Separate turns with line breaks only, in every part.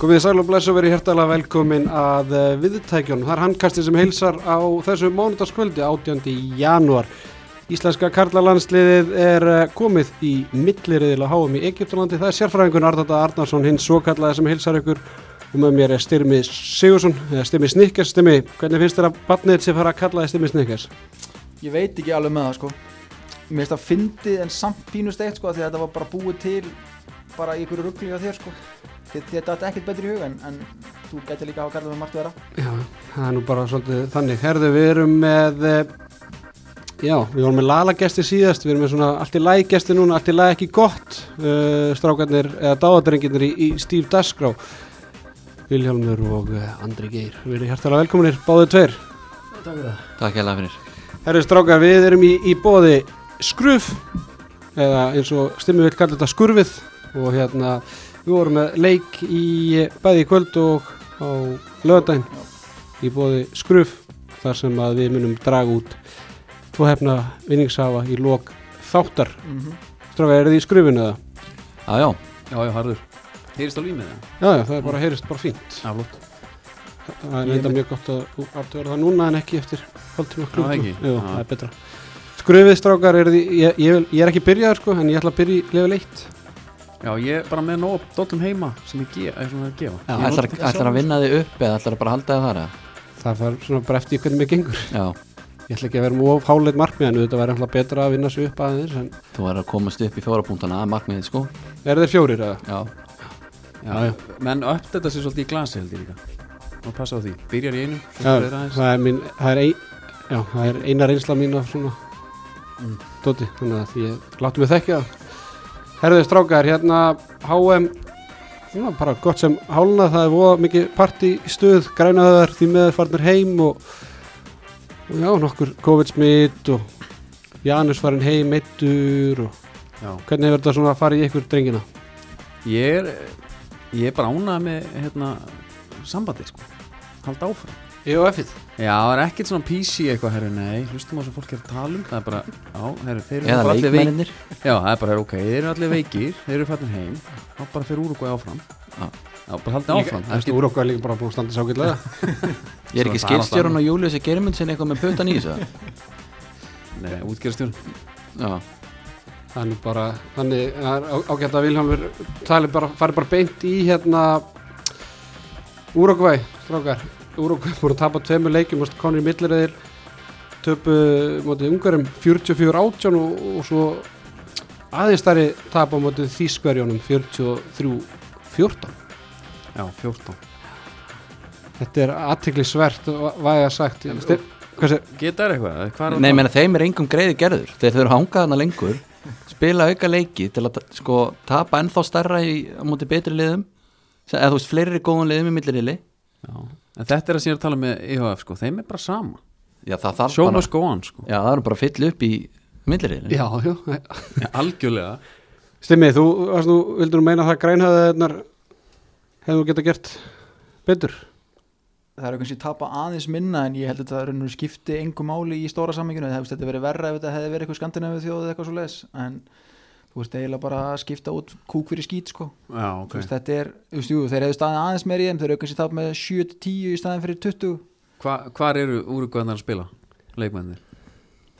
Komið sæl og blessu og verið hjertalega velkomin að eh, viðtækjunum. Það er handkastin sem heilsar á þessu mánudagskvöldi 18. janúar. Íslenska karlalandsliðið er eh, komið í milliriðil að háum í Egyptalandi. Það er sérfræðingun Arnata Arnarsson, hinn svo kallaði sem heilsar ykkur og með mér er Styrmi Sigursson, eða Styrmi Snikkers. Styrmi, hvernig finnst þér að barnið sé fara að kalla þið Styrmi Snikkers?
Ég veit ekki alveg með það sko Mér finnst það fyndið en samt pínu steikt sko af Því að þetta var bara búið til bara í ykkur ruggli á þér sko Þið- Þetta átti ekkert betur í huga en, en þú gæti líka að hafa kallað með margt vera
Já, það er nú bara svolítið þannig. Herðu, við erum með, eh, já, við vorum með lalagesti síðast, við erum með svona allt í lagi gesti núna, allt í lagi ekki gott, uh, strákarnir eða dáðadrenginir í, í Steve Dasgrá, Vilhjálmur og uh, Andri Geir. Við erum hjertalega velkominir, báðu tveir.
Takk hella fyrir
Herðu, strákar, við erum í, í bóði skruf, eða eins og stimmið vil kalla þetta skurfið og hérna, við vorum með leik í eh, bæði í kvöld og á lögadaginn í bóði skruf þar sem að við munum draga út tvo hefna vinningshafa í lok þáttar.
mm
Stráka, er þið í skrufinu eða?
Já, já,
Já, já, harður. Heyrist alveg í mig það?
Já, já, það er bara, heyrist bara fínt.
Já, flott.
Það er reynda mjög gott að þú aftur það núna en ekki eftir hálftíma
Já, það
klukku.
ekki?
Jú,
Já.
það er betra. Skrufið, strákar, er þið, ég, ég, vil- ég er ekki byrjaður sko, en ég ætla að byrja í level 1.
Já, ég er bara með nóg dollum heima sem ég gefa, eða svona að gefa.
já
Ég nota
ætlar,
ekki
ætlar að
sjálfur.
vinna þig upp eða ætlar að bara halda þig þar eða?
Það fær svona bara eftir hvernig mér gengur.
Já,
Ég ætla ekki að vera mjög of háleit markmið en þetta væri alltaf betra að vinna svo upp aðeins. En
þú er að komast upp í fjórapúntana að markmiðið sko
er þeir fjórir eða?
Já,
Já,
Já, já.
já. Menn upp þetta sér svolítið í glasi held ég líka. Má passa á því. Byrjar í einu, svo
Já,
fyrir aðeins.
það er, mín, það, er ein, já, það er eina reynsla mín af svona Mm. dóti, þannig að ég látum við þekkja það. Herðu strákar, hérna HM, svona bara gott sem hálna, það er voða mikið partistuð, grænaðar, því meður farnir heim og, og já, nokkur COVID-smitt og Janus farin heim eittur og
Já.
hvernig hefur þetta svona farið í ykkur drengina?
Ég er, ég er bara ánað með, hérna, sambandi, sko. Halda áfram.
Jó, effið.
Já, það er ekkert svona PC eitthvað, herru, nei, hlustum á sem fólk er að tala um, það er bara, já, herru, þeir eru
eða
bara allir veikir.
leikmennir
Já, það er bara, herru, ok, þeir eru allir veikir, þeir eru fættin heim, þá bara fyrir úr og áfram.
Já.
Já, bara haldið áfram.
Það er stúr okkar líka bara búin að standa sákillega.
Ég er ekki
Svona baráttan.
skilstjórun og Július er germundsin eitthvað með putan í þessu eða?
Nei, útgerðstjórn.
Já,
Það er nú bara, þannig það er á- ágætt að Vilhelmur tali bara, fari bara beint í hérna Úrugvæ, strákar Úrugvæ voru að tapa tveimur leikjum og konur í millirðir töpu mótið ungarum 44-18 og, og svo aðeins stærri tapa mótið Þískverjónum 43-14
Já, 14.
Þetta er aðtiklisvert væga sagt
En-
Ste- Hvað sér?
Geta er eitthvað? Hvað er
nei, ég meina þeim er engum greiði gerður Þeir þurfa að hanga þarna lengur Spila auka leiki til að sko tapa ennþá starra í, á móti betri liðum Se- Eða þú veist, fleiri góðan liðum í millirili
Já. En þetta er að síðan að tala með IHF sko, þeim er bara sama.
Já, það þarf
Show
bara
must go on sko.
Já, það er bara að fylla upp í millirili
Já, já,
Já, Algjörlega.
Stimmi, þú, varst nú, vildur nú meina það grænhæðarnar hefðu geta gert betur?
Það eru kannski tapa aðeins minna en ég held að þetta raunur skipti engu máli í stóra samminginu Það hefði þetta verið verra ef þetta hefði verið eitthvað skandinavu þjóð eða eitthvað svo les En þú veist eiginlega bara að skipta út kúk fyrir skít sko
Já,
Þú veist þetta er, þú veist jú, þeir hefðu staðið aðeins meir í þeim Þeir eru kannski tapa með 7-10 í staðin fyrir 20
Hva, hvar eru úrugvæðnar að spila? Leikmennir?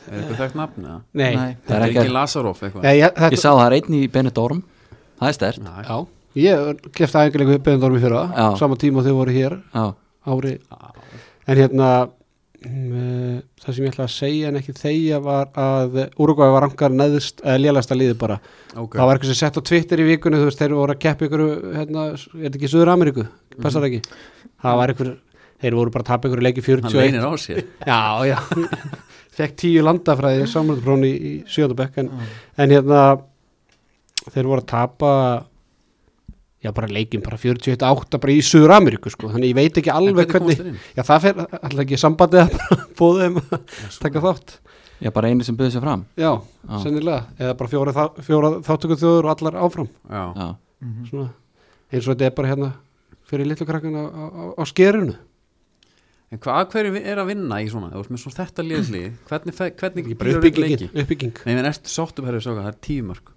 Er eitthvað þekkt nafn eða?
Nei,
Nei.
Það er
Er
ekki
ekki Lazaroff eitthvað?
Nei, ég,
Ég
þetta,
sá það er einn í Benidorm Það er stert
Nei.
já, ég kefti aðeinlega beðendormi fyrir það,
Já.
sama tíma og þau voru hér
Já,
ári,
Já.
en hérna mm, eh, það sem ég ætla að segja en ekki þegja var að Úrugvæði var rankar neðist, eða lélasta liði bara
Ok.
það var eitthvað sem sett á Twitter í vikunni þú veist, þeir voru að keppa ykkur hérna, er þetta ekki Suður Ameríku, passar ekki það var eitthvað, þeir voru bara að tapa ykkur leiki
Hann
41
leynir á sér.
Já, já Fekk tíu landafræði samröndupróni í, í sjöndabekk en, en hérna þeir voru að tapa já, bara leikin, bara 41-8 bara í Suður Ameríku, sko, þannig ég veit ekki alveg hvernig, já, það fer alltaf ekki sambandið að bara bóða þeim að taka þátt,
ég er bara einu sem byrði sér fram
já,
Já.
sennilega eða bara fjóra, þá- fjóra þáttöku þjóður og allar áfram,
Já.
Já,
svona eins og þetta er bara hérna fyrir litlu krakkan á, á, á- á skerinu
En hvað hverju er að vinna í svona? Þú veist með svona þetta liðslið, hvernig, fe- hvernig
bara
býrðu upp leiki?
uppbygging, uppbygging.
Nei, menn ertu sáttum herrið svo að það er tíu mörg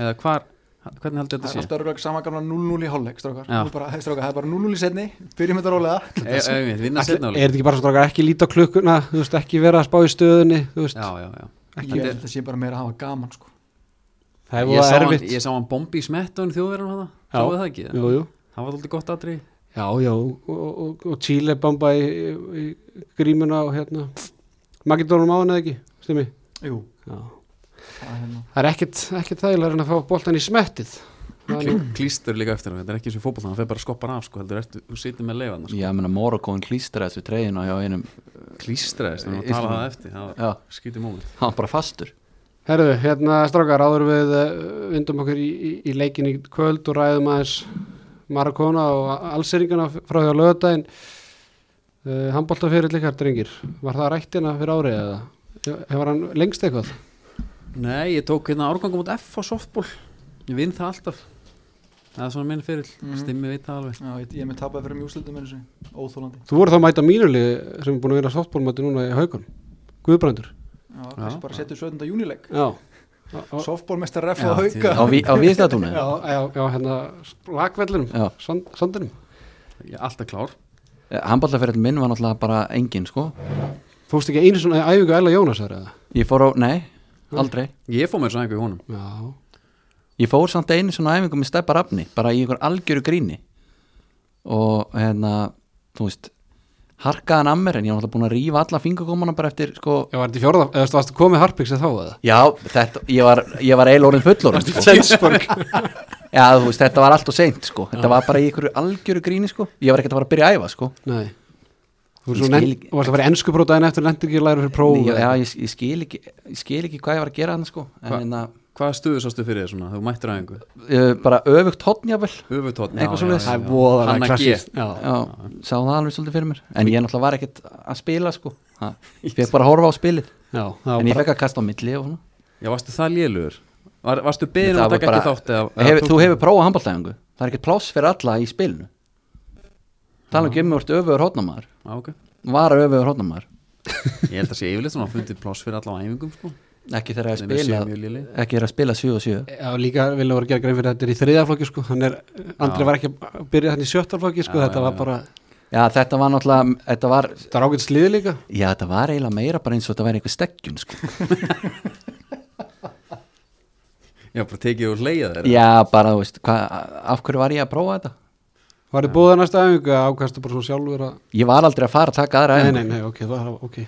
eða hvar, hvernig heldur
Það er
þetta
alltaf örgulega sama gamla 0-0 í hálfleik, strákar.
Já.
Nú bara, hey, strákar, það er bara 0-0 í setni, byrjum þetta rólega.
sé? Ef við vinna
Ætli-
setna
er þetta ekki bara svo drákar ekki líta á klukkuna þú veist, ekki vera að spá í stöðunni þú veist,
Já, já, já
Ég held að það sé bara meira að hafa gaman, sko.
það er
Ég
voða
sá hann,
erfitt
ég sá hann bombi í smettun þjóðverðan hana
Já.
Sáðu það ekki?
jú, jú.
Það var alltaf gott aðri
já, já, og, og, og Chile bomba í, í, í grímuna og hérna Magidónum á hann eða ekki, stimmi
Jú,
já.
það er hérna.
það er ekkit, ekkit þægilega en að fá boltan í smettið Það er nú-
Klístur líka eftir hann, þetta er ekki svo fótboll hann fer bara að skoppa hann af sko, heldur ertu, þú situr með leifann sko.
Já, meina Morokóin klístraðist við treyðina hjá einum,
Klístraðist, við erum að
Ísland.
tala það eftir það
já,
skýti móment
hann var bara fastur
Herðu, hérna strákar, áður við eh, vindum okkur í, í, í leikin í kvöld og ræðum aðeins Marakona og allsýringuna frá því á lögadaginn uh, Hambolta fyrir likar drengir, var það rættina fyrir árið eða? Hefur hann lengst eitthvað?
Nei, ég tók hérna árgangum út F á softball Ég vinn það alltaf Það er svona minn fyrir,
Mhm.
stimmi veit það alveg
Já, ég, ég er með tapað fyrir um júslutum eins og óþólandi.
Þú voru þá að mæta mínuli sem er búin að vera softballmöti núna í haugun Guðbrandur
Já, þessi bara setjum 17. júnileik.
Já, á, á,
Softballmestar ref
Já,
og hauka.
á, vi, á viðstæðatúni
já, já, já hérna lakvellinum,
Já.
sand, sandinum
Ég er alltaf klár
Handballaferðin Eh, minn var náttúrulega bara engin sko
Þú veist ekki einu svona æfingu Ella Jónasar eða?
Ég fór á, nei, aldrei
Ég fór mér svona einhver í honum
Já,
Ég fór samt einu svona æfingu með steppa rafni bara í einhver algjöru gríni og hérna, þú veist harkaðan að mér en ég var náttúrulega búin að rífa alla fingurgómana bara eftir sko
já var þetta í fjórða, eða þú varst komið harpiks eða þá eða?
Já, þetta, ég var, ég var eiginlega orðin fullorinn sko.
Sensborg
Já, þú veist, þetta var allt og seint sko. Þetta var bara í einhverju algjöru gríni sko. Ég var ekkert að fara að byrja að æfa sko.
Nei Þú
Ég
varst,
skil
nend,
ekki-
varst að fara í ennsku prótaðin eftir nendur ekki að læra fyrir próf
ég, Já,
eða-
ég, ég, skil ekki, ég skil ekki hvað ég var að gera hann sko. En
Hva-
hérna,
Hvaða stöðu sástu fyrir þér svona, þú mættir að einhver
uh, bara öfugt hotn jáfnvel
Höfutótt
Eitthvað svoleiðis.
Það er voðalega
Hanna G
klassískt, já.
Já, sá það alveg svolítið fyrir mér En ég náttúrulega var ekkert að spila sko. Ha, Ég fekk bara að horfa á spilið
Já, það var
En ég
bara-
fekk að kasta á milli og svona
Já, varstu það lélugur? Var, varstu beðin
Það
að
var
taka
bara-
ekki þátt eða, eða
hefur,
tók-
Þú hefur prófað handbóltæfingu Það er ekkert pláss fyrir alla í spilinu Tala ekki um að þú ert öfugur hotnamaður
Já, ok
Var öfugur hotnamaður
Ég held að sé yfirleitt svona að fundi pláss fyrir alla á æfingum sko
Ekki þegar að
Þeim er
spila
séu mjög lélegir.
Ekki þegar að spila 7 og 7
Já, líka vilja voru að gera grein fyrir að þetta er í þriðaflokki sko. hann er, Andri var ekki að byrja hann í sjöttaflokki sko.
Já,
þetta
já,
var
já.
bara,
Já, þetta var náttúrulega, þetta var
þetta var ágætt slið líka
Já, þetta var eiginlega meira bara eins og þetta væri einhver stekkjun sko.
Já, bara tekið og leiða þeir
Já, bara, þú veist, hva, af hverju var ég að prófa þetta?
Var þið búið að næsta æfingu að ákastu bara svo sjálfur að
Ég var aldrei að fara að taka aðra
Nei,
æfingu.
nei, nei, ok, það var ok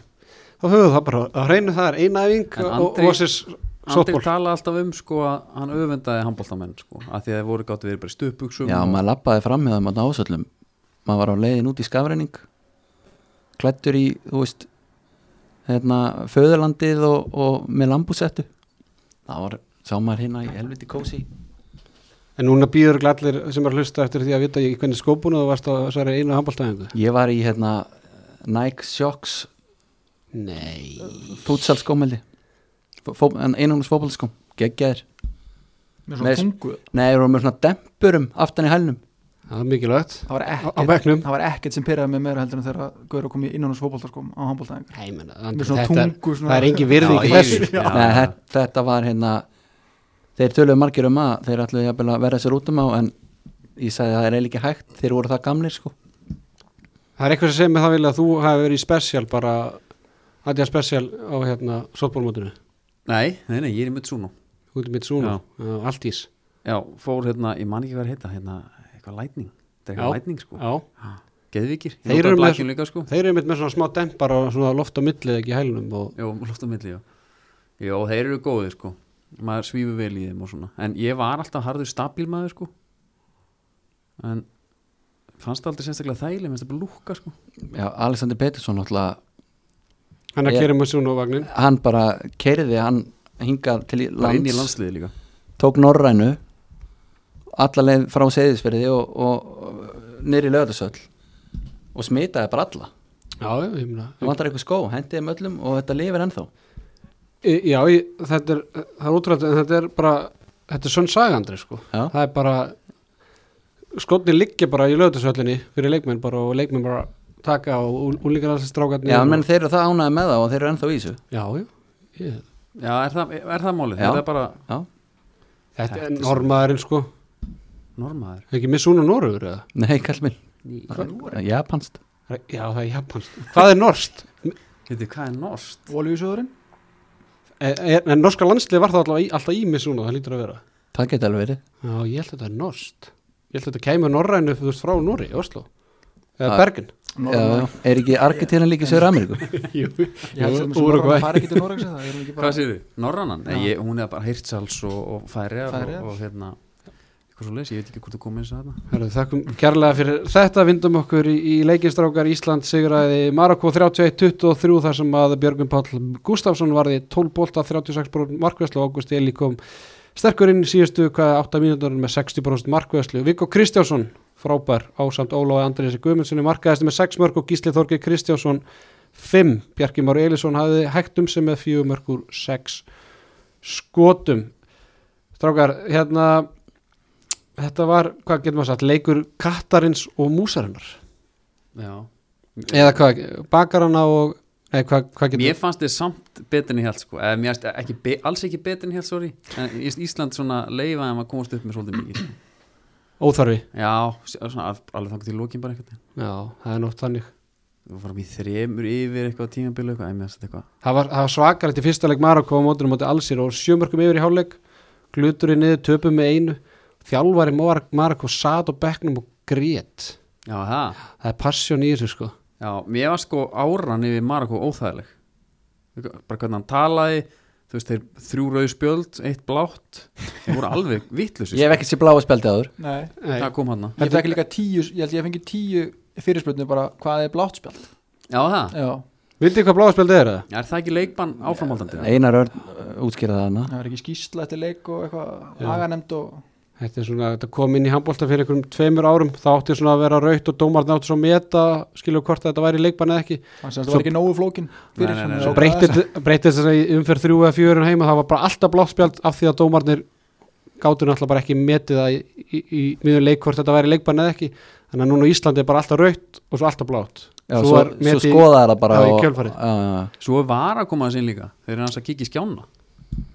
Þá höfum það bara, að reynu það er eina æfing
En
og
Andri-
Ossis
Andri
softball
tala alltaf um sko að hann öfundaði handbóltamenn sko að því að þeir voru gátt verið bara í stupuksum
Já, maður lappaði fram með það maður ásöllum maður var á leiðin út í skafreining klættur í, þú veist hérna, föðurlandið og, og með lambúsettu það var, sá maður hérna í helviti kósi
En núna býður allir sem er að hlusta eftir því að vita í hvernig skópuna þú varst á þessari eina handballtæfingu
ég var í, hérna, Nike Shocks
Nei
fútsalskómeldi einhvernus fótballskóm, geggjaðir
Með svona
Með-
tungu.
nei, ég voru með svona dempurum aftan í hælnum
Það er mikilvægt
Það var
Á- á
ekkert,
bekknum.
það var ekkert sem pyrraði með meira heldur en þegar Gaur að koma í innanhans fótboltarskóm á handbóltæðingar.
Nei, menna,
Með
Andri,
svona
þetta,
tungu, svona-
það er engin virðing í
Já,
þessu
yfir. Já.
Nei, þetta, þetta var hérna þeir töluðu margir um að þeir ætluðu jafnvel að verða sér út um á en ég sagði að það er eiginlega ekki hægt þeir voru það gamlir sko
Það er eitthvað sem segir mig það vilja að þú hafi verið í spesial bara Adidas spesial á hérna softballmótinu
Nei, nei, nei, ég er í Mitsuno
út í mitt svona, allt ís
Já, fór hérna, ég man ekki hvað að heita hérna, eitthvað lætning, þetta er
Já.
eitthvað lætning sko
Já,
Geðvíkir, ég
Þeir
notaði
eru með-
blakkinn líka sko
þeir eru mitt með svona smá dempar og svona loft á millið ekki í hælunum og
Jó, loft á milli, já Jó, þeir eru góðir sko maður svífur vel í þeim og svona en ég var alltaf harður stabilmaður sko en fannst það aldrei sérstaklega þægileg, minnst það bara lúka sko
Já, Alexander Pettersson náttúrulega
hann að
Ég-
kera með svona vagnin
hann bara kerði, hann hingað til
bara inn í
lands,
landsliði líka
tók norrænu alla leið frá seðisferði og, og, og niður í lögatasöll og smitaði bara alla
Já, já, ég meina
það vantar eitthvað skó, hendiði þeim öllum og þetta lifir ennþá
Í- Já, ég, þetta er, það er útrætt en þetta er bara, þetta er sönn sagandri sko
Já.
það er bara skotni liggja bara í lögutasöllinni fyrir leikmenn bara og leikmenn bara taka og úlíkar alls strákarnir
Já,
og-
menn þeir eru það ánæði með það og þeir eru ennþá í þessu
Já, já, ég
Já, er það, er það málið?
Já.
Er það bara,
Já,
Þetta er
Þetta er-
normaðurinn sko
normaður
Ekki missúna Norður eða?
Nei, kall minn,
Noreg?
japanst
Já, það er sko. japanskt Hvað er norskt?
Þetta, hvað er norst?
Olíusjóðurinn?
En, en norska landslið var það alltaf í, alltaf í missúna Það lítur að vera
Það geti alveg verið
Já, ég held að þetta er norskt Ég held að þetta kæmi norrænu þú veist frá Nóri, Oslo Eða
Það-
Bergen
Já, já. Er ekki Argentina líka í Söður Ameríku?
Jú,
Ég held sem
úr og
Norræna
hvað
fari ekki til Noregs eða það er hún ekki bara
Hvað séð þið? Norrannan? Nei,
Já.
ég, hún er bara hirtsals og, og færiðar og,
Færeyjar.
og hérna eitthvað svo leys, ég veit ekki hvort þú komið eins og þarna
Þakkum kærlega fyrir þetta vindum okkur í, í leikistrákar Ísland sigraði Marokko 31-23 þar sem að Björgvin Páll Gustafsson varði 12 bolta 36 brún markvæslu og Ágúst Eli kom sterkurinn síðustu hvað 8 mínútur með 60% markvæslu Viggo Kristjánsson frábær ásamt Ólafi Andriðs Guðmundssoni markaðist með 6 mörg og Gísli Þorgi Kristjánsson 5 Bjarki Már Elisson hafði hægtum sem með 4 mörg úr 6 skotum Strákar, hérna Þetta var, hvað getur maður sagt, leikur kattarins og músarinnar
Já
eða hvað, bakarana og nei, hvað, hvað getur
Mér fannst þið samt betur en ég held sko eða mér fannst ekki, be- alls ekki betur en ég held, sorry en Ís- Ísland svona leifaði að maður komast upp með svolítið mikið sko.
óþarfi
Já, s- svona af- alveg þangur til lokin bara eitthvað
Já, það er nótt þannig
Við varum í þremur yfir eitthvað tímabilu eitthvað, en mér fannst þetta eitthvað
Það var, það var svakalegt í fyrsta leik Marokko á mótinu móti allsir og sjömörkum yfir í hálfleik gluturinn niður, töpum með einu þjálfari Mar- Marokko sat á bekknum og grét
Já, það
Það er passjón í þessu sko
Já, mér var sko áran yfir Marokko óþægileg bara hvernig hann talaði þú veist, þeir þrjú rauð spjöld, eitt blátt þeir voru alveg vittlusi
Ég hef ekki sér bláa speldi áður
Nei
Nei,
það kom hann
Ég fekk líka tíu, ég held ég fengi tíu fyrirspöldinu bara hvað er blátt spjald
Já, það,
Já,
Vitið hvað bláðspjaldið er það?
er það ekki leikbann áframhaldandi?
Einar Örn uh, útskýrði það hana
það er ekki skýrsla eftir leik og eitthvað
Já.
laganemd og
Þetta er svona, þetta kom inn í handbólta fyrir einhverjum tveimur árum, það átti svona að vera raut og dómarna átti svo að meta, skilur hvort að þetta væri leikbann eða ekki,
þannig að það
Svo-
var ekki nógu flókin fyrir
Nei, nei, nei,
svona-
nei.
Svo breytist breytist þess að í umferð þrjú eða fjögur en heima það var bara alltaf blátt spjald af því að dómarnir gátur náttúrulega bara ekki metið það í, í, í miður leik hvort þetta væri leikbann eða ekki þannig að núna á Íslandi er bara alltaf rautt og svo alltaf blátt
Já, svo,
er
svo
metið-
skoðaði það bara
Já, í
og-
kjölfarið.
Já, já, já.
Svo er var að koma þess inn líka þeir eru hans að kikið í skjána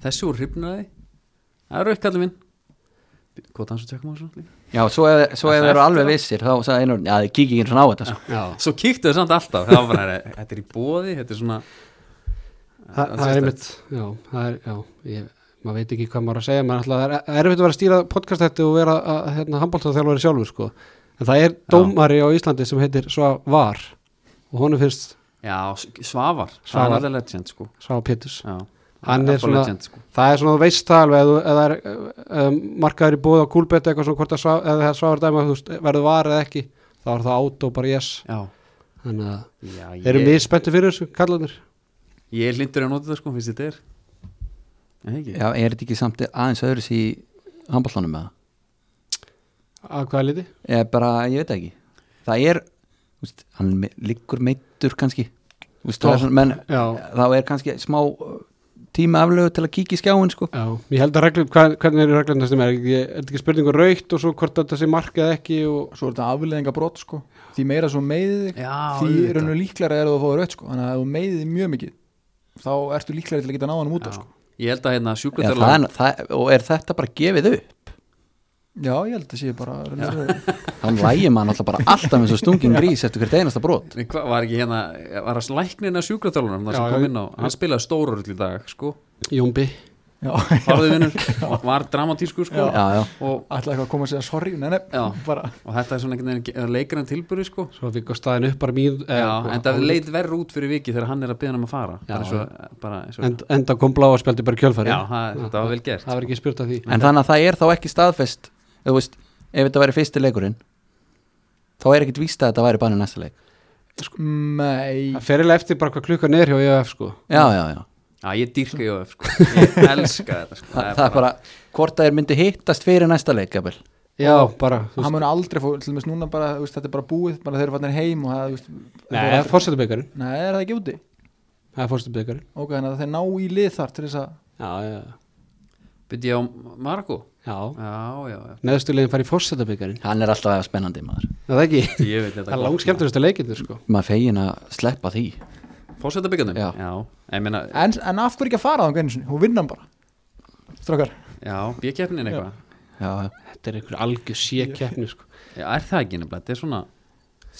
þessi voru hrifnaði það er raukt kallið minn hvað dansu tjekkum á þessu líka?
já, svo ef- svo ef
Það
þeir eru
er
alveg vissir þá sagði Einar Örn, já þið kíkja ekki svona á þetta sko.
Já.
Svo kíktu þau samt alltaf það var bara, þetta er í bóði, þetta er svona
Þa, það er einmitt já, það er, já, ég, maður veit ekki hvað maður er að segja maður alltaf, það er- það er erfitt að vera að stýra podcast þetta og vera að, hérna, handbólta þjálfari sjálfur sko. en það er dómari á Íslandi sem heitir svo var og honum finnst
Já, S- Svavar, það
Svavar.
er alveg legend sko
Sá Péturs
Já,
Hann er
Apple
svona-
legend, sko.
Það er svona þú veist það alveg eða, eða er, um, markaður í búið á kúlbetta eitthvað svona hvort að svá, eða það sváður dæma þú veist, verður var eða ekki þá er það átt og bara yes
Já,
þannig að
já
þeir eru mjög spenntu fyrir þessu kallanir
Ég er hlindur að nota þetta sko, finnst þetta er En ekki?
Já, er þetta ekki samt aðeins öðru í handbóltanum með það?
að hvaða liti?
Ég bara, ég veit það ekki Það er, úst, hann me- liggur meittur kannski úst, það er svona, menn,
Já,
þá er kannski smá uh, tíma aflögu til að kíkja í skjáin sko.
já, ég held að reglum hvernig eru reglum þessum er ekki, er þetta ekki spurningu raukt og svo hvort þetta sé markað ekki og
Svo er þetta afleðinga brot sko Því meira svo meiðið þig
Já,
því
auðvitað.
rauninu líklara er að þú fá rautt sko Þannig að ef þú meiðið þig mjög mikið þá ertu líklara til að geta náðanum út af
Já.
sko
Ég held að hérna
Já, það
sjúkraþjálfari
er, það, og er þetta bara gefið upp
Já, ég held að það sé bara rauninu,
hann lægir mann alltaf bara alltaf eins og stungin grís eftir hvert einasta brot
Nei, hvað var ekki hérna, var hans læknin að sjúkraþjálfari það
Já,
sem kom
já.
inn á, hann spilaði stóru í dag sko,
júmbi
Já,
farðu vinnur, var dramatískur sko
já, já,
og,
ætla eitthvað að koma að segja sorry Nei, nei,
Já.
bara
og þetta er svona einhvern veginn leikarinn tilbyrði sko
svo fikk á staðin upp bara mín
já, en það leit verð út fyrir viki þegar hann er að byrja hann að fara bara eins og, bara eins og
en, enda kom bláa spjaldi bara í kjölfari
já, það, þetta var vel gert
það var ekki spurt af því
en þannig að það er þá ekki staðfest eða, þú veist, ef þetta væri fyrsti leikurinn þá er ekkit víst að þetta væri bara næsta leik
sko, Nei,
það fer eða eftir bara hvað klukkan er hjá EF sko
já, já, já,
já, ég dýrka í öf sko, ég elska þetta sko.
Þa, það er bara hvort að þeir myndi hittast fyrir næsta leik jafnvel.
já, bara, þú
hann
veist,
mun aldrei fór, til dæmis núna bara, þú veist, þetta er bara búið bara þeir eru fannir heim og það, þú veist
nei, það er fórsetabyggarinn
Nei, er það ekki úti?
það er fórsetabyggarinn
Ok, þannig að þeir ná í lið þar til þess að
já, já,
byrja ég á Margo
já
já, já, já,
neðstulegin farið fórsetabyggarinn
hann er alltaf spennandi maður
það er ekki,
ég veit
það
þetta
er langskemmtunastu leikindur sko
maður fegin að sleppa því
fórsetabyggandum,
Já.
sko. já, ég meina
en, en af hverju ekki að fara þá einu sinni, hún vinna hann bara Strákar,
Já, bjökeppnin eitthvað
já,
sko. Þetta er einhver algjör sékeppni sko.
Já, er það ekki nefnilega, þetta er svona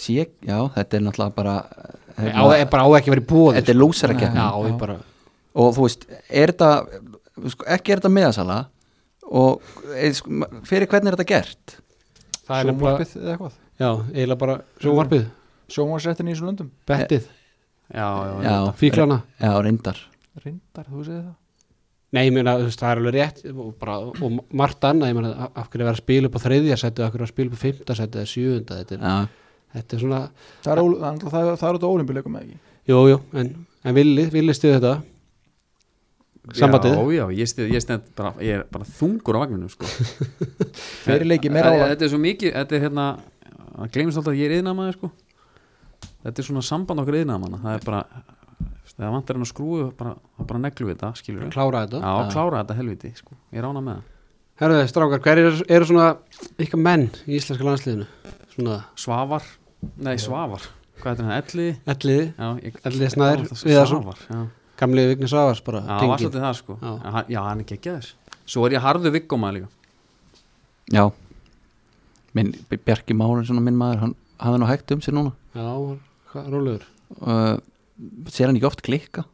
sé, já, þetta er náttúrulega bara hérna,
Nei, á, er bara á ekki að vera í bóði
þetta er lúsara
Já,
keppni
ég bara
og þú veist, er þetta sko, ekki er þetta miðasala og eh, sko, ma- fyrir hvernig er þetta gert
Það er nefnilega,
sjónvarpið eða eitthvað
já, eiginlega bara sjónvarpið,
sjónvarsrættin í þessum löndum
bettið,
Já, já, já,
já,
fíklana
já, reyndar
reyndar, þú segir það
Nei, ég meina, þú veist, það er alveg rétt og, bara, og margt annað, ég meina, af- af hverju vera að spila upp á þriðja setið, af hverju vera að spila upp á fimmta setið eða sjöunda, þetta er,
já,
þetta er svona
það er, ól- það er, það er, það er út á ólimpileikum eða ekki
Jú, jú, en, en villi, villi stuð þetta Sambandið?
Já, já, ég, stið, ég, stend bara, ég er bara þungur á vagninu sko.
fyrir leiki meira
Þetta-
álag
Þetta er svo mikið, þetta er hérna Það gleymist alltaf að ég er yðnamaður sko. Þetta er svona samband okkar yðnamaðna Það er bara, það vantar hann að skrúi bara, það bara neglu við þetta, skilur við
klára þetta
Já, klára þetta helviti, sko, ég rána með það
Herðu, strákar, hver eru er svona ykkar menn í íslenska landsliðinu? Svona,
Svavar, nei, Svavar Hvað heitir hann, Elli?
elliði,
Já, ég,
Elli Snær
ég-
Viðarsson.
Svavar, já
gamli Vigni Savars bara,
Já, það var
tengið
svolítið það sko
Já.
já. já, hann er geggjaður Svo er ég harðu viggómaður líka
já minn, Bjarki Márun, svona minn maður hann, hann er nú hægt um sér núna
Já, hvað, rólegur
uh, sér hann ekki oft klikka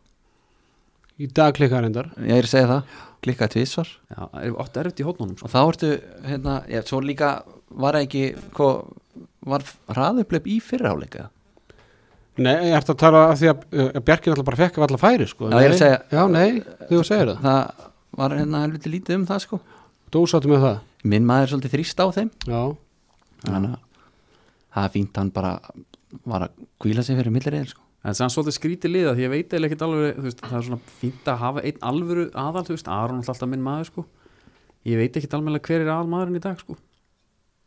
Í dag klikkar reyndar
ég er að segja það, klikka tvisvar
Já, það er ótt erfitt í hótnunum
og
sko.
þá ertu, hérna, já, svo líka var ekki, hvað var hraðuplöp í fyrraháleika
Nei, ég ætti að tala af því að, uh, að Bjarkin alltaf bara fekk af alla færi sko.
Já, ég er að segja-
Já, nei, þú segir það
það var hérna helviti lítið um það sko
Dósáttu með það
minn maður er svolítið þrýst á þeim
Já,
þannig að það er fínt hann bara var að kvíla sig fyrir millireil sko.
En það er svolítið skrítið liða því ég veit eða ekkert alveg þú veist, Það er svona fínt að hafa einn alvöru aðal þú veist, Aron er alltaf minn maður sko. Ég veit ekkert alveg hver er aðal maðurinn í dag sko.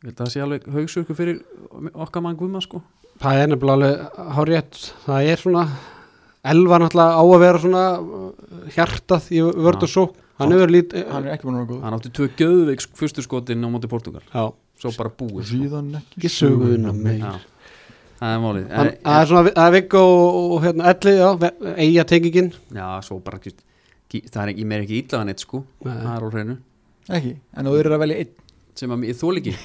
Ég held að það sé alveg haugsurku fyrir okkar mann guðma sko.
það er nefnilega alveg hárétt Það er svona Elva náttúrulega á að vera svona uh, hjartað í vörd og sók Hann hefur lítið
hann er ekki búin að vera
Hann átti tvö göðveik fyrstu skotin á móti Portugal
Já,
Svo bara
góð
búið sko.
síðan ekki
ekki söguna meir
Já, það er málið
Hann-
En-
Það er svona, það er Viggo og, og hérna, Elli, já, eiga tengingin
Já, svo bara ekki, það er ekki, mér er ekki ítlaðan eitt sko,
Nei.
það er á hreinu
ekki, en þú eru að velja einn
sem að ég þól ekki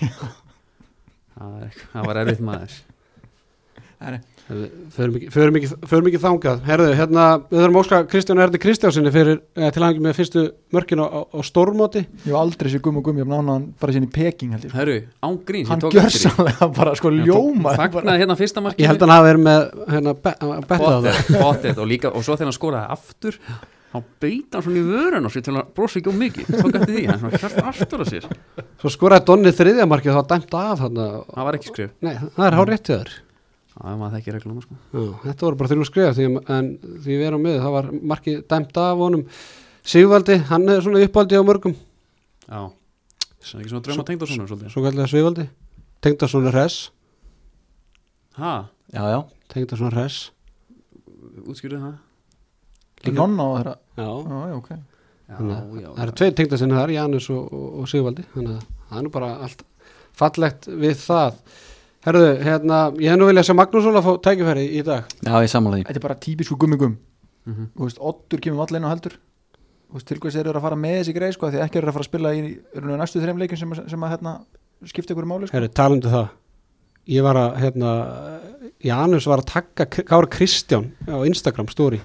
það, er, það var erfitt maður
það er
Herðu, Förum ekki- förum ekki förum ekki þangað Herðu, hérna, við þurfum að óska Kristján Erdi Kristjásinni fyrir eh, tilhangi með fyrstu mörkin á, á, á stormóti
Ég hef aldrei sér gummi og gummi, ég hef nána hann bara síðan í Peking held ég. sko.
Hörru, án grín
Hann gjör sannlega bara sko ljóma
Þagnaði hérna fyrsta markið
Ég held hann hafi verið með hérna, be- að betta á það
Pottet og líka, og svo þegar hann skoraði aftur þá beit hann svona í vörun og sér til að brosa ekki um mikið Svo gætti því, hann svona hjart aftur á sér
Svo skoraði Donni þriðja markið þá dæmt af þarna
Það var ekki skrif
Nei, það er hár rétt til þér
Það maður þekki reglum sko.
Já, Þetta voru bara þrjú skrif því, að- en því við erum með það var markið dæmt af honum Sigvaldi, hann er svona í uppaldi á mörgum
Já, það er ekki svona drauma tengd og svona svolítið
svo kallega Sigvaldi Tengdason er hress
Ha,
já, já,
Tengdason er hress
útskýrðu það?
Líka-
Nonna á þeirra
Já,
Já, já, ok
Já, já,
það eru tveir tengdasinni þar, Janus og, og, og Sigvaldi þannig að það er nú bara allt fallegt við það Herðu, hérna, ég hef nú viljað sjá Magnús Óla fá tækifæri í dag
já, ég samanlega því
Þetta er bara típisku gummigum
mm
Þú veist, Oddur kemur allir inn og heldur Þú veist, til hvers eru að fara með þessi greið sko, af því að ekki eru að fara að spila í eru næstu þreim leikin sem, að- sem að hérna, skipta ykkur máli sko.
Herðu, talandi það ég var að, hérna Janus var að taka Kára Kristján á Instagram story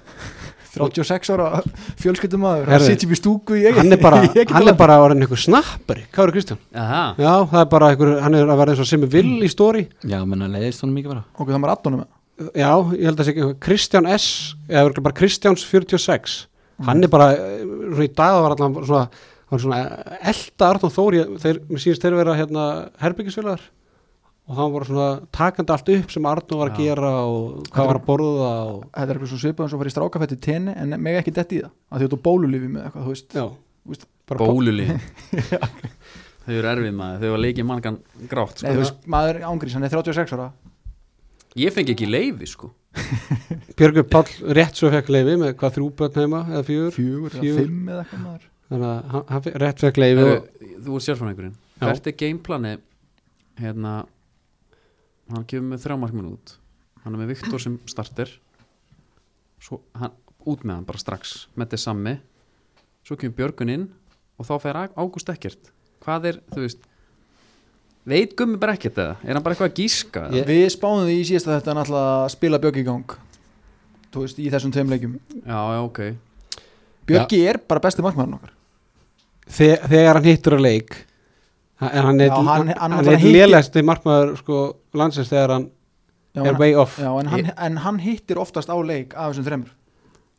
36 ára fjölskyldumæður
Herðu.
hann sitjum í stúku í eigin
hann er bara, hann er bara orðin einhver snappari Kára Kristján,
Aha,
já, það er bara einhver, hann er að vera eins og sem er vill í story
já, menna leiðist honum mikið bara
Ok, það var addunum
Já, ég held að það sé ekki Kristján S, eða örugglega bara Kristjáns 46 hann er bara, eh, svona í dag var allan svona, hann svona eh, elta Arnóð Þóri, þeir, mér síðast þeir vera hérna herbyggisfélagar og hann var svona takandi allt upp sem Arnóð var að
Já.
gera og hvað var að borða og,
Þetta er eitthvað svo svipað eins og að fara í strákafætti tenni en meg ekki detti í það af því að þú ert á bólulífi með eitthvað, þú veist
já,
Úst,
bara
bólulið Þau eru erfið maður, þau var leikið mangan
Nei,
grátt sko.
þú veist, maður ángrís, hann er 36 ára
Ég fengi ekki leifi sko
Björgur Páll rétt svo fekk leifi með hvað þrjú börn heima eða fjör,
Fjögur,
Fjögur.
eða fimm eða eitthvað maður
þannig að hann, hann fe- rétt fekk leifi
Heru,
og,
Þú er sérfræðingurinn
Já.
Hvert er gameplanið hérna hann kemur með þrjá markminn út hann er með Viktor sem starter svo hann, út með hann bara strax með þess sammi svo kemur Björgun inn og þá fer Á- Ágúst ekkert hvað er, þú veist veit gummi bara ekkert eða, er hann bara eitthvað að gíska eða?
Við spáðum því í síðasta þetta náttúrulega að spila Bjöggi í gang Þú veist, í þessum tveim leikjum
já, já, ok
Bjöggi er bara besti markmaðurinn okkar
Þe, þegar hann hittur á leik ha- en hann er
Já, hann- hann
hann, hann
náttúrulega
er
hittir-
lélegasti markmaður sko, landsins þegar hann
Já,
er
en,
way off
já en, hann, en hann hittir oftast á leik af þessum þremur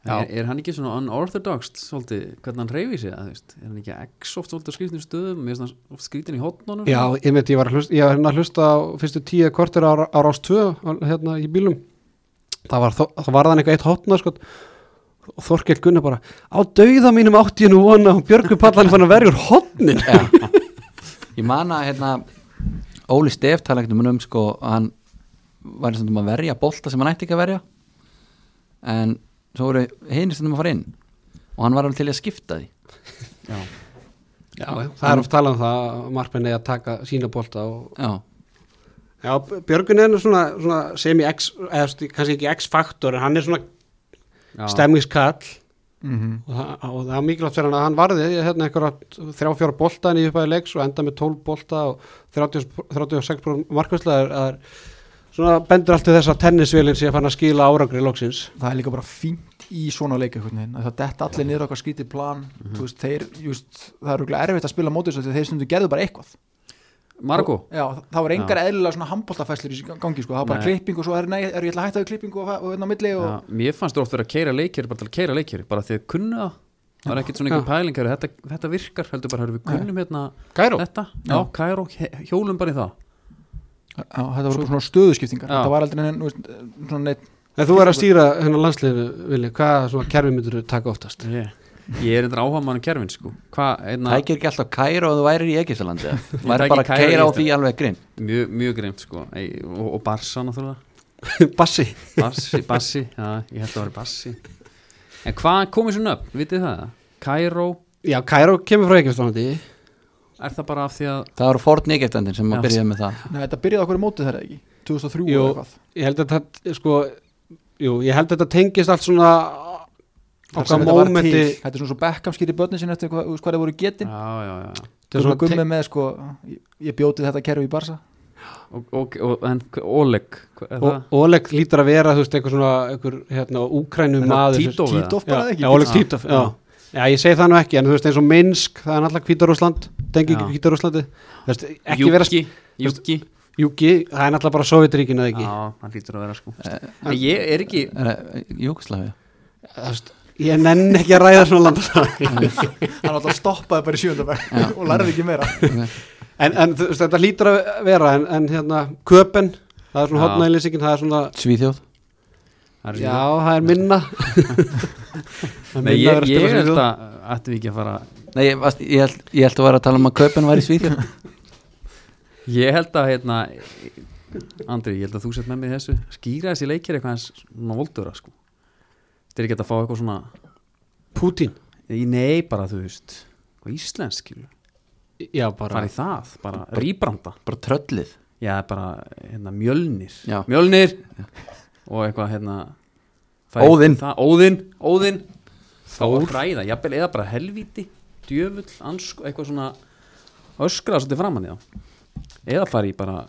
Já.
er, er hann ekki svona unorthodox svolítið, hvernig hann reyfi sig að, þú veist, er hann ekki exoft svolítið á skrýtnum stöðum mér finnst hann oft skrýtin í hotnunum
Já, ég veit, ég var að hlusta, ég var hérna að hlusta á fyrstu tíu kortur á, á rás 2 á- hérna í bílum það var, þó- það var þannig eitthvað eitt hotna sko, og Þorkel Gunnar bara á dauða mínum átti ég nú vona og Björgur Pallan fann að verja úr hotnin
Já. ég man að hérna, Óli Stef tala ekkert um hann um sko, að hann var stundum að verja bolta sem hann ætti ekki að verja en svo voru hinn stundum að fara inn og hann var alveg til í að skipta því
Já.
Já, það er oft talað um það að markmenni að taka sína bolta og
já,
Já, Björgun er nú svona, svona sem í X, eða sti- kannski ekki X-faktor en hann er svona
Já.
stemningskall
mm -hmm.
og það, og það var mikilvægt fyrir hann að hann varði hérna einhverja þrjá fjóra bolta en í upphæði leiks og enda með 12 bolta og 30, 36 markvæsla er, er svona bendur allt til þess að tennisvélinn sé að fann að skila árangri loksins
Það er líka bara fínt í svona leik einhvern veginn, að það detta allir niður á okkar skítið plan þú veist, þeir, just, það er rúglega erfitt að spila mótið þess að þeir stundum gerðu bara eitthvað
Margo,
Já, það var engar eðlilega svona handbóltafæslir í gangi sko, það var bara
Nei.
klipping og svo er, nei, er ég ætla að hætta við klippingu og, og, og, og, milli og
Já, mér fannst þú oft verið að keira leikjari bara til að keira leikjari, bara því að kunna það það var ekkert svona einhver pæling heyrðu, þetta, þetta virkar, heldur bara, heyrðu, við kunnum hérna
Kæró?
þetta, já, kæró, he- hjólum bara í það
Já, þetta voru bara svona stöðuskiptingar
Já.
þetta var aldrei neinn, þú veist, svona neitt
En þú er að stýra hennar landsliðinu, Vili, hvað svona kerfi myndur taka oftast?
ég, ég er eitthvað áhuga mann kerfin sko. hvað, einna,
tækir ekki alltaf kæra og þú værir í Egyptalandi
Ég
væri
tæki
bara
Kaíró
að
í
kæra á
Egyptaland.
því alveg grinn
mjög, mjög greimt sko. Ei, og, og Barsa náttúrulega
Bassi
Barsi, Bassi, já, ég held að það var Bassi en hvað komið svona upp, vitið það kæró,
Já, Kæró kemur frá Egyptalandi
er það bara af því að
það eru forn Egyptalandin sem
Já.
að byrja með það
Nei, þetta byrjaði okkur í mótið þeirra ekki 2003
Jú.
eða eitthvað
Ég held að þetta, sko Jú, ég held að þetta tengist allt svona
Þar
okkar
sem þetta var
mómenti
til. Þetta er svona svo Beckham skýri börnin sinni eftir hvað, þú veist hvað þeir voru getin
já, já, já.
Þetta er
Þú
svona
gummi með sko, ég, ég bjóti þetta kerfi í Barsa
Og, og, og, en Oleg hvað er
Og
það?
Oleg lítur að vera, þú veist, eitthvað svona einhver, hérna, úkrænum
Er það
maður
Tito eða?
Títov bara eða
já,
ekki
já, Oleg
Já.
Títov, já. Já, ég segi það nú ekki, en þú veist, eins og Minsk, það er náttúrulega Hvítarúsland, tengi
Já.
ekki Hvítarúslandi, þú veist, ekki vera,
Júki, Júki
Júki, það er náttúrulega bara Sovjetríkin eða ekki,
Já, hann lítur að vera sko En ég er ekki
Júkoslavia
þú veist, ég nenn ekki að ræða svona landastæði,
Hann alltaf stoppaði bara í sjöndabæk og lærði ekki meira
en, en þú veist, þetta lítur að vera, en, en hérna, Köpen, það er svona
Já.
hotnælýsingin, það er svona,
Svíþjóð
það er-
já, það er minna, Það er
Nei,
minna að
ég,
vera að
ég
spila
held
Svíþjóð.
að ættum við ekki að fara
Nei, ég, varst- ég, held, ég held að vera að tala um að kaupin var í Svíþjóð
Ég held að hérna Andri, ég held að þú sett með mig í þessu skýra þessi leikir eitthvað hans svona voldura sko Þetta er ekki hægt að fá eitthvað svona
Pútín,
í nei bara þú veist og íslensk skilur,
já, bara,
fara í það bara rýbranda,
bara tröllið
já bara hérna mjölnir,
Já.
mjölnir og eitthvað hérna fara í
Óðinn.
það, Óðinn, Óðinn þá að hræða, jafnvel eða bara helvíti djöfull, ansku, eitthvað svona öskra svolítið framann í þá eða fara í bara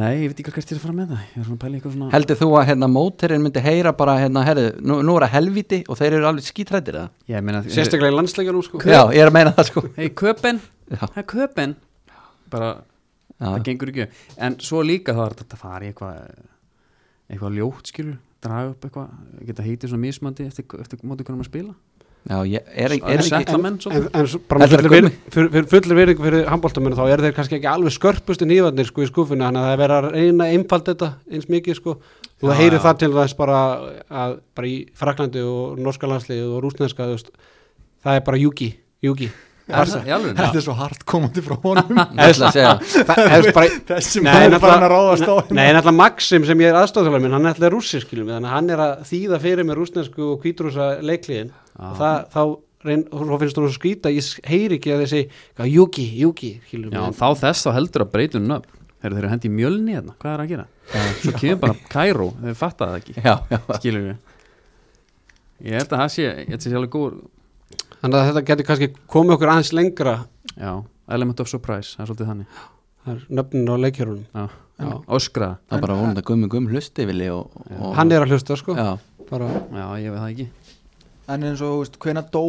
nei, ég veit ekki hvert ég er að fara með það ég er svona að pæla í eitthvað svona
Heldur þú að hérna, móterinn myndi heyra bara hérna, herri, nú, nú er að helviti og þeir eru alveg skítrættir eða?
ég meina,
sérstaklega í landsleikjanum, sko.
Já, ég er að meina það sko
hei, köpen,
Já.
hei, köpen bara, það
Já,
gengur ekki upp. en svo líka þá er þetta að fara í eitthvað eitthvað ljótt skilur draga upp eitthvað, geta heitið svona mismandi eftir, eftir móti hvernig maður spila
já ég er,
Er
er ekki
ekki-
en,
menn,
en,
svolítið.
en svo bara
Þetta er
fullir
gummi.
virðing, fyrir, fyrir, fullir virðing fyrir handbóltamennu þá eru þeir kannski ekki alveg skörpustu nývarnir sko í skúfuna þannig að það er verið að reyna að einfalda þetta eins mikið sko og það
Já,
heyri
já.
það til þess bara, að, bara í Fraklandi og norska landslið og rúsneska þú veist, það er bara Juki Juki
Er það- í alvöru?
Þetta er svo hart komandi frá honum
Ég ætla að segja
það er bara
Þessi
Nei,
maður er farin að
náttúrulega-
ráðast á
Nei,
hérna.
nei, náttúrulega Maxim sem ég er aðstofþjóðlega minn, hann er alltaf rússi skiljum við, þannig að hann er að þýða fyrir með rúsnesku og kvítrúsa leikliðin og það, þá, reyn, þá finnst þú svo skrýta ég s- heyri ekki að þessi Juki, Juki, skiljum
Já,
við
þá þess þá heldur að breytu nöfn Þeir eru hendi í mjölni hérna, hvað er að gera? Svo kemur bara Kairó, þeir fatta það ekki
Já, já,
Skilur við Ég held að það sé, ég held að það sé alveg góð
Þannig að þetta getur kannski komið okkur aðeins lengra
já, element of surprise, það er svolítið þannig
Það er nöfnin á leikjörunum
já,
Já.
öskra
Það er bara vonandi að gummi gum hlusti vilji og, og
Hann er að hlusta sko
Já,
Bara,
já, ég veit það ekki
en eins og, þú veist, hvena dó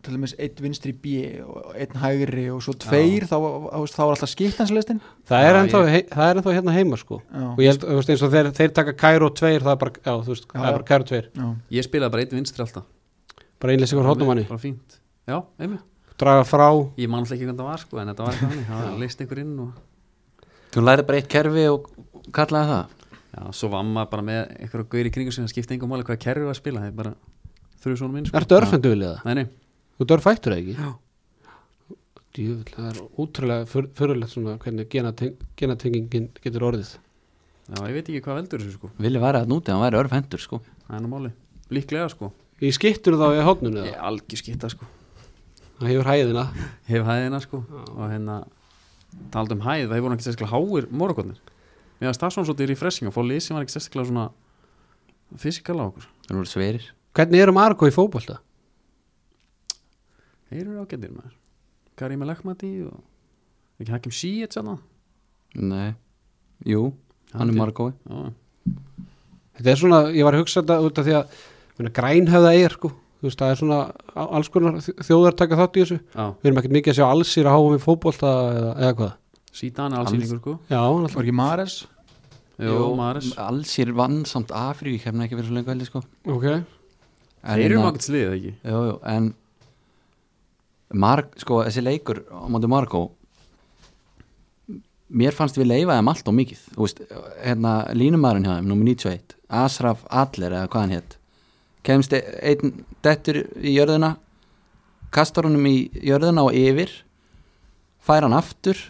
til dæmis einn vinstri B og einn hægri og svo tveir, þá, þá, veist, þá er alltaf skipt hans listin
það,
Já,
er ennþá, hei, það er ennþá hérna heima sko Og
já,
ég held, þú veist, eins og þeir, þeir taka Kæró 2 Það er bara, já, þú veist,
Já,
það er
já.
bara Kæró 2
já.
ég spilaði bara einn vinstri alltaf
Bara einlýsingur hóttumanni,
bara fínt, já, einmitt
draga frá
ég man alltaf ekki hvernig það var sko, en þetta var eitthvað þannig það leist einhver inn og
þú lærið bara eitt kerfi og kallaði það
já, svo var maður bara með einhverja gaur í kringu sem skipti engum máli hvað kerfi var að spila það er bara þrjú svona minn sko.
Ertu örfendu vilja það?
nei, nei,
Þú dörf fættur það ekki?
Já.
Djúvill, það er útrúlega fyr- fyrirlegt svona hvernig genateng- genatengingin getur orðið
já, ég veit ekki hvað veldur þessu sko
Vilji væri að núti, hann væri örfendur sko
það er nú máli, líklega sko
Í skittur þá í hótnunni
ég
það?
algjör skita sko
Það hefur hæðina
hef hæðina sko og hérna talað um hæð, það hefur hann ekki sérstaklega háir morgunir mér að Stassón svolítið refreshing að fá lið sem var ekki sérstaklega svona fysikal á okkur
Það eru sverir
Hvernig eru Margo í fótbolta?
þeir eru ágættir maður Karim Elakmati og ekki Hakim Sjíet sann
Nei, jú, hann
Hann
er
er-
margói
Þetta er svona, ég var að hugsa þetta út af því að myrna, grænhöfða eigir sko Þú veist, það er svona á- alls konar þj- þjóðar taka þátt í þessu
já,
Við erum ekkert mikið að sjá allsýr að háum í fólkbólta eða, eða hvað
Sítan er alls yngur sko
Já, náttúrulega.
var ekki Mares
Jó, Maris
Allsýr vann samt Afrík hefna ekki verið svo lengi veldi sko
ok
En
Þeir eru
hérna-
ágætt sliðið ekki
Jú, jú, en Mark, sko, þessi leikur á móti Marko mér fannst við leifa þeim allt og mikið þú veist, hérna línumæðurinn hjá þeim nummer 91, Asraf Adler eða hvað hann hétt kemst e- einn dettur í jörðina kastar honum í jörðina og yfir fær hann aftur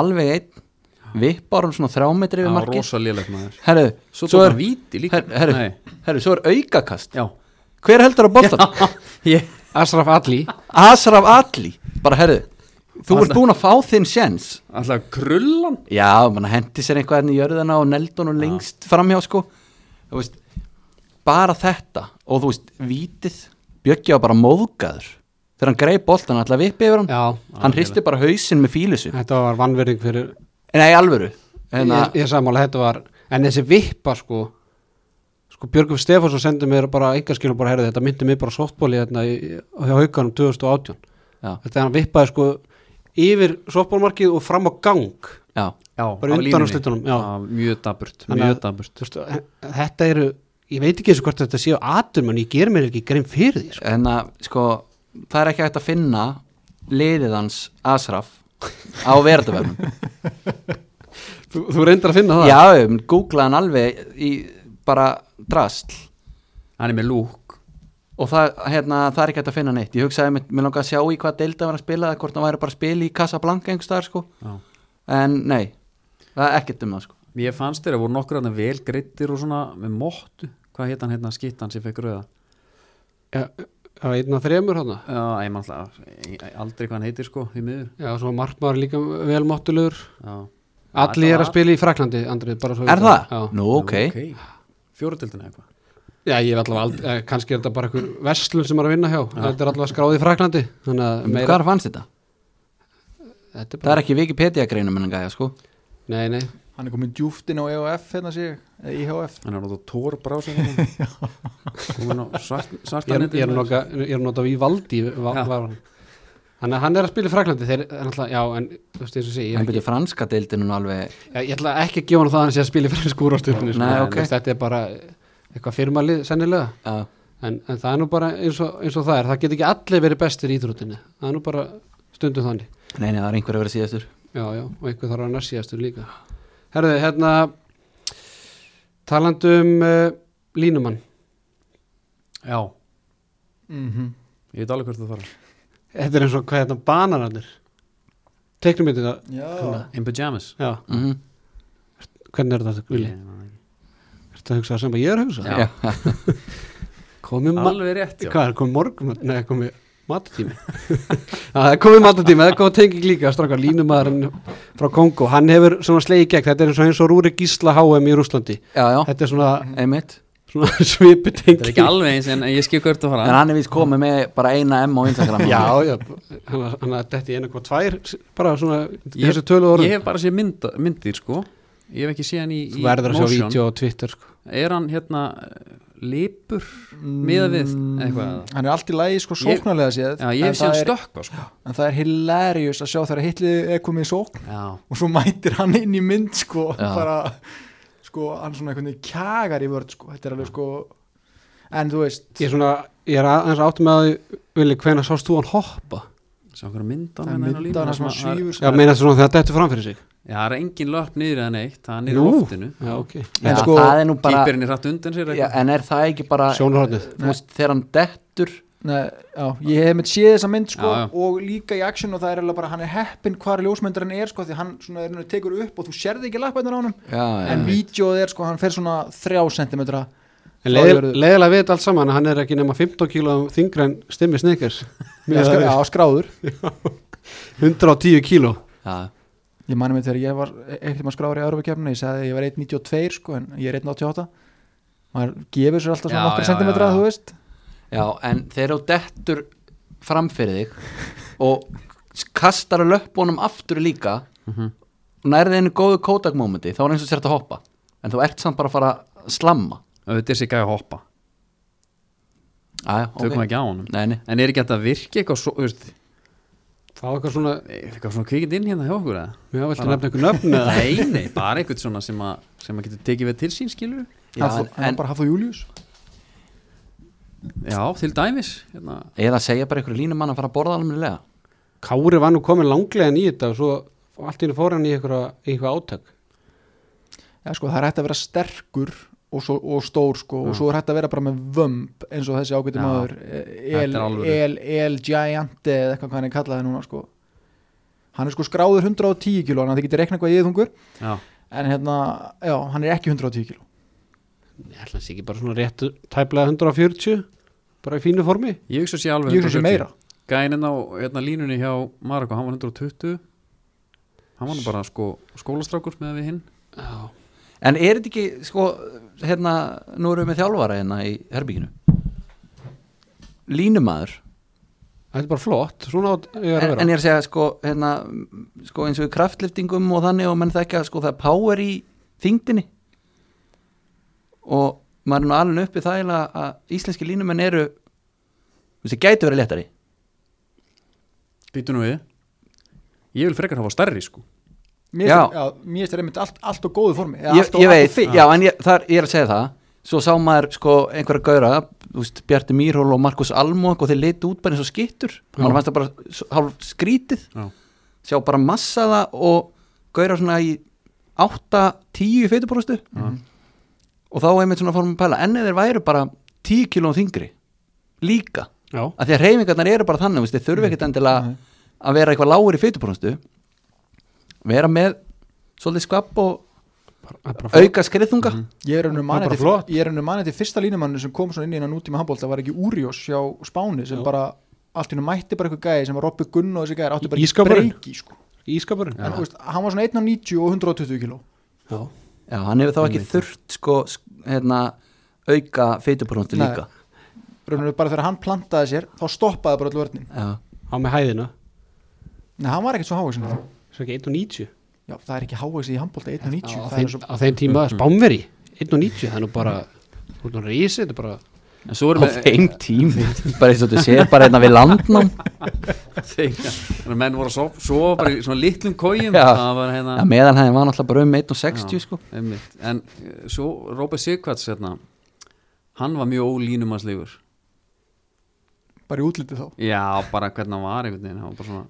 alveg einn vippar hann svona þrámetri við
Já,
markið
rosa liðlegt maður
herru,
Svo
svo
tók
er,
hann víti líka
her, herru,
Nei.
herru, svo er aukakast
Já,
hver heldur að boltan?
ég
Asraf Alli
Asraf Alli bara herðu, þú
Alla-
ert búin að fá þinn sjens
Alltaf krullan
já, mann hendi sér eitthvað hérna í jörðina og neldun og lengst framhjá sko Þú veist, bara þetta og þú veist, vítið Bjöggi var bara móðgaður þegar hann greið boltan alltaf vippi yfir hann
Já,
hann hristi bara hausinn með fílusu
þetta var vannverðing fyrir
nei, alvöru hérna,
ég, ég sammála, þetta var en þessi vippa sko sko Björgum Stefánsson sendi mér bara einhverskilum bara herði, þetta myndi mér bara á softbóli hérna í, hjá haukanum 2018
Já.
þetta hann vippaði sko yfir softbólmarkið og fram á gang
já,
Já,
Bara
á
undan
línunni.
úrslitunum, já.
Mjög daburt,
Þannig
mjög
að-
daburt
Þú veist, þetta eru ég veit ekki eins og hvort þetta séu atum en ég ger mér ekki grein fyrir því sko.
hérna sko það er ekki hægt að finna liðið hans Asraf á verðarverðum
þú, þú reyndar að finna það
já, um, googlaði hann alveg í bara drastl
Hann er með lúk
og það, hérna, það er ekki hægt að finna neitt ég hugsaði, mér, mér langaði að sjá í hvað deilda var að spila eða hvort það væri bara að spila í Casablanca einhvers staðar sko,
Já.
en nei það er ekkert um það sko
Ég fannst þeirra voru nokkur hann vel greittir og svona með móttu Hvað hétt hann hérna skittan sem fekk rauða
Já, það var einn af þremur hana
Já, ég man alltaf ég- aldrei hvað hann heitir sko í miður
já, svo var markmaður líka vel máttulegur
Já
allir er
Alla-
að spila í Fraklandi, Andrið bara svo
er
við
það?
Já.
nú ok,
okay. Fjóratildin eða eitthvað
Já, ég er allavega aldrei, eh, kannski er þetta bara einhver verslun sem er að vinna hjá, þetta er allavega skráði í Fraklandi, þannig að meira,
hvað fannst þetta?
þetta er
það
bara,
er ekki Wikipedia greinum en gæja sko
nei, nei,
hann er komin djúft inn á EOF hérna sé ég, eða IHF
Hann er náttúrulega tór brása Já hérna. Hún er svart,
ég er,
svartan
ég er, noka, ég er nota Vivaldi, va,
Já.
var hann, þannig að hann er að spila í Fraklandi, þeir, en alltaf, já, en, þú veist, eins og sé, ég,
hann
er ekki,
byrju franska deildinu nú alveg
ég, ég ætla ekki að gefa hann það að hann sé að spila í sko. fransku úrvastöfninu,
Nei, ok.
þetta er bara eitthvað firmalið, sennilega,
já,
en, en það er nú bara eins og, eins og það er, það get ekki allir verið bestir í íþrótinni, það er nú bara stundum þannig.
nei, nei, það er einhver að vera síðastur
Já, já, og einhver þarf að nærsíðastur líka Herðu, hérna talandu um uh, línumann
Já,
mm
Mhm.
ég veit alveg hvert það fara
Þetta er eins og hvað hérna bananarnir Teknumyndina,
já,
In pyjamas
já,
mm
hvernig er þetta, Vili?
Ég man ekki.
Ertu að hugsa það sem að ég er að hugsa?
Já.
Komið ma-
Alveg rétt já
Hvað er, komið morgun? Nei, komið matatími Já, það er komið matatími, það er komið tenging líka strákar, línumaðurinn frá Kongo hann hefur svona slegið í gegn, þetta er eins og, eins og Rúri Gísla HM í Rúslandi
já, já,
Þetta er svona
einmitt
svona svipi
Þetta er ekki alveg eins en en ég skil hvert að
en
fara
hann er víst komið með bara eina M á Instagram
Já, já, hann var- hann að detti einu hvað tvær bara svona, þessu tölu
Ég
orðin
hef bara séð mynd, myndir sko Ég hef ekki séð hann í,
Þú
í
verður að sjá
motion.
vídeo á Twitter sko.
Er hann hérna lipur miðað við eitthvað
Mm. hann er allt í lagi sko
Ég-
sóknarlega séð
Já,
en,
ég hef
það
séð hann
er,
stökkva sko
en það er hilarious að sjá þegar hitlið er komið í sókn
Já,
og svo mætir hann inn í mynd sko
Já.
bara sko hann svona einhvern veginn kjagar í vörð sko þetta er alveg sko en þú veist
Ég er svona, ég er aðeins áttum með að því, Vili, hvenær sást þú hann hoppa? sko?
sá okkur mynd á
það er
hann hérna á
mynda hann
línunni
sem hann
sem að-
svífur
Já,
sko
meina svona þegar dettu fram fyrir sig
Já, það er engin löp niður eða neitt Það er niður í
Nú.
loftinu
Já, ok,
Já,
sko-
það er nú bara
Kýperinn er rætt undan sér
já,
eitthvað
en er það ekki bara
sjónarhornið
þú veist, þegar hann dettur
Nei, já, ég hef mitt séð þessa mynd sko
Já, já.
og líka í action og það er alveg bara hann er heppin hvar ljósmyndarinn er sko því hann svona er, tekur upp og þú sérði ekki lappætnar á honum
já,
en
já,
vídjóð er sko hann fer svona þrjá sentimetra
En leiðilega leiðilega við þetta allt saman að hann er ekki nema 15 kílóum þingri en stimmi sneikers
Já, skra- já, skráður
110 kíló
já,
Ég mani mig þegar ég var e- ekkert um maður skráður í Európa-kefni, ég sagði að ég var 1.92 sko, en ég er 1.88 maður gefur sér alltaf svona
Já,
nokkra
já,
sentimetra,
já, já.
þú veist
já, en þegar þú dettur fram fyrir þig og kastar að löpunum aftur líka og nærði einu góðu kótakmómenti þá er eins og sér að hoppa en þú ert samt bara að fara að slamma
Auðvitað er sér gæði að hoppa
Æja,
Tökum ekki á honum
Nei, nei,
En er ekki hægt að virki eitthvað svo, þú veist,
Það var eitthvað svona,
eitthvað svona kvikind inn hérna hjá okkur eða?
já, viltu nefna einhver nöfn eða?
Nei, nei, bara eitthvað svona sem að, sem að getur tekið við til sín, skilur
já,
Hafþór-
en,
hann var
en,
bara Hafþór Július
Já, til dæmis, hérna,
eða segja bara einhverju línumann að fara að borða almennilega
Kári var nú komin langlega í þetta og svo allt í henni fór hann í einhverja- í eitthvað átök
Já, sko, það er hægt að vera sterkur og, svo, og stór, sko, og svo er hægt að vera bara með vömb eins og þessi ágæti
Já.
maður e-
Þetta er
El,
alvöru.
El, El Giante eða eitthvað hvað hann er kallaði núna, sko hann er sko skráður 110 kíló þannig að þið getur reiknað hvað ég er þungur
já,
en hérna, já, hann er ekki 110 kíló
Ég ætla að sé ekki bara svona rétt tæplega 140 bara í fínu formi
ég hugsa sér alveg
ég hugsa sér meira
Gænin á, hérna, línunni hjá Margo, hann var 120 Hann var nú bara, sko, skólastrákur með við hinn
Já,
En er þetta ekki, sko, hérna, nú erum við með þjálfara hérna í herbygginu Línumadur
þetta er bara flott svona átt ég er að
en,
vera
en ég er að segja, sko, hérna, m, sko eins og í kraftliftingum og þannig og menn þekkja, sko, það er power í þingdini og maður er nú alveg uppið þægilega að íslenski línumenn eru þú veist, það gæti verið léttari
Býtu nú við Ég vil frekar hafa stærri, sko
Mér
Já.
finnst- já, mér finnst það einmitt allt, allt og góðu formi eða
ég,
allt og-
ég
allt og
veit,
fit.
já, en ég, þar, ég er að segja það svo sá maður sko einhverja gaura þú veist, Bjarti Mýrhól og Markus Almók og þeir litu út bara eins og skittur mann fannst það bara s- hálf skrítið
Já,
sjá bara massa það og gaura svona í 8-10 feitubróstu
já,
Mhm. og þá einmitt svona fórum að pæla en ef þeir væru bara 10 kilóum þingri líka,
Já,
af því að reyfingarnar eru bara þannig, þú veist, þeir þurfi ekkit endilega
Mhm. Nei.
að vera eitthvað lágur í feitubróstu vera með svolítið skvapp og
bara, það er bara flott
auka skriðþunga
Ég er
Það
raunum
er bara
manið til,
flott.
ég er raunum manið til fyrsta línumannu sem kom svona inn í hennar nútíma handbólta var ekki Úrjós hjá Spáni sem
Já.
bara allt í hennu mætti bara eitthvað gæði sem var Robby Gunn og þessi gæði áttu bara ekki
Ísskápurinn?
breyki sko.
Ískapurinn
en þú veist, hann var svona 1,90 og 120 kíló
Já.
Já, hann hefur þá ekki þurft sko, sk- hérna, auka feitupróntu
Nei.
líka
raunum bara þegar hann plantaði sér þá stoppaði bara allu vörnin
Já,
Á með hæðina,
Nei, hann var ekkert svo hávægsin Já,
svo ekki 1.90
það er ekki hávægsi í handbólta 1,90
á,
það
þeim,
er svo-
á þeim tíma spánveri 1.90, það er nú bara hún er rísið, þetta er bara
En
á
svo erum við
þeim tím bara eins og þú sér, bara einna við landnám
Þegar þegar menn voru að sofa, sofa bara í svona litlum kójum
Já.
Það var hérna
Já, meðalhæðin var náttúrulega bara um
Já,
1.60 sko
einmitt. en eh, svo Róbert Sigvarts hérna, hann var mjög ólínumanslegur
bara í útliti þá
já, bara hvernig hann var einhvern veginn hann var bara svona,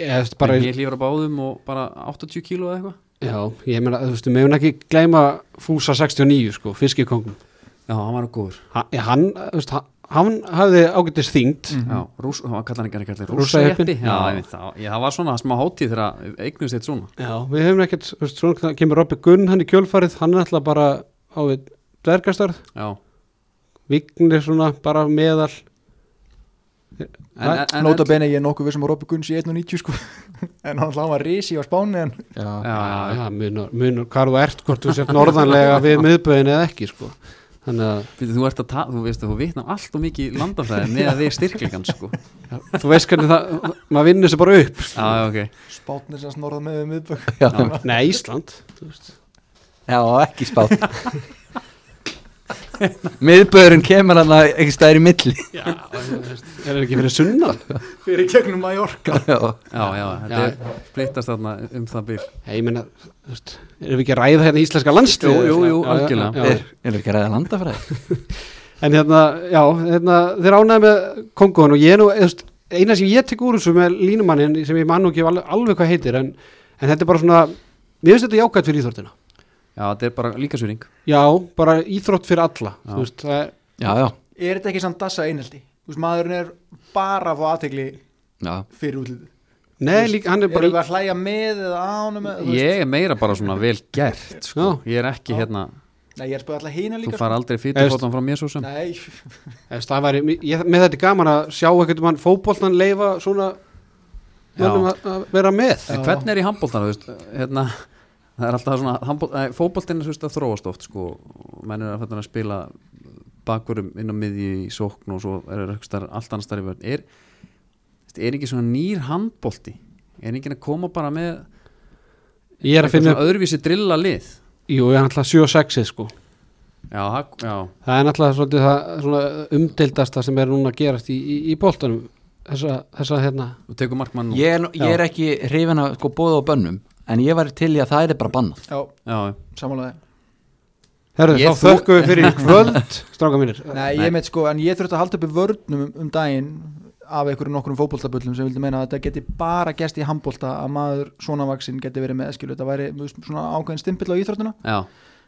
Ég, veist, bara,
ég hlýfur á báðum og bara 80 kíló eða eitthvað
já, ég meina, þú veist, við meðum ekki gleyma Fúsa 69, sko, fiskikongum
já, hann var góður
ha, ég, Hann, þú veist, hann, hann hafði ágættis þyngd
Mhm.
já, rús, hann kallar hann ekki
Rússajeppinn.
rússajeppi Mhm. já,
Já.
einmitt, það, já, það var svona smá hátíð þegar eignust eitt svona
Já, við hefum ekkert, þú veist, svona það kemur Robby Gunn hann í kjölfarið, hann er alltaf bara á við dvergastarð,
já.
vignir svona bara meðal
en, en, en,
Nóta bene ég er nokkuð við sem að Robby Gunn sé 1,90 sko en hann hann var risi á Spáni en
Já, já,
já,
já, munur, munur hvað þú ert, hvort þú sért norðanlega við miðböðin eða ekki, sko þannig að
Fyrir, þú ert að tala, þú veist að þú vitnar allt og mikið landafræði með að þið styrklingan sko
þú veist hvernig það, maður vinnur þessu bara upp
Já, ah, ok
Spátnir sem snorða með við miðbögg
Já,
Nei, Ísland þú veist.
já ekki spátt Miðböðurinn kemur hann að ekki stæðir í milli
Já, þú veist, er það ekki fyrir sunnan
Fyrir gegnum Mallorca
Já,
Já, já, þetta
Já.
er splittast þarna um það byrj
Nei, ég meina, þú veist, erum við ekki að ræða hérna íslenska landslið
Jú, jú, jú, algjörlega.
þeir eru ekki að ræða landafræði
En hérna, já, hérna, þeir ánæði með Kongoðan og ég er nú, eðust, eina sem ég tek úr þessu með línumannin sem ég mann og ekki alveg, alveg hvað heitir en, en þetta er bara svona, mér finnst þetta jákvæmt fyrir íþróttina.
Já, þetta er bara líkasýring
Já, bara íþrótt fyrir alla,
Já.
þú veist, það er,
Já, já,
Er þetta ekki samt dassa einhaldi? Þú veist, maðurinn er bara að fá aðtegli
já
fyrir útlitið
nei, líka, hann er
Erum við
bara,
að hlæja með eða á honum eða, þú veist?
Ég er meira bara svona vel gert sko. Ég er ekki hérna,
Nei, ég er spöðið alltaf hína
þú
líka sko.
far um. aldrei fyrirfótan frá mér svo sem
Nei,
eðust, það væri, ég, með þetta er gaman að sjá ekkert um hann fótboltan leifa svona,
Já.
mönnum að, að vera með.
En hvernig er í handbóltan, þú veist, hérna Það er alltaf svona, handbol, nei, fótboltinn er þú veist að þróast oft sko Menn er að, fara að spila bakurum inn á miðju í sókn og svo er star, allt annars þar í vörn Er, er ekki svona nýr handbólti? Er ekki að koma bara með
Ég er að finna,
svona öðruvísi drilla lið?
jú, ég er náttúrulega 7 og 6 sko.
Já, það- já,
Það er náttúrulega svolítið það svona umdeildasta sem er núna að gerast í, í, í boltanum, þessa, þessa hérna,
þú tekur markmann nú
Ég er, nú- ég er ekki hrifin að sko bóða á bönnum en ég væri til í að það er bara bannað
já,
Já, já.
samanlega
Herðu,
Ég
þá
þú-
þökkum við fyrir í kvöld, stráka mínir.
Nei, ég meit sko, en ég þurfti að halda upp í vörnum um, um daginn af einhverjum nokkrum fótboltabullum sem vildi meina að þetta geti bara gæst í handbolta að maður svona vaksinn geti verið með skilu, þetta væri þú veist, svona ákveðin stimpill á íþróttuna
já,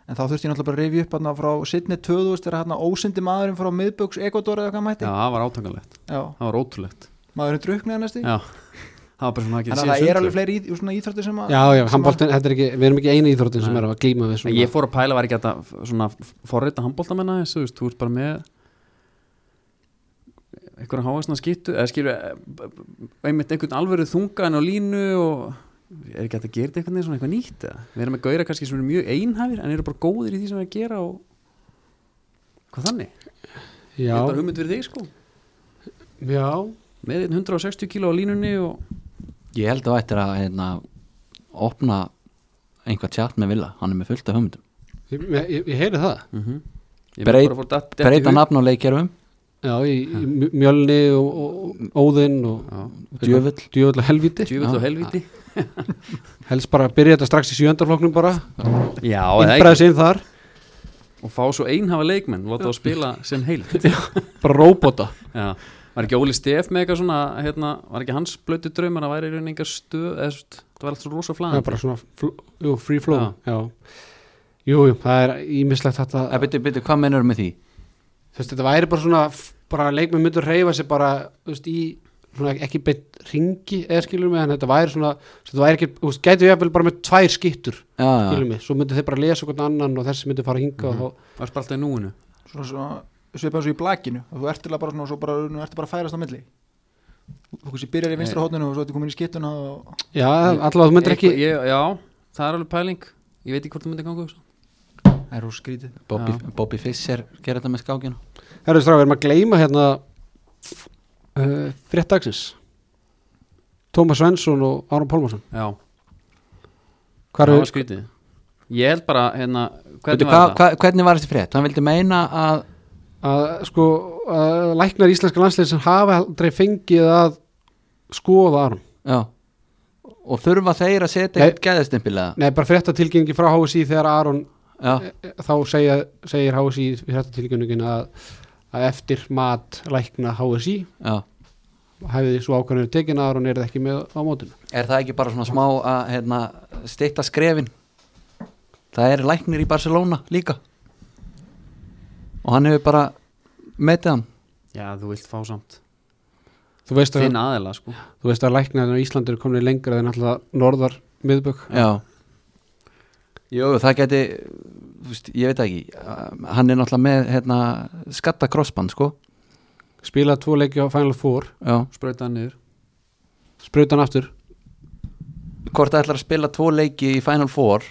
en þá þurfti ég náttúrulega bara að rifja upp hana, frá sittni 2000 þegar hann ósindi maðurinn frá miðböks Ekvator eða hvað hann
já,
mætti
það var átangalegt
Já,
Það var ótrúlegt
maðurinn druknaði næstu
Já, það var bara svona ekki
Þannig að það er alveg fleiri í, svona íþróttir sem að
Já, já, handbóltin, þetta er ekki, við erum ekki eina íþróttin sem
Nei.
er að glíma við svona.
Ég fór að pæla var ekki að þetta f- svona f- forrita handbóltamenna þessu, þú veist, þú ert bara með einhverja hávaksna skýttu eða skilur eh, b- b- einmitt einhvern alvöru þunga en á línu og er ekki hægt að gera þetta einhvern veginn svona eitthvað nýtt eða? Við erum með gauðra kannski sem eru mjög einhæfir en eru bara góðir í því sem við að gera og hvað þannig? Ég
já,
er bara hugmynd fyrir þig sko
já,
með einn 160 kíló á línunni og
Ég held að ættir að hérna, opna einhvað tjátt með Villa hann er með fullt af höfundum
ég, ég, ég heyri það.
mm
Mhm.
-hmm.
Breyt- Breyta nafn á leikjörfum,
Já, í, í Mj- mjölni og, og, og óðinn og
djöfull
djöfull og helviti.
Djúvill og helviti
Helst bara að byrja þetta strax í sjöndafloknum bara,
Já, eða
innbreðs inn þar,
ekki. og fá svo einhafa leikmenn láta þá spila sem heilt
bara róbota.
Já. Var ekki Óli Stef með eitthvað svona hérna, var ekki hans blötu draumar að væri í raun engar stöð eða þú veist, það var allt svo rosa
Það
flæðan
er bara svona, fl jú, free flow, já. Jú, jú, það er ímislegt þetta.
Eh, Byrju, byrju, hvað mennur með því?
þú veist, þetta væri bara svona f- bara leikmenn myndur reyfa sér bara þú veist, í svona ekki beint ringi eða skilur mig, en þetta væri svona svo þetta væri ekki, þú veist, gætu ég bara með tvær skittur
Já, já,
skilur mig, svo myndu þeir bara lesa okkur annan og þessi myndu fara hinga mm og
Það var bara alltaf í núinu
svona, svona svipað eins og í blakinu og þú ert til að bara svona, svo bara, nú ertu bara að færast á milli þú veist, ég byrjar í vinstra hótninu og svo ertu komin í skittuna og
þá, já, allavega þú myndir ekki
Eitthvað- ég, Já, það er alveg pæling Ég veit ekki hvort það myndi ganga þessu.
það er úr skrítið
Bobby,
Já.
Bobby Fischer gerir þetta með skákina
herru strá, við erum að gleyma hérna uh, frétt dagsins Tómas Svensson og Árum Pálmarsson
Já,
hvað
það
eru,
var skrítið Ég held bara, hérna, hvernig
Byrju,
var
hva,
það?
hva, Hvernig var þessi frétt? Hann vildi meina að
að sko að læknar íslenska landslið sem hafa aldrei fengið að skoða Árum
já, og þurfa þeir að setja
Nei.
eitt gæðastimpilega
Nei, bara fréttatilkynningi frá HSI þegar Aron eh,
Já,
þá segja, segir HSI í fréttatilkynningin að, að eftir mat lækna HSI
já
hefði svo ákvæmur tekin að Aron er ekki með á mótinu.
Er það ekki bara svona smá að hérna, stitta skrefin? Það er læknir í Barcelona líka og hann hefur bara metið hann
Já, þú vilt fá samt
Þú veist að,
Þinn aðeila, sko
þú veist að læknaðin á Íslandi eru komin lengra en alltaf norðar miðbökk.
Já Jú, það geti þú veist, ég veit það ekki, Uh, hann er náttúrulega með hérna, skatta krossband sko
Spila tvo leiki á Final Four,
Já.
Sprautaði niður
sprautan aftur.
Hvort það ætlar að spila tvo leiki í Final Four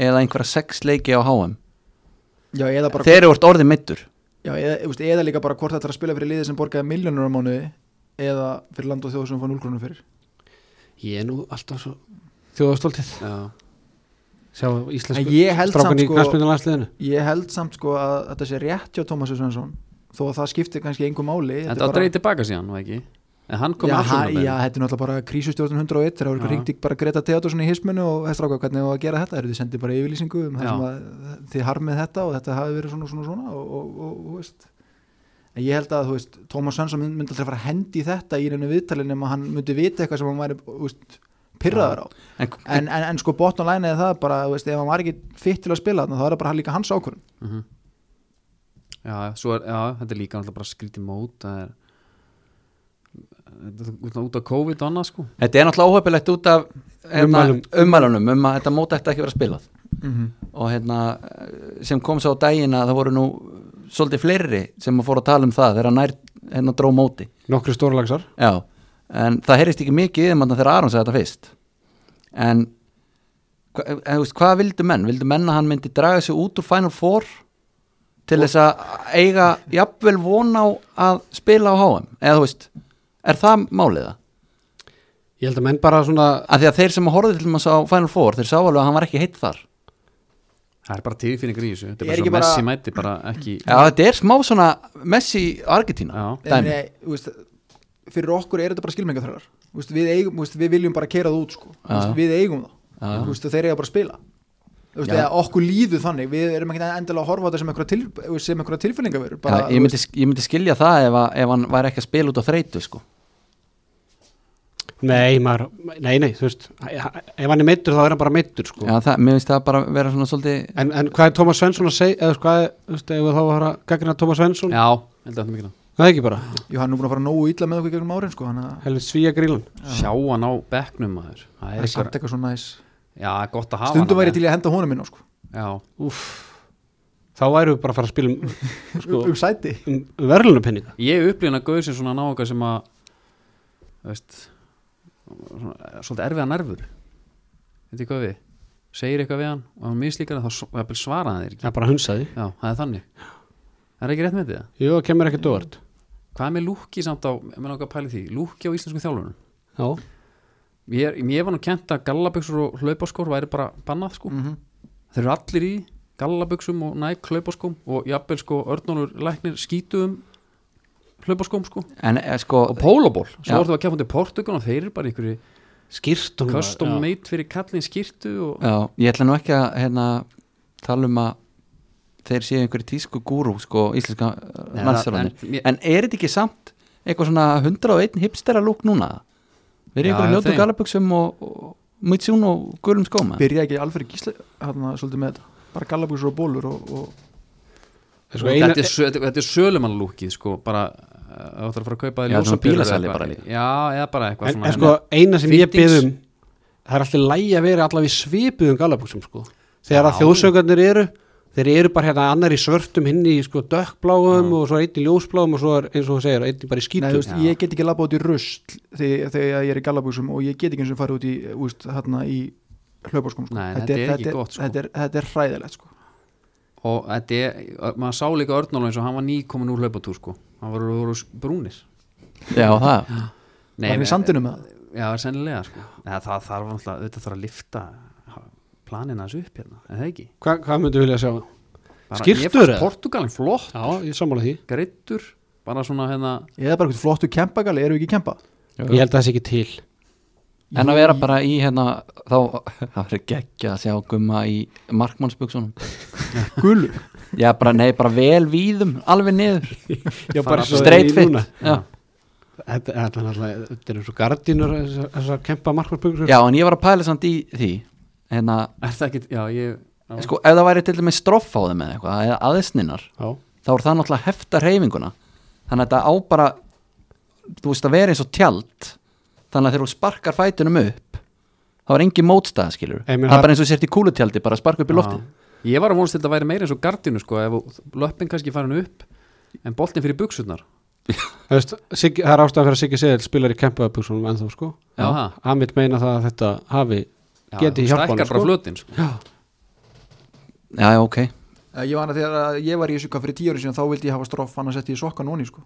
eða einhverja sex leiki á HM
Já, eða bara
þegar þú ert orðið meittur
Já, eða, þú veist, eða líka bara hvort þetta er að spila fyrir liðið sem borgaði miljónur á mánuði eða fyrir land og þjóð sem fá 0 krónum fyrir
Ég er nú alltaf svo þjóðastoltið
Já,
Sjá íslensku
En ég held
strákan
samt,
í
sko-
knarspindalandsliðinu
Ég held samt sko að þetta sé rétt hjá Tómasi Svensson þó að það skiptir kannski engu máli
en það dreif tilbaka síðan, var ekki? En hann kom
já,
aftur
ha,
með
já, þetta er náttúrulega bara krísustjórnum 101 þegar
Já.
okkur hringdi bara Greta Theodorsson í hisminu og þessi ráka hvernig var að gera þetta þeir sendi bara yfirlýsingu um það
Já.
sem að þið harmið þetta og þetta hafi verið svona og svona, og svona og, og, og, og veist en ég held að þú veist, Tómas Svensson mynd- myndi aldrei fara að hendi í þetta í nefnum viðtalin nema hann myndi vita eitthvað sem hann væri þú veist, pyrraður á
en,
en, en, en sko bottom line er það bara þú veist, ef hann var ekki fitt til að spila þarna þá er það bara líka hans ákvörðun
Mhm. Já, svo er, já, þetta er líka alltaf bara skrítið mót það er þetta er út- út af COVID og annað sko
þetta er náttúrulega óhefilegt út af hérna,
Ummælum.
ummælunum um að þetta mót ætti ekki að vera spilað
mm
Mhm.
-hmm.
og hérna sem kom svo á daginn að það voru nú svolítið fleiri sem að fóru að tala um það þegar nær hérna dró móti
Nokkru stórlagsar
Já, en það heyrist ekki mikið um þarna þegar Aron sagði þetta fyrst en, hva, en þú veist, hvað vildu menn? Vildu menn að hann myndi draga sig út úr Final Four til þess að eiga jafnvel von á að spila á HM eða þú veist, er það máliða?
Ég held að menn bara svona
Af því að þeir sem horfðu til maður á Final Four þeir sá alveg að hann var ekki heitt þar
það er bara tilfinningar í þessu þetta
Er
er bara
ekki
svo messi
bara-
mæti bara ekki
Já, þetta er smá svona Messi Argentina
Já.
En,
dæmi.
nei, þú veist, fyrir okkur er þetta bara skilmengaþrælar við, eigum- þú veist, við viljum bara keira það út sko. Þú veist,
já.
við eigum
Já, já.
það Vist, þeir eiga bara að spila Þú veist,
Já.
eða, okkur líður þannig við erum ekki endilega að horfa á þetta sem einhverja til, sem einhverja tilfinningaverur bara,
Já, ég, myndi, ég myndi skilja það ef, að, ef hann væri ekki að spila út á þreytu sko.
Nei, maður, nei, nei, þú veist Ef hann er meittur þá er hann bara meittur sko.
Já, það, mér finnst það bara vera svona svolítið
en, en hvað er Tómas Svensson að segja eða hvað er, þú veist, ef við þá var að gagnina Tómas Svensson
já, held að þetta mikilvægt
Það er ekki bara,
Jú, hann er nú búin að fara nógu illa með okkur gegnum árin sko, hann að
helvið svíja grílan
sjá hann á bekknum maður það
það
er
er samt
eitthvað,
eitthvað svo næs
já, gott að hafa
stundum
hann
væri til í að henda honum inn á sko.
já,
Þá væru við bara að fara að spila um, sko,
um sæti
um verðlunarpenninga
ég upplýna gauð sem svona nága sem að þú veist svona, svolítið erfiða nervur veit ég hvað við segir eitthvað við hann og hann mislíkar það, þá s- jafnvel svarar hann þér ekki
Það er bara hunsaði
já, það er þannig er ekki rétt með þetta
Jú, það kemur ekkert óvart
hvað með lúki samt á, með langar að pæli því lúki á íslensku þjálfunum
Já,
ég, ég var nú kent að gallaböksur og hlaupaskór væri bara bannað sko
mm -hmm.
þeir eru allir í gallaböksum og næk hlaupaskóm og jafnvel sko örnónur læknir skítuðum hlaupaskóm sko
En eh, sko,
og pólaból,
Já.
svo voru það að kemja til Portugal og þeir eru bara í einhverju
skýrt og
custom made fyrir kallin skýrtu og
já, ég ætla nú ekki að hérna, tala um að þeir séu einhverju tísku gúrú sko, íslenska
Nei,
mannsjálfarnir
það- en mér-
en, er þetta ekki samt eitthvað svona 101 hipstera lúk núna? Við erum
Já,
einhverju ljótu
þeim.
galaböksum og, og mitsjún og gulum skóma
byrja ekki alveg gísla hann að svolítið með þetta bara gallabúsur og bólur og, og
Sko,
og
eina,
þetta er, sö- þetta- þetta er sölumannlúkið sko bara uh, áttur að fara að kaupa þér
Já, svona
ljósapyrru
bílasali
eða
bara
eitthvað.
líka.
já, eða bara eitthvað
en,
svona
en
hérna.
sko, eina sem ég
Fittings.
byðum Það er alltaf lægi að vera allavega í svipuðum galabuxum sko. Þegar að
Já.
þjóðsöngarnir eru Þeir eru bara hérna annar í svörtum hinn í sko, dökkbláum og svo einn í ljósbláum og svo er eins og þú segir, einn í bara í
Nei,
skítum
þú veist, ég get ekki labba út í rusl þegar, þegar ég er í gallabúsum og ég get ekki eins og farið út í, úst, hana, í hlaupaskum sko.
Nei, þetta er ekki gott, sko.
þetta, er, þetta er hræðilegt sko.
og þetta er, maður sá líka Örnóla eins og hann var nýkomin úr hlaupatúr sko hann voru, voru brúnir
Já, það
Var hann í sandinum með það?
já, sennilega sko eða, það þarf alltaf, auðvitað þarf að lifta planina þessu upp hérna, en það ekki
Hva, Hvað myndu vilja sjá?
Bara-
Skyrtur
ég fannst
eða?
Portugalinn flott,
Já, ég sammála því
greittur bara svona hérna
Eða bara eitthvað flottu kempagalli, eru ekki að kempa?
Ég held að það sé ekki til
En að vera bara í hérna þá, það verður geggja að sjá gumma í markmannsbuksunum
Gullu,
Já, bara, nei, bara vel víðum, alveg niður
Já,
bara svo
Straight fit Já.
Þetta þetta er náttúrulega, þetta eru svo gardínur þessar þessar kempa markmannsbyggur
Já, en ég var að pæla samt í því hérna,
er það ekki, já ég já,
sko, ef það væri til dæmis stroff á þeim eða eitthvað, eða aðeinsninnar
Já,
þá er það náttúrulega að hefta reyfinguna þannig að þetta á bara þú veist að vera eins og tjald þannig að þegar þú sparkar fætunum upp þá er engin mótstaða skilur
Ég meina,
það
það-
er bara eins og sért í kúlutjaldi, bara að sparka upp í lofti
Já. ég var að vonast til að þetta væri meira eins og gardinu sko, ef löppin kannski farin upp en boltin fyrir buksurnar
Það veist, Siggi, það er ástæðan fyrir að Siggi Seðil spilar í kempaðabugsunum ennþá sko
Já, það.
Amit meina það að þetta hafi
Já,
Geti
þú
hjálpað honum,
stækkar bara
sko.
flötin sko.
Já,
Já, já, ok
Eh, Ég var að þegar að ég var í þessu hvað fyrir tíu ári síðan þá vildi ég hafa stroff annars eftir ég sokkan onni sko.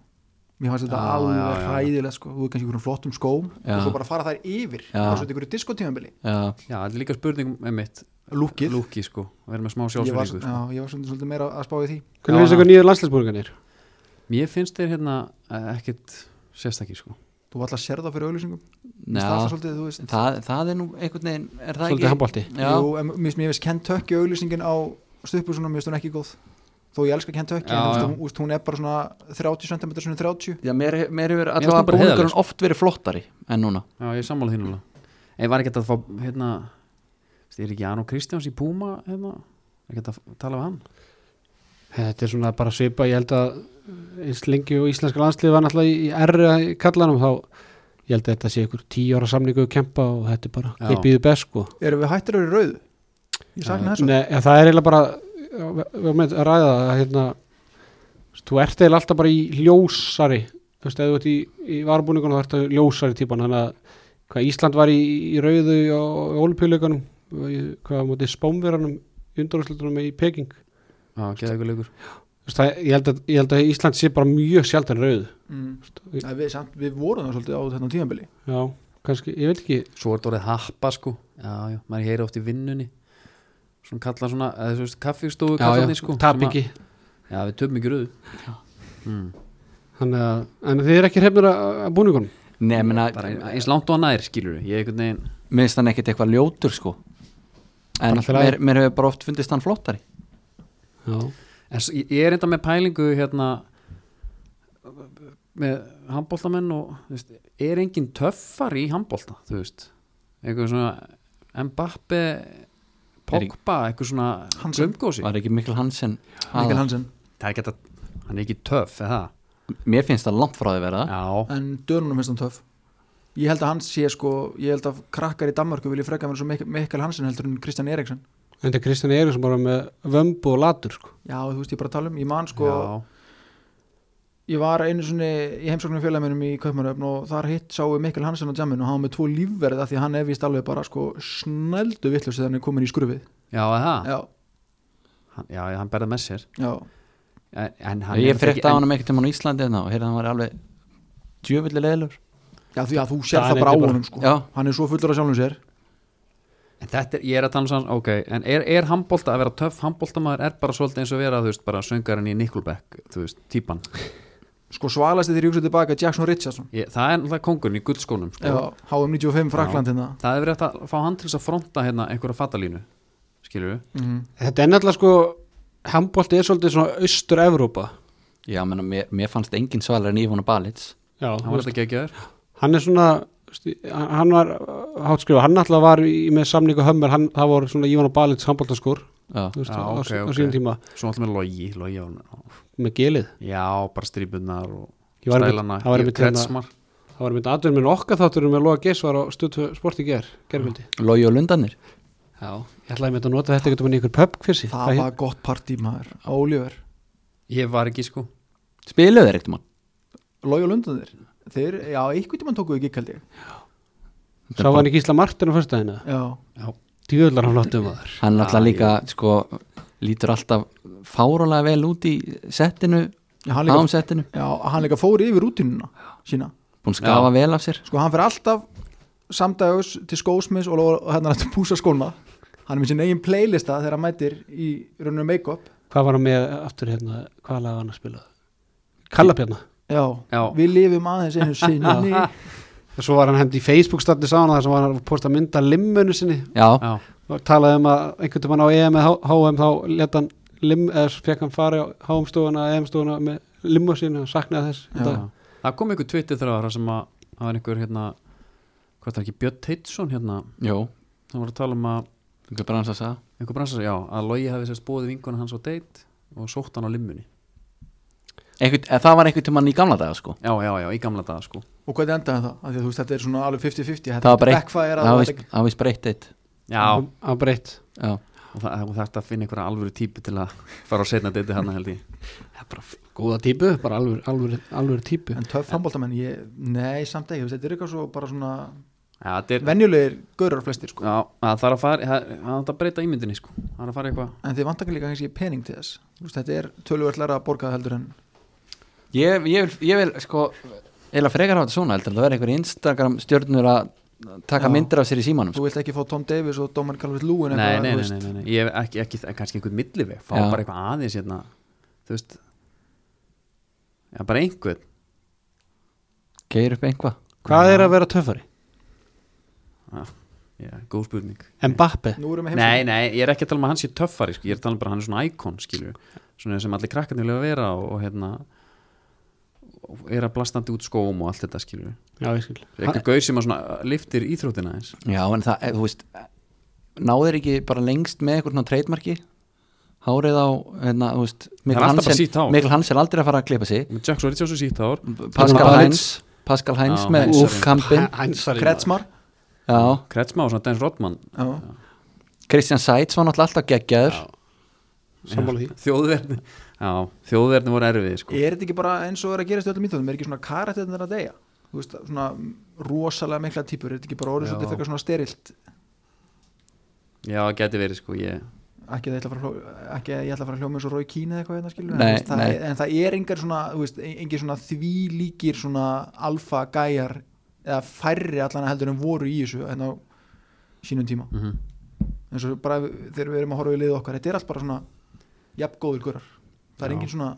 Mér fannst þetta
Já, já,
alveg
já.
hræðilegt sko. Þú er kannski í einhverjum flottum skóm
Já.
og svo bara fara þær yfir
Já.
og svo þetta ykkur diskotímanbili.
já,
Já, þetta er líka spurning um mitt
Lúkið.
Lúki sko, að vera með smá
Ég var,
sjálfsverðingu
já,
sko.
ég var svolítið, svolítið meira að spá í því.
Hvernig
Já,
finnst
já.
ykkur nýju landslæsbúrganir?
Mér finnst þeir hérna eh, ekkit sérstakir sko
Þú var alltaf að sérða fyrir auðlýsingum. Mér finnst það
já.
alltaf svolítið, þú veist.
Það, það er nú einhvern veginn er það
Svolítið
ekki
handbólti
já,
Jú, en mér finnst- mér finnst Kentucky auðlýsingin á stuppusunum, mér finnst hún ekki góð þó ég elska Kentucky,
Já,
en þú
já.
veist, hún- úst, hún er bara svona 30 cm svona 30
já, mér, mér hefur
finnst það
allavega
bara heiðarlegt,
búningurinn oft verið flottari en núna
Já, ég er sammála þín alveg En var ekkert að fá, hérna Styrir ekki Arnó Kristjáns í Puma hérna Ekkert að f- tala við hann
Þetta er svona bara svipa, ég held að eins lengi og íslenska landslið var náttúrulega í- í R í kallanum þá ég held að þetta sé ykkur tíu ára samningu að kempa og þetta er bara,
Já.
ég býðu best sko
erum við hættir að vera í rauðu? ég sakna þessu
Nei, ja, það er eiginlega bara já, við við erum að ræða það að, hérna, þú ert eiginlega alltaf bara í ljósari þú veist, ef þú ert í, í varubúningunum þá ertu ljósari típan þannig að hvað Ísland var í, í rauðu og olupjuleikunum hvað á móti spámveranum undarúslutunum í Peking
Já, geða ykkur leikur
Þú veist, það, ég, held að, ég held að Ísland sé bara mjög sjaldan rauðu
mm. Nei, við, samt, við vorum það svolítið á þetta tímanbili
já, kannski, ég veit ekki
Svo er þetta orðið happa sko Já, já, maður heyri oft í vinnunni Svona kalla svona, eða þú veist, kaffistofu
já,
kallarnir,
já,
sko,
tap
sem að-
ekki
Já, við töfum ekki röðu mm.
Þannig að, en þið er ekki hrefnir að, að búningunum
Nei, ég meina,
Bara ein- eins langt og hann nær skilur við Ég einhvern veginn
minnst hann ekkert eitthvað ljótur sko en
Bara til að-
mér, mér hefur bara oft fundist hann flottari
já,
En s- ég ég er enda með pælingu hérna með handbóltamenn og þú veist, er engin töffar í handbólta þú veist eitthvað svona Mbappe Pogba, eitthvað svona
Hansen.
glömgósi
var ekki Mikkel Hansen Ah.
Mikkel
aðal?
Hansen,
það er ekki að, hann er ekki töff eða það?
mér finnst það langt frá því verða
já,
en dönunum finnst hann töf ég held að hans sé sko ég held að krakkar í Danmarku vilja freka mér svo Mik- Mikkel Hansen heldur en Kristján Eriksson
en þetta er Kristján Eiríksson bara með vömbu og latur sko.
já, þú veist ég bara að tala um, ég man sko
já,
ég var einu svona í heimsóknum félagminum í Kaupmannöfn og þar hitt sáum Mikkel Hansen á jamminu og hann var með tvo lífverða því að hann er vist alveg bara sko snældu vittlust þegar hann er komin í skrufið
já, eða það
já,
hann, já, já, hann berða með sér
já,
en, en hann
ég
er náttúrulega
frétta á
ekki-
hann um ekkert tímann á Íslandi hérna og heyrði að hann var alveg djöfulli leðilur
já því að þú
Það
sér það
er
bara á
bara-
honum sko
já,
hann er svo fullur af sjálfum sér
en þetta er, ég er að tala um sann, ok en er, er handbólta, að vera töff handbóltamaður er bara svolítið eins og vera, þú veist, bara söngarinn í Nickelback, þú veist, típan
sko svalast þegar ég hugsa tilbaka Jackson Richardson
Ég, það er náttúrulega kongurinn í guldskónum sko.
já, HM95 Frakland hérna
Það hefur rétt að fá hann til þess að fronta hérna einhverja fattalínu Skilur við?
mm.
þetta er náttúrulega sko handbólti er svolítið svona austur-Evrópa
já menna, mér, mér fannst engin svalar en Ívona Balits
já,
Hann var þetta geggjaður
hann er svona veist, hann var, hátskrifa, hann náttúrulega var í, með samningu hömmur, hann, það voru svona Ívan og Balins handbóltaskur
já,
þú veist,
Já,
á,
ok,
okay, á
ok.
sínum tíma
Svo alltaf með logi, logi á hann
með gelið
Já, bara strípunar og
Ég var einmitt-
stælana
það var einmitt hérna-
Kretsmar
það var mynd aðverjum minn okkar þátturum með Lóa Gessvar á stötu sport í ger,
Mm.
gergöldi
logi og lundanir
já, ég ætlaði að mynda að nota þetta eitthvað með ykkur pub kvissi
það var gott partí maður Oliver,
Ég var ekki sko
spiluðu þeir eitthvað
Lói og Lundanir þeir, já, einhvern tímann tókuðu ekki kaldi
sá hann ekki Ísla Martin á fyrstæðina
já,
Já,
djöðlar hann flottum að
hann alltaf
Já,
líka sko lítur alltaf fárólega vel út í settinu,
Já, hann líka,
án settinu
já, hann líka fór yfir rútinuna sína
búin að skafa vel af sér
sko hann fyrir alltaf samdags til skósmis og, lofar- og hérna hann að púsa skóna hann er með sín eigin playlista þegar hann mætir í rauninu make-up
hvað var hann með aftur hérna hvað lag var hann að spila hérna. Kallabjarna
já,
Já.
við lifum aðeins einu sinni
og svo var hann hendi í Facebook standi sána þar sem var hann að posta mynda limmunu sinni
já,
já,
og talaði um að einhvern tímann á EM eða H- HM þá let hann lim, eða fekk hann fari á HM stofuna EM stofuna með limmu sín og saknaði þess í
Já.
dag.
Það kom einhver tvittir þráðara sem að það var einhver hérna Hvað er það ekki, Björn Teitsson hérna
jú,
Það var að tala um að
þú kan bara hans að sagða
einhver bransar, já, að logi hafi sérst bóðið vinkona hans á date og sótt hann á limmunni
Einhvern, eh, það var einhvern tímann í gamla daga sko
Já, já, já, í gamla daga sko
og hvað endaði það? Af Því, að þú veist, þetta er svona alveg 50-50
Það var
þetta
bara eitt-
backfire
það
að-
var víst- það var víst breytt eitt
Já,
Hann- hann breytt
já,
og það, og það er að finna einhverja alvöru típu til að fara á setna deiti hann held ég
góða típu, bara alveg alveg, alveg típu
en töff handbóltamenn, ég, nei samt ekki þú veist, þetta er eitthvað svo bara svona
Já, þetta er
venjulegir gaurar flestir sko
Já, það þarf að fara, það það þarf að breyta ímyndinni sko Það þarf að fara eitthvað
en þið vantakar líka kannski pening til þess Þú veist, þetta er tölvöldlega að borga heldur en
ég, ég, vil, ég vil sko eða frekar hafa þetta svona heldur en það verði einhver Instagram stjörnur að taka
Já.
myndir af sér í símanum sko.
þú vilt ekki fá Tom Davis og Domin Calvert Lúin
nei nei, nei, nei, nei, nei, ég hef ekki, ekki eh, kannski einhvern milliveg, fá
Já.
bara eitthvað aðeins hérna, þú veist Já, bara einhvern
geir upp einhvað
Hvað er að vera töffari?
Já, góð spurning
Mbappe?
nú erum við
Nei,
heimsum
nei, ég er ekki að tala um að hann sé töffari sko. Ég er að tala um bara að hann er svona íkon, skilur Svona sem allir krakkarnir vilja vera og, og hérna og er að blastandi út skóm og allt þetta skilur
Já, ég skil
Eitthvað gauð sem að svona liftir íþrótina eins
Já, en það, eh, þú veist náður ekki bara lengst með eitthvað svona treytmarki hárið á hérna, þú veist,
er alltaf bara
Hansen-
sítt hár.
Mikkel Hans er aldrei að fara að klippa sig
Með Jack Soric á svo sítt ár
Mm.
Pascal
Pascal
Heinz Pascal Heinz
Já,
með
Heinz er-
úfkampin
Hænsari
Kretsmar
Já,
Kretsma og svona Dennis Rodman
já.
Christian Seitz var náttúrulega alltaf geggjaður
Sammála því
Þjóðverðni Já, þjóðverðni voru erfið sko.
er þetta ekki bara eins og er að gerast í öllum íþjóðum er ekki svona karakterinn að deyja þú veist, svona rosalega mikla típur er þetta ekki bara orðið
Já.
svolítið fyrir svona sterilt
Já, það geti verið sko ég,
ekki að ég ætla að fara að hljó- ekki að ég ætla að fara að hljóma eins og Rói Kína eða eitthvað hérna skilur
Nei,
en, þú veist, það
nei.
er, en það er engar svona, þú veist, engar svona þvílíkir svona alfa gæjar eða færri allan heldur en voru í þessu en á sínum tíma
mm
eins og bara ef- þegar við erum að horfa í liðu okkar þetta er allt bara svona jafn góður gurar það er
Já.
engin svona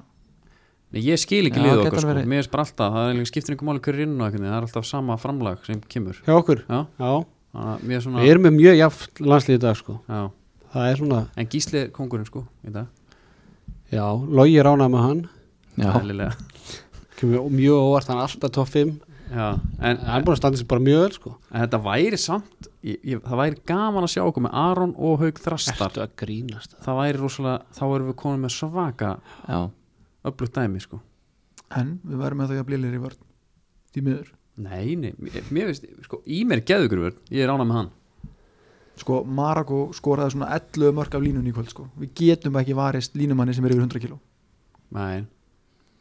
Nei, ég skil ekki
Já,
liðu
gæti
okkar sko.
alveg verið.
Mér er bara alltaf, það er líka skiptir einhver máli hverju inn og eitthvað, það er alltaf sama framlag sem kemur
Hjá okkur
Já,
Já
þannig að mér er svona
Við erum með mjög jaft landslið í dag sko
Já,
Það er svona
en gísli er kongurinn sko í dag,
Já, logi ránað með hann
Já,
eðlilega
Kemur mjög óvart Hann er alltaf top 5
Já, en,
Hann er búin að standa sér bara mjög vel sko
en þetta væri samt ég, ég, það væri gaman að sjá okkur með Aron og Haug Þrastar
Ertu að grínast
það væri rosalega, þá erum við konum með svaka
já,
öflugt dæmi sko
en við verðum með það jafn lélir í vörn því miður
Nei, nei, mér, mér veist, sko, Ímer Geðugröfur, ég er ánað með hann
sko Maragó skoraði svona 11 mörg af línunni í kvöld sko við getum ekki varist línumanni sem er yfir 100 kíló
Nei,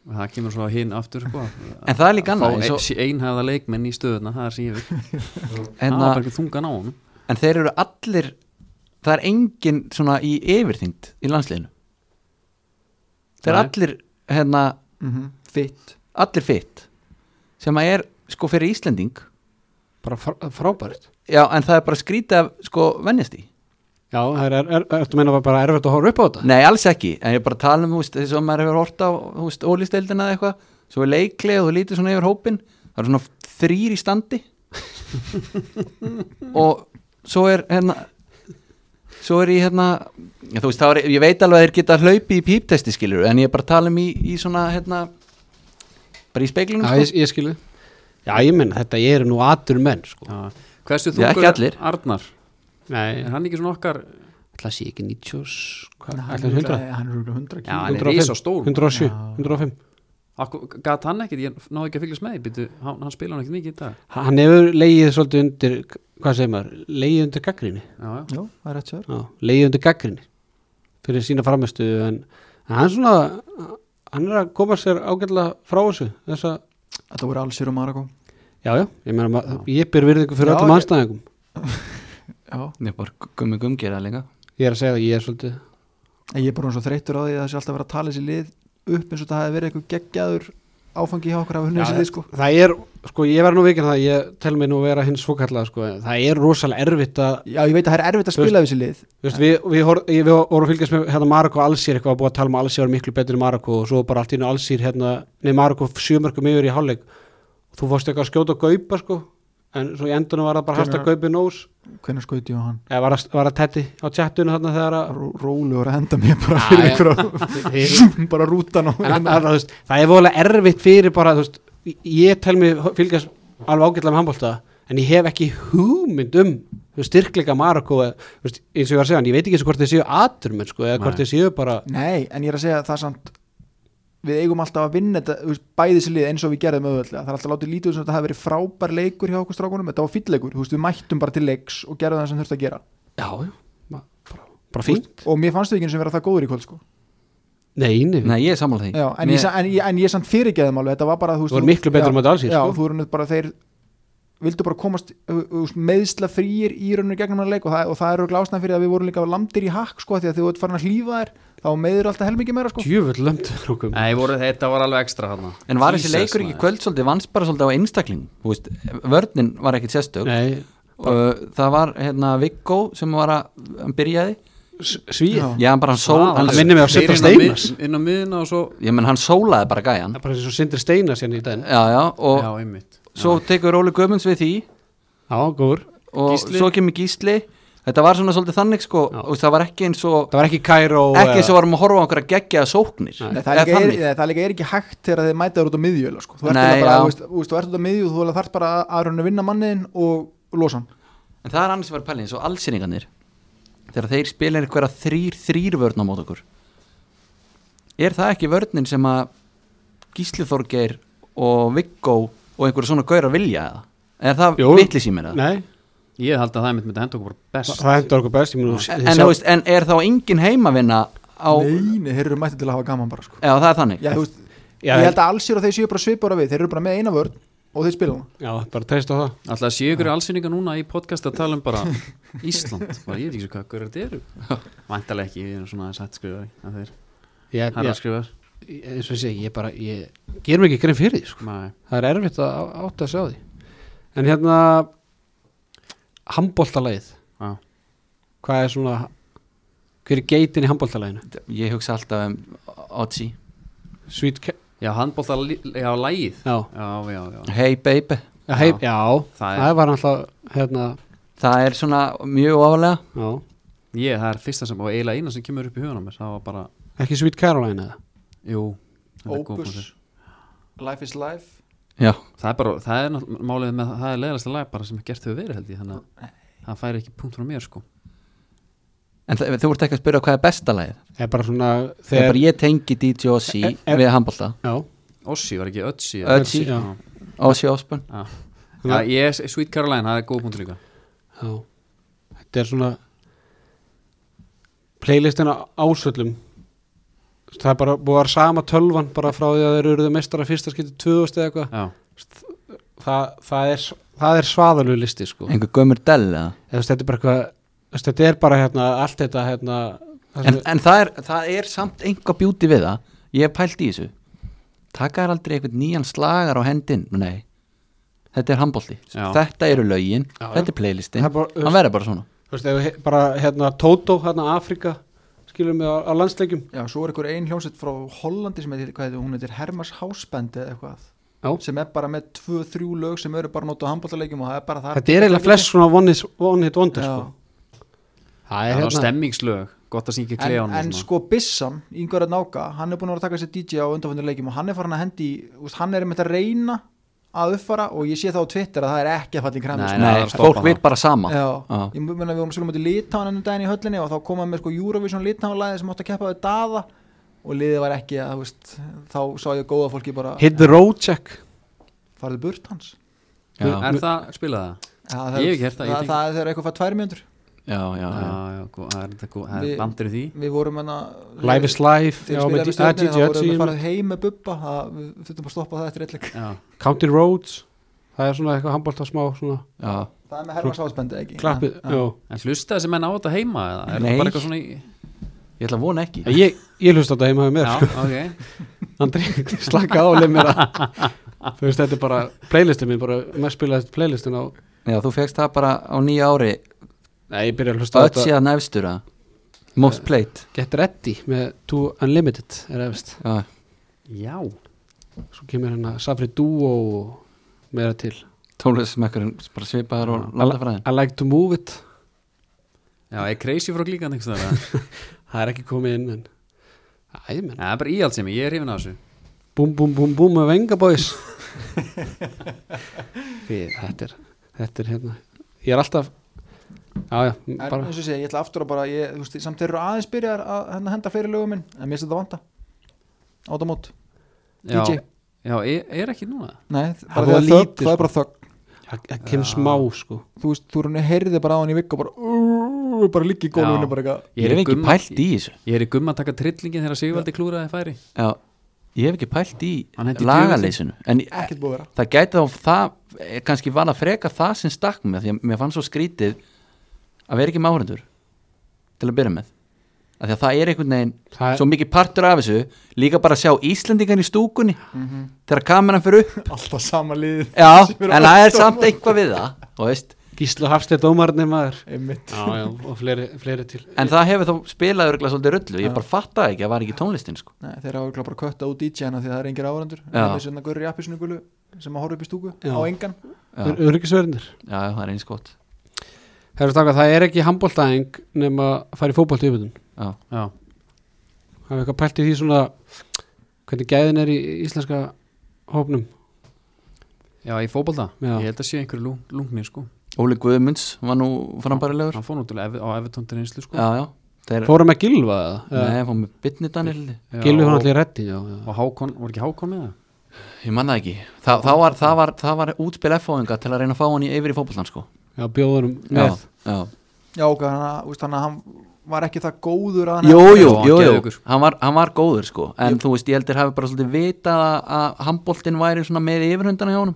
og það kemur svo hinn aftur sko
en það er líka
Fá
annað eins og,
ein- einhæfða leikmenn í stöðuna, það er sem ég vil Það
enna,
var bara ekki þungan á hann
En þeir eru allir það er engin svona í yfirþyngd í landsliðinu Þeir eru
Nei.
allir hérna,
mm fitt
allir fitt sem að er sko fyrir Íslending
Bara frá- frábært
Já, en það er bara skrítið af sko vennjast í
Já, það er, er, er, ertu að meina bara erfitt að horfa upp á þetta?
Nei, alls ekki, en ég er bara að tala um þú veist, þess að maður hefur hort á þú veist, ólýsteldina eða eitthvað, svo er leikli og þú lítur svona yfir hópin, það eru svona þrýr í standi og svo er hérna svo er í hérna já, þú veist, þá er, ég veit alveg að þeir geta hlaupi í píptesti skilur, en ég er bara að tala um í, í svona hérna, bara í sko. speiklinum
Já, ég, ég skilu Já, ég menna, þetta eru nú atur menn sko.
Já. Hversu
Já,
þungur
ekki allir.
er Arnar?
Nei,
Er hann ekki svona okkar
ætla að sé ekki 90 s- hvað,
hann
ætla að sé
er
100
örugglega- hann er örugglega 100
Já,
kíló
hann er
105.
risa stór
107,
Já.
105
Gat hann ekkit, ég náði ekki að fylgjast með býtu, hann, hann spila hann ekkit mikið í dag
Hann hefur leiðið svolítið undir hvað segir maður, leiðið undir gaggrinni
Já, já.
já, það er rétt sér
Já, leiðið undir gaggrinni fyrir sína framistu en, en hann svona hann er að koma sér ágætlega frá þessu þessa,
Þetta voru Alsir og Maragó
já, já, ég meina ma- ég byr virðingu fyrir
Já,
öllum
ég-
anstæðingum
Já,
Ég er bara gummi gumgera líka
ég er að segja það, ég er svolítið
en ég er bara eins og þreyttur á því að það sé alltaf verið að tala þessi lið upp eins og það hefði verið eitthvað geggjaður áfangi hjá okkur af
Já,
hunni þessi lið sko
það er, sko, ég verð nú vikinn það ég tel mig nú vera hins svokallað sko, en það er rosalega erfitt að
Já, ég veit að það er erfitt að spila þessi lið
Þú veist, við, við, hor, ég- við vorum að fylgjast með hérna Marokko Alsýr eitthvað að búa að tala um Alsýr var miklu betur en Marokko og svo bara allt í innu Alsýr hérna, nei Marokko sjömörkum yfir í hálfleik þú fórst eitthvað að skjóta og gaupa sko en svo í endunum var það bara hægt að
Hvenær-
gaupi nós
Hvenær skauti ég á hann?
eða var það- var það tetti á tjattunum þarna þegar að
Ró, rólegur að henda mér bara
Já, já.
fyrir ykkur
Þið-
bara rútan á
en að- að- þú veist, það er voðalega erfitt fyrir bara þú veist, ég tel mig fylgjast alveg ágætlega með handbólta en ég hef ekki hugmynd um þú veist, styrkleika Marokko eða, þú veist, eins og ég var að segja, en ég veit ekki eins og hvort þið séu aturmenn sko, eða hvort
Nei.
þið séu bara
Nei, en ég er að segja að það samt við eigum alltaf að vinna þetta þú veist, bæði þessi lið eins og við gerðum auðvöldlega það er alltaf látið lítið sem þetta hafi verið frábær leikur hjá okkur strákunum, þetta var fýlleikur, þú veist við mættum bara til leiks og gerðum það sem þurfti að gera
já, já, ma- bara, bara fínt
og mér fannst við ekki eins og vera það góður í kvöld sko.
Nei, nei,
Nei, ég er sammála því
Já, en, ég,
Mér-
sa- en, ég, en ég samt fyrirgeðum alveg þetta var bara, þú veist,
Þú voru miklu betur
já,
en móti Alsír,
já,
sko.
þú voru neitt bara þeir vildu bara komast meðsla frýir í rauninu gegnum hann leik og það, og það eru glásna fyrir að við vorum líka landir í hakk sko því að því þú ert farin að hlýfa þér þá meður alltaf helmingi meira sko
Djöfull lömdur okkur
Nei, voru, þetta var alveg ekstra hann
En var þessi leikur ekki í kvöld svolítið vannst bara svolítið á einstakling þú veist, vörnin var ekkit sérstök
Nei,
og það var hérna Viggo sem var að, hann byrjaði
s- svíð
Já.
já, hann bara hann sól hann,
hann minnir mig á Sindra Steinars.
Inn á miðina og svo
ég menn hann sólaði bara gæjan
Það er bara eins og sindir steina sérna í dag
já, já, og
Já, einmitt
svo tekur Óli Guðmunds við því
Já, góður
og
Gísli.
svo kemur Gísli þetta var svona svolítið þannig sko
Já.
og það var ekki eins og
Það var ekki Kæró
ekki eins og varum að horfa á okkur að gegja sóknir
Nei.
Nei, það, er
Eða
líka er,
þannig.
nei, það líka er ekki hægt þegar þið mæta þér út á miðju eiginlega, sko. þú ert
Nei,
eiginlega bara,
já.
þú veist, þú veist, þú ert út á miðju og þú þarf bara að- að rauninu vinna manniðin og losa hann
en það er annars að vera pælið eins og allsýringarnir þegar þeir spila einhverja þrýr þrýr vörn á mót okkur er það ekki vörnin sem að Gísli Þorgeir og Viggó og einhverja svona gaurar vilja eða? er það
Jú.
vitlis í mér eða?
Nei,
Ég held að það einmitt myndi henda okkur bara best
það hendur okkur best ég mun,
En, en, þú veist, en er þá engin heimavinna á,
Nei, nei, þeir eru mættið til að hafa gaman bara sko.
eða það er þannig
Já, þú veist,
Já,
ég held að alls eru að þeir séu bara svipara við þeir eru bara með eina vörn og þeir spila hana
Já, bara treyst á það
Alltaf að sé ykkur allsynninga núna í podcast að tala um bara Ísland bara, Ég veit ekki svo hvað hver þetta eru Væntalega ekki, ég er svona aðeins hætt skrifari að þeir
Ég,
Herra
ég,
skrifar
eins og ég segi, ég bara ég ger mér ekki grein fyrir því sko.
Nei,
það er erfitt að á- átta að sjá því en hérna handbóltalæð
já
hvað er svona hver er geitin í handbóltalæðinu
ég hugsa alltaf um Otzi
Sweet Ca-
Já, handbólta, já, lægið
já,
Já, já, já
hey baby
já, heim, já.
Það
það,
er-
var alltaf hérna,
það er svona mjög ofalega
já.
Ég, það er fyrsta sem, og eiginlega eina sem kemur upp í hugan á mér Það var bara,
ekki Sweet Caroline eða
jú þetta er góð punktur.
Opus, Life is Life
já
Það er bara, það er náttúrulega málið með það er leðalæsta lag bara sem gert hefur verið held ég þannig að það fær ekki punkt frá mér sko
En þa- þú ert ekki að spyrja hvað er besta lagið
er bara svona
Það er
þegar
bara ég tengi DJ Ossi
Er- er-
við handbólta
já,
Ossi var ekki Ötsi
Ötzi.
já,
Ossi Osborn
Já, ég, Sweet Caroline, það er góð punktur líka
já. þetta er svona playlistina ásöllum það er bara búið að vera sama tölvan bara frá því að þeir eruðu mestara fyrsta skipti 2000 eða eitthvað
Já,
það, það er, það er svaðalug listi sko.
einhver gömur dell eða
Eða, þú veist, þetta er bara eitthvað þú veist, þetta er bara hérna, allt þetta hérna, það sem
en, en það, er, það er samt einhver bjúti við það ég hef pælt í þessu taka er aldrei einhvern nýjan slagar á hendin nei, þetta er handbólti
Já.
þetta eru lögin,
Já, já.
þetta er playlistin
Það er bara-
hann verður bara svona
þú veist, ef, við- bara hérna Tótó, hérna Afrika skilum við á, á landsleikjum
Já, svo er einhver ein hljómsveit frá Hollandi sem heitir, hvað heitir, hún heitir Hermas Hásband eða eitthvað,
Já.
sem er bara með tvö, þrjú lög sem eru bara nótað handbóttalegjum og það er bara það
þetta er eiginlega flest svona one, is, one hit wonder
Já.
sko. það
það
er
var
hérna
stemmingslög, gott að syngja
en,
kleðan
en sko Bissan, yngvar að náka hann er búin að vera að taka sér DJ á undanfjöndir leikjum og hann er farin að hendi, í- þú veist, hann er með að reyna að uppfara og ég sé það á Twitter að það er ekki að falla í kramið
Nei,
sko.
það er
nei,
að stoppa
fólk
það.
vil bara sama
Já,
Já.
ég meina við vorum svolum út í Litáin ennum um daginn í höllinni og þá komaði með sko Eurovision Litáin lagið sem átti að keppa við Daða og liðið var ekki að, þú veist, þá sá ég góða fólki bara
Hit the road check
farið burt hans
já, já,
Er það, spila það?
Já,
Ég hef ekki heyrt það, ég
það,
tengi-
það er þegar eitthvað fær tvær mjöndur
já, já,
Já, já, gó- það er þetta góð, það
Við-
er bandur í því
Við vorum hérna- enna
Live is life já, með D- að
Það vorum við
DJ
farið heim með Bubba það, Við þurfum að stoppa það eftir eitthvað
Já,
County Roads það er svona eitthvað handbólt smá svona
já.
Það er með Hermans Hásbendi ekki
klappið
Já.
já.
en hlusta þessi menn á þetta heima eða? Er
Nei.
það bara eitthvað svona í
ég ætla að vona ekki
ég, ég hlusta þetta heima með mér
Já,
sko.
ok
Andri, slaka á og leið mér að þú veist þetta er bara playlistin mín bara mest spilaðist playlistin á
já, þú fegst það bara á nýja ári
Nei, ég byrja að hlusta á
öll
þetta
síðan efstur að most played
Get Ready með Too Unlimited er efist
já,
Já,
svo kemur hérna Safri Duo og meira til
tónlistsmekkurinn bara svipaður og
I,
landafræðin
I like to move it
já, er crazy frá glíkan einhvers þar eða?
það er ekki komið inn en Æ, ég menn
Já, Það er bara íhaldsemi, ég er hrifin af þessu
Búm, búm, búm, búm með Venga Boys Því, þetta er þetta er hérna ég er alltaf já, já,
En
bara
eins og sé, ég ætla aftur að bara ég, þú veist, Samt þeir eru aðeins byrjar að henda, henda fleiri lögum minn En mér sem þetta vanta Átamót
Já,
DJ.
já er, er ekki núna
Nei,
Það
bara það,
var
er þögn,
lítið,
það
sko.
er bara þögg
það það kemur smá sko
Þú veist, þú raunir heyrði bara á hann í vikku og bara, uh, bara líka í gólfinu
Já.
bara eitthvað
ég hef ekki
gumma-
pælt í þessu
Ég er í gumma að taka trillingin þegar Sigvaldi klúraði færi
já, ég hef ekki pælt í
Hann henti
lagaleysinu en ég-
ekkert búið að vera
það gæti þá það, eh, kannski var það frekar það sem stakk mig því að mér fannst svo skrítið að vera ekki máhrendur til að byrja með af því að það er einhvern veginn
Það er-
svo mikið partur af þessu líka bara að sjá Íslendingan í stúkunni
Mhm.
þegar kameran fyrir upp
alltaf sama lið
já,
Sem eru
en það er
alltaf-
samt eitthvað við það þú veist.
Gíslu Hafstedt Ómarni maður
einmitt
Já, já, og fleiri, fleiri til
en það hefur þá spilað örgulega svolítið rullu ég bara fattaði ekki að það var ekki tónlistin sko.
Nei, þeir hafa örugglega bara kötta út DJ-na því það er engir áhörendur
Já.
þessi hérna gurri appisinu gulu sem að horfa upp í stúku
Já.
á engan
já, já,
Öryggisverðinir
það er eins gott
Herra staka, það er ekki handbóltaðing nema að fara í fótbolt í yfirdun
já,
já,
Hafið eitthvað pælt í því svona hvernig gæðin er í íslenska hópnum
já, í fótbolta
Já.
ég held að sé einhverju lung, lungni sko
Óli Guðmunds var nú frambærilegur
hann fór nú til Ev- á Evertóndir einslu sko
já, já, þeir
Fórum að gilfa það?
Nei, fór með bitni Daniel
Já,
Gilfi hún
og-
allir reddi, já, já
og Hákon, var ekki Hákon með það?
Ég manna ekki Þa, það, var, það, var, það var útspil F-fóðinga til að reyna að fá hann í yfir í fótbollan sko.
Já, bjóðurum
Já,
með
já.
já ok, hann, að- þú veist, hann, að hann var ekki það góður að hann
Jú, jú,
hann
jú, jú.
geðveikur.
Hann, var, hann var góður sko En þú veist, ég heldur hafi bara svolítið vita að handboltin væri svona með yfirhundana hjá honum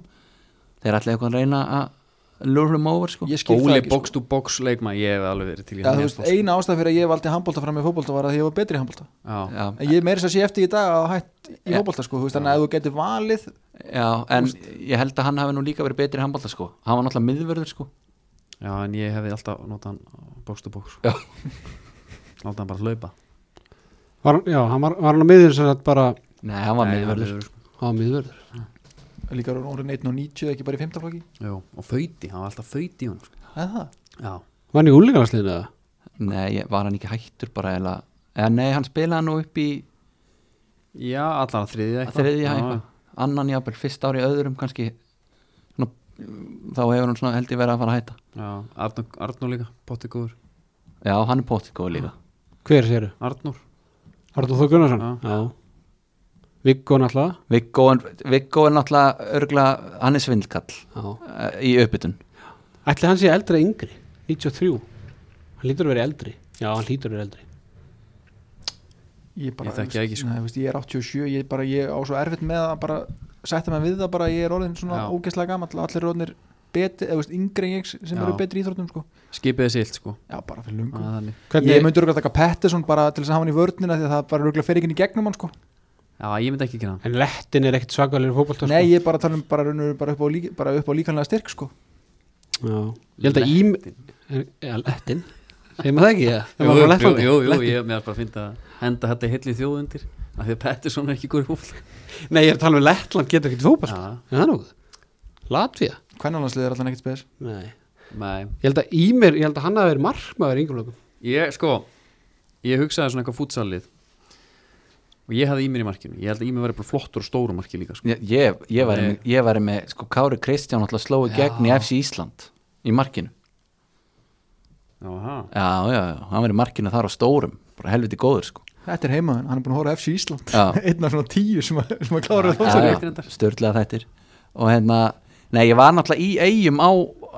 Þeir ætlaði eitthvað að reyna að lure him over sko
ég skil það
Óli
ekki
box to box leikma, ég hef alveg verið til í
Já,
hann
þú
í
veist,
F-fólk, sko.
eina ástæð fyrir að ég valdi handbólta fram í fótbólta var að ég var betri í handbólta
já,
Já,
En ég meiri þess að sé eftir í dag að hætt í
Já.
fótbólta sko, þú veist, þannig að ef þú getur valið
já, en ég held að hann hafi nú líka verið betri í handbolta sko Hann var náttúrulega miðvörður sko
já, en ég hefði alltaf notað hann box to box sko.
Já.
láta hann bara hlaupa
var, Já, hann var, var hann á miðjum sem þetta bara
Nei, hann var
Nei,
miðvörður
miðvörður, sko.
á miðvörður
líka orðin 1 og 90 ekki bara í 15 flokki
Jú, og föyti, hann var alltaf föyti í honum sko.
eða það,
já,
Var hann í úlíkansliðinu eða?
Nei, ég- var hann ekki hættur bara eða, eða nei, hann spilaði nú upp í
já allar að
að
þriðja eitthvað
þriðja
Já,
eitthvað, annan jáfnvel fyrst ári öðrum kannski svona, þá hefur hann svona held ég verið að fara að hætta
já, Arnur, Arnur líka, potti góður
já, hann er póttið góð líka
Hver séru?
Arnur,
Arnur Þór Gunnarsson? Já, já. Viggo náttúrulega
Viggo, en- Viggo er náttúrulega örgla, hann er svindlkall
Já
eh, í uppbytun
Ætli hann sé eldri eða yngri 93 Hann lítur að vera eldri Já, hann lítur að vera eldri
ég bara
Ég þekki það ekki, sko.
Nei, þú veist, ég er 87, ég, bara, ég á svo erfitt með að bara setja mig við það bara, ég er orðin svona
Já.
ógeðslega gamall, allir orðinir betri, eða þú veist, yngri en ég sem
Já.
eru betri í íþróttum sko,
skipiði silt sko
já, bara fyrir lungu
Að þannig.
Hvernig,
ég myndi örgulega taka Pettersson bara til þess að hafa hann í vörnina því að það bara örgulega fer ekki inn í gegnum hann sko
já, ég myndi ekki ekki hann
En lettin er ekkit svakalir fótbolta sko.
nei, ég er bara að tala um bara, raunverulega bara, upp, á lík, bara upp á líkanlega styrk sko
sko. Já Ég held að ím er, Já, lettin Segir maður það ekki eða? Er
Jú,
maður bara
jú,
lettandi?
jú, jú,
Lettin.
ég er með að bara finna að henda þetta heilli þjóð undir af því að Pettersson er ekki góður í fólk
Nei, ég er að tala um Lettland getur ekkit fótbolta
Já,
Já, það er nokkuð Latvía
hvernalandslið er alltaf ekkert spes
Nei
nei
Ég held að Ímir, ég held að hann hafi verið markmaður í yngurlökum
Ég, sko, ég hugsaði svona eitthvað fútsalið og ég hafði Ímir í markinu ég held að Ímir væri bara flottur og stóru marki líka sko.
ég, ég, ég, væri,
Nei.
með, ég væri með sko Kári Kristján náttúrulega slói gegn í FC Ísland í markinu
Jaha,
já, já, já, hann verið markinu þar á stórum bara helviti góður sko
þetta er heimaðin, hann er búin að horfa á FC Ísland
Já.
einn af svona tíu sem að, sem að klára
Já,
það
Svo
Já,
rétt
já,
reyndar.
störtlega þættir og hérna, nei ég var náttúrulega í eigum á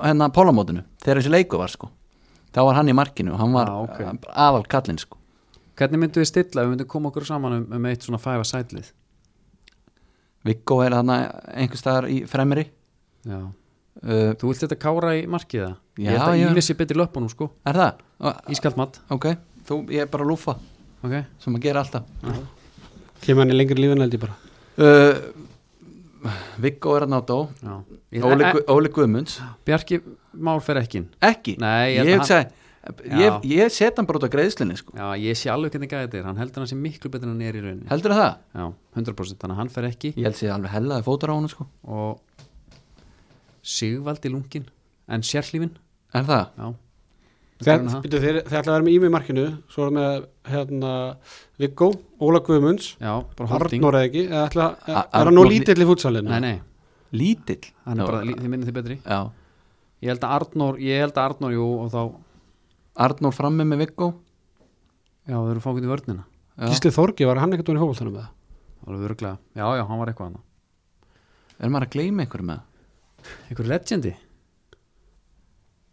hérna pólamótinu þegar þessi leiku var sko þá var hann í markinu og hann var
Já, ok.
ah, aðal kallinn sko
hvernig myndum við stilla ef við myndum koma okkur saman um, um eitt svona fæfa sætlið
Viggo er hann einhvers staðar í fremri
Já.
uh,
Þú vilt þetta kára í markið það?
Já,
ég held að
já.
Ímir sé betri í löpunum sko
er það? Ah,
Ískalt mat,
Ok, þú, ég er bara að lúfa
ok
sem að gera alltaf
Kemur hann í lengri lífin held ég bara
uh, Viggo er hann á dó
Já. Ég,
Óli,
e,
Gu- Óli Guðmunds
Bjarki Már fer ekki inn.
ekki,
Nei, ég
ég,
held að
ég, seg,
Já.
ég, ég set hann bara út á greiðslinni sko
Já, ég sé alveg hvernig gæði þetta er, hann heldur hann sé miklu betur en hann er í rauninni
heldur það?
Já, 100% þannig að hann fer ekki
Ég held sér alveg hellaði fótur á hann sko
og Sigvaldi lungin en sérlífin
er það?
Já,
Þeir,
Þannig að-
byrju, þeir, þeir ætla að vera með Ími í markinu Svo er með hérna, Viggo, Óla Guðmunds
já bara holding
Arnór eða ekki eða ætla, Er
A-
hann nú
Arnór lí-
lítill í futsalinu?
Nei, nei,
lítill
hann er
Já,
bara, lí- þið minnið þið betri
já.
Ég held að Arnór, ég held að Arnór, jú, og þá
Arnór frammi með Viggo
Já, þau eru fákvæmt í vörnina
já.
Gísli Þorgi, var hann ekkert úr í fótboltanum með það?
Alveg örglega, já, já, hann var eitthvað annað
er maður að gleyma einhverju með það?
Einhver legendi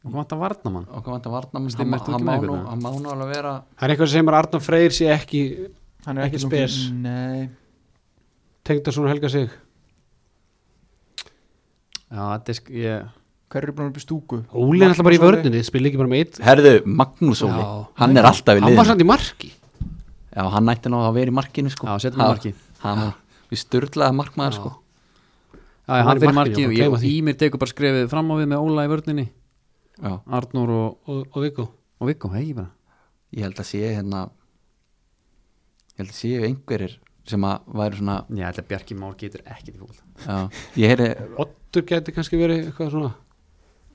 Og hvað vantar varnamann
og hvað vantar varnamann
Stinn,
hann,
ert þú
hann,
ekki
má
með einhvern
nú-
veginn?
hann má nú alveg vera
Það er eitthvað sem er Arnar Freyr sé ekki
hann er
Ekki
ekki
spes.
lunginn, nei
Tengdason og um Helga sig
Já, þetta er sk- ég
Hver eru búin að byrja stúku?
Óli er alltaf bara í
Magnús Óli.
vörninni, spil ekki bara með eitt
Herðu, Magnús Óli,
Já.
hann er alltaf
Hann
í
var
liðinu
samt í marki
Já, hann ætti ná að vera í markinu sko
Já, setjum hann í
Ha-
markið.
Hann var, við styrlaði markmaður sko
Já, ég,
Hann
hann
er í
fyrir
markinu,
markinu
ég var að gleyma
og
því.
í mér tekur bara skrefið fram á við með Óla í vörninni
Já,
Arnur og,
og, og Viggo
og Viggo, hei bara
ég held að sé hérna Ég held að sé einhverjir sem að væri svona
Já, þetta Bjarki Már getur ekkert í fólk
Já, ég heyri
Ottur geti kannski verið eitthvað svona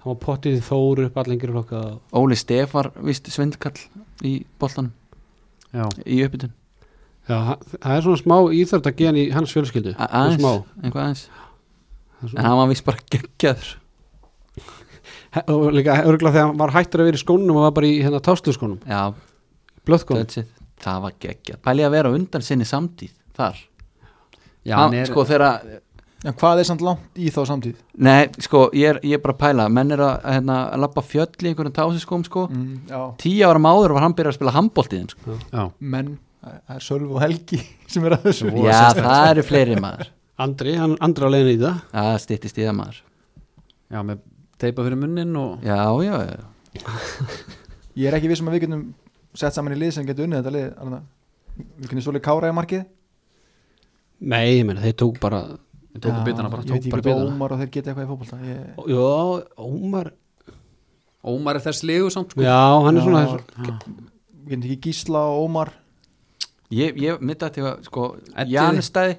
Hann var pottið í Þóru upp allengri flokka og-
Óli Stefar, víst svindkall í boltanum,
Já,
í uppbytun
Já, hann- það er svona smá íþörta gen í hans fjölskyldu
A-
Svona
aðeins,
smá.
einhvað aðeins
Það er
en
svona-
hann var vist bara geggjaður
He- Og líka örgulega þegar hann var hættur að vera í skónum og var bara í hérna tásluskónum
já,
Blöðkónum
that's it. það var geggjað pæli að vera á undan sinni samtíð þar
já
hann,
hann er,
sko þegar
En hvað er samt langt í þá samtíð?
nei, sko, ég er, ég er bara að pæla menn er að, hérna, að lappa fjöll í einhverjum tásiskóm sko,
Mm, já,
tíu ára máður var hann byrjað að spila handbóltiðin sko.
já,
menn, það er Sölv og Helgi sem er að þessu
Voða
já,
sérstakt,
það eru fleiri maður
Andri, hann andra á leiðinu í það
já, stýttist í það maður
já, með teipa fyrir munnin og
já, já, já,
Ég er ekki vissum að við getum sett saman í lið sem getur unnið þetta lið Arna. Við getum svolítið kára í markið
Nei, ég meina, þeir tók bara
við tókum bitana bara
Ég veit
tók
ekki
bara
hvað
bitana.
Ómar og þeir geta eitthvað í fótbolta ég...
Jó, Ómar
Ómar er þess liðu samt sko
Já, hann er
Já,
svona
já. Við getum ekki Gísla og Ómar
ég, ég mitt að til að sko,
Eddiði.
Janustæði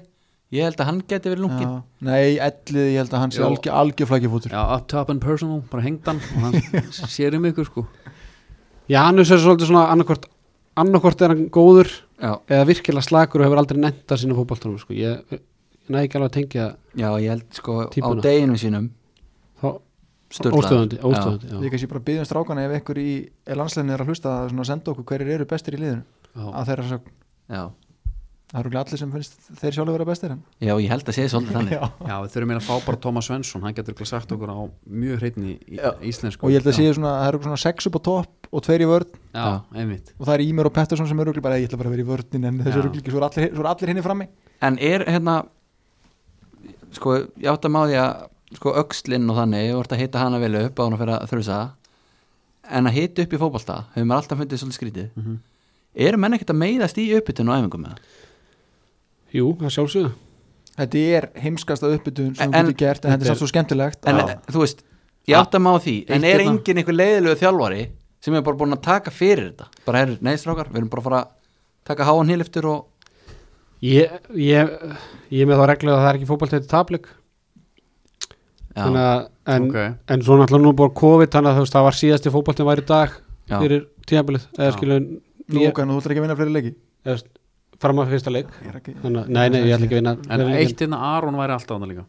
ég held að hann geti verið lungin
Já. Nei, ellið, ég held að hann sé
Jó.
algjör, algjör flækjufótur
Já, up top and personal, bara hengt hann og hann sér um ykkur sko
Janus er svolítið svona annarkvort annarkvort er hann góður
já,
eða virkilega slagur og hefur aldrei nefnt að sína fótboltanum sko. ég, ég næg ekki alveg að tengja
já, ég held sko
Típuna.
á deginum sínum
þá
Sturlaður.
óstöðandi,
Við
óstöðandi já.
kannski bara byggjum strákana ef einhver í landsleginni er að hlusta að svona senda okkur hverjir eru bestir í liðinu
Já,
að þeirra sögn
já,
Það eru örugglega allir sem finnst þeir sjálfur vera bestir en
já, ég held að sé svolítið þannig
Já.
já við þurfum meira að fá bara Thomas Svensson hann getur ekki sagt okkur á mjög hreinni í,
Já.
íslensku
og ég held að
Já.
séu svona, það eru svona sex upp á topp og tveir í vörn
Já, einmitt
og það er Ímer og Pettersson sem eru örugglega bara ég ætla bara að vera í vörnin en þessu
Já.
eru ekki, svo eru allir, svo eru allir hinni frammi
En er hérna sko, ég átt að má því að sko, öxlinn og þannig, ég vart að hita hana vel upp á hún að fyrir að þrjusa en að hita upp í fótbolta, hefur maður alltaf fundið svolítið skrítið, eru menn ekkert að meiðast í uppbytun og æfingum með það?
Jú, það sjálfsögðu
Þetta er heimskasta uppbytun sem
En-
þú getur gert en þetta
þetta
er
er-
samt svo skemmtilegt
En eh,
að-
þú veist, ég átt að má því en
Eitt
er
hérna.
engin einhver leiðilegu þjálfari sem er bara búin að taka fyrir þetta bara er neðstrákar, við erum bara að fara að taka háan hýliftur og
ég, ég, ég er með þá reglu að það er ekki fótbolt þetta tapleik
já,
en, en,
Ok.
en svo náttúrulega nú er búið COVID þannig að þú veist, það var síðasti fótboltin væri í dag
Já.
fyrir tíðanbilið eða
Já.
skilu
Nú, ok, nú þú ætlar ekki að vinna fleiri leiki
fram að fyrsta leik
Ég er ekki-
þannig, að- nei, nei, ég ætla ekki að vinna
En
fleiri leikinn.
eitt innan Aron væri alltaf annað líka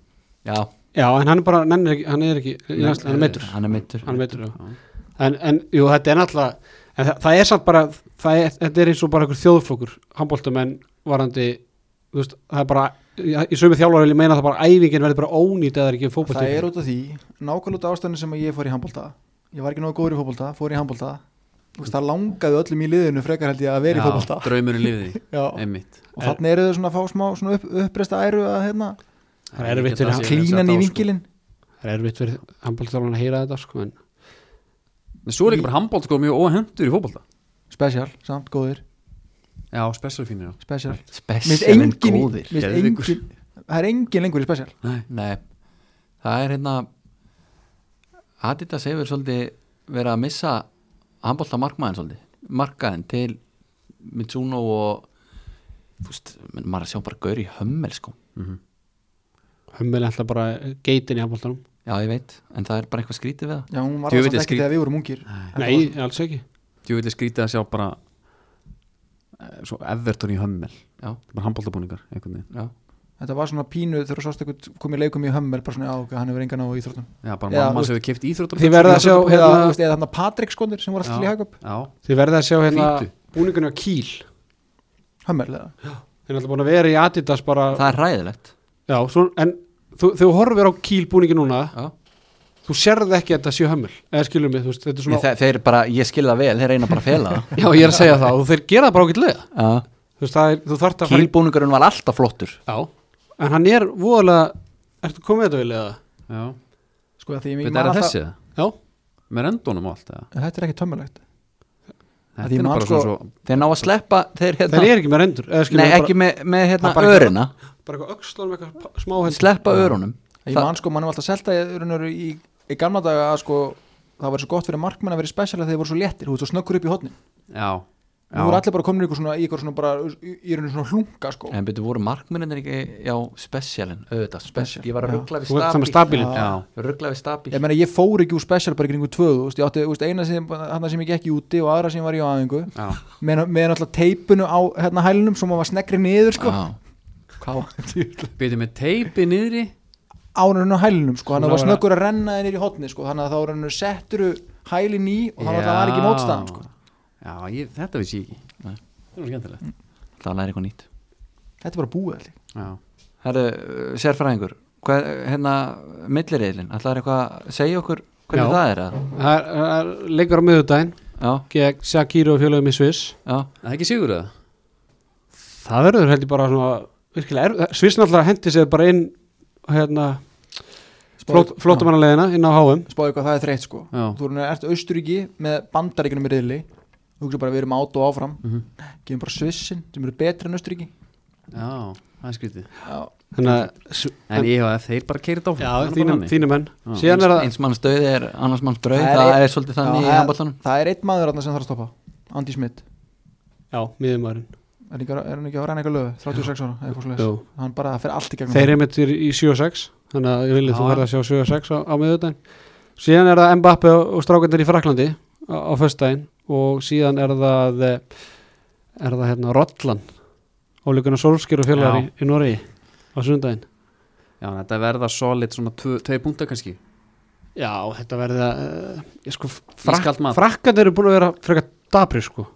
já,
Já, en hann er bara, nennir ekki, hann er ekki í landsliðinu, hann er meittur
hann er meittur
hann er meittur, já en, en jú, þetta er náttúrulega en það, það er samt bara, það er, þetta er eins og bara einhver þjóðflokkur, handbóltamenn varandi, þú veist, það er bara í- í sömu þjálfari vil ég meina að það bara æfingin verður bara ónýt eða það er ekki fótbolti
Það er út af því, nákvæmlega út af ástæðinu sem að ég fór í handbólta Ég var ekki nógu góður í fótbolta, fór í handbólta Þú veist, það langaði öllum í liðinu frekar held ég að vera í fótbolta
Draumur í liði,
Já,
einmitt
og þannig eru þau svona að fá smá svona upp, uppreista æru að hérna
Það er erfitt
Ég held að
fyrir-
sé-
klínan
setja
í
á, sko.
vinkilinn
það er erfitt fyrir handbóltþjálfan að heyra þetta sko, en
En svo er líka bara handbólt sko mjög óhendur í fótbolta
Special, samt góðir,
Já, spesarfínir
special Minnst
spesialinn
engin, í-
góðir
minnst
Geðveikur.
engin Það er engin lengur í special
Nei,
Nei, það er hérna Adidas hefur svolítið verið að missa handbólta markmaðin svolítið markaðin til Mitsuno og þú veist, menn maður er að sjá bara gaur í hömmel sko
Mhm.
hömmel er alltaf bara geitin í handbóltanum
Já, ég veit, en það er bara eitthvað skrítið við það
Já, hún var það
Djöfull
samt
er
ekki
skrít-
þegar við vorum ungir Þetta var-
nei, alls ekki
djú vilja skrýta að sjá bara eh, Svo Everton í hömmel
Já,
Bara handbóltabúningar, einhvern veginn
já,
Þetta var svona pínu þegar þú sást eitthvað komið leikum í hömmel bara svona, já, ok, hann hefur engan á íþróttum
Já, bara
Já,
mamma
þú
sem hefur keft íþróttar
Þið verða að sjá,
Eða,
hérna-
þú veist, eða þarna Patrik skondir sem voru alltaf í hægöp
Já,
þið verða að sjá hérna
Hvítu.
búningunni á kýl
Hömmel, eða
þeir er alltaf búin að vera í Adidas bara
það er ræðilegt
já, svo, en þú, þú horfir á kýl búningi núna
Já,
þú sérð ekki að þetta séu hömmel eða skilur mig, þú veist, þetta er svona
ég, þeir, þeir bara, ég skil það vel, þeir reyna bara að fela það
Já, ég er að segja það og þeir gera það bara ákveðlega
Já,
Þú veist, það er, þú þarft að fara í-
kýlbúningurinn var alltaf flottur
Já, en hann er voðalega ertu komið þetta vel eða?
já
sko að því ég
Veit,
man
er það
alltaf-
þessi það?
Já.
Með rendunum og allt það
þetta er ekki tömmulegt
Þetta
því
er nú
man
bara
sko-
svona svo
þeir ná að sleppa þeir
það
hérna,
er ekki með rendur eða skilur
nei
bara,
ekki með, með hérna
Það bara ekki-
örina
bara eitthvað öxlunum eitthvað pa- smá held
sleppa örunum
ég
Það-
man sko, mann er alltaf selta í, raunur, í, í gamla daga að sko það var svo gott fyrir markmenn að vera spesial að þeir voru svo léttir, þú veist, þú snöggur upp í hotnin
Já,
þú voru
já.
allir bara komin í ykkur svona, í ykkur svona bara, í, í rauninu svona hlunga sko
en betur voru markmennir ekki já, specialin, auðvitað, special ég var
Já.
að ruggla við
Þú veist, það með
stabíl
stabilinn
Já.
ruggla við stabíl
ég meina, ég fór ekki úr spesial bara í kringu tvö, þú veist, ég átti, þú veist, eina sem, hana sem ég gekk í úti og aðra sem var í á aðingu
já
með, með alltaf teipinu á hérna hælunum sem maður var sneggri niður sko
Já.
hvað var þetta?
Býtum með teipi niðri
ánurinn á hælunum sko, þannig að það var
Svona
snöggur að renna þeir í hotni sko, þannig að þá rauninu setturu hælin í og þannig að það var ekki
Já.
mótstaðan sko
Já, ég, þetta vissi ég ekki
Nei.
Þetta er nú skemmtilegt
það læri eitthvað nýtt
þetta er bara búið allir
Já
Herru, uh, sérfræðingur hvað, hérna, millireilin ætlaður eitthvað að segja okkur hvernig
Já.
það er að
Það er- það er leikur á miðugdæn
já,
gegn Shakiro og fjölaðum í Sviss
já,
Er Það er ekki sigur það?
það verður held ég bara svona virkilega erf Sviss náttúrulega hendi sér bara inn hérna, flót, flótamannalegina inn á HM
spáðu hvað það er þreytt sko
Já.
þú erum ert Austuríki með bandaríkinu með riðli þú hugsa bara við erum átt og áfram mm
Mhm.
gefum bara Svissin sem eru betri en Austuríki
Já, það er skrítið
þannig að Sv-
En ég hafa þeir bara keirið áfram
já,
Það er bara
þínum,
þannig.
þínum menn
Já.
síðan er það
eins manns döið er annars manns brauð
Það
það
er
er,
ein-
svolítið þannig í
það, er,
handbóltanum
það er eitt maður þarna sem þarf að stoppa Andy Smith
já, miðumærin
er, ekki, er hann ekki á ræna eitthvað lögu 36 ára eða
Jú.
eitthvað svoleiðis. hann bara það fer allt í gegnum
þeir er mittir í 7-6 þannig að ég vilja þú
Já.
verða að sjá 7-6 á, á miðugdæn síðan er það Mbappe og, og strákandir í Fraklandi á, á föstudaginn og síðan er það eh, er það hérna Rottland ólíkunar Solskir og fjölaðar í, í Noregi á sundaginn
Já, þetta verða solid svona tvö- tveir punktar kannski
Já, þetta verði að uh, ég sko,
eh, Ískalt
frak,
mat.
frakkandi eru búin að vera frekar dabri sko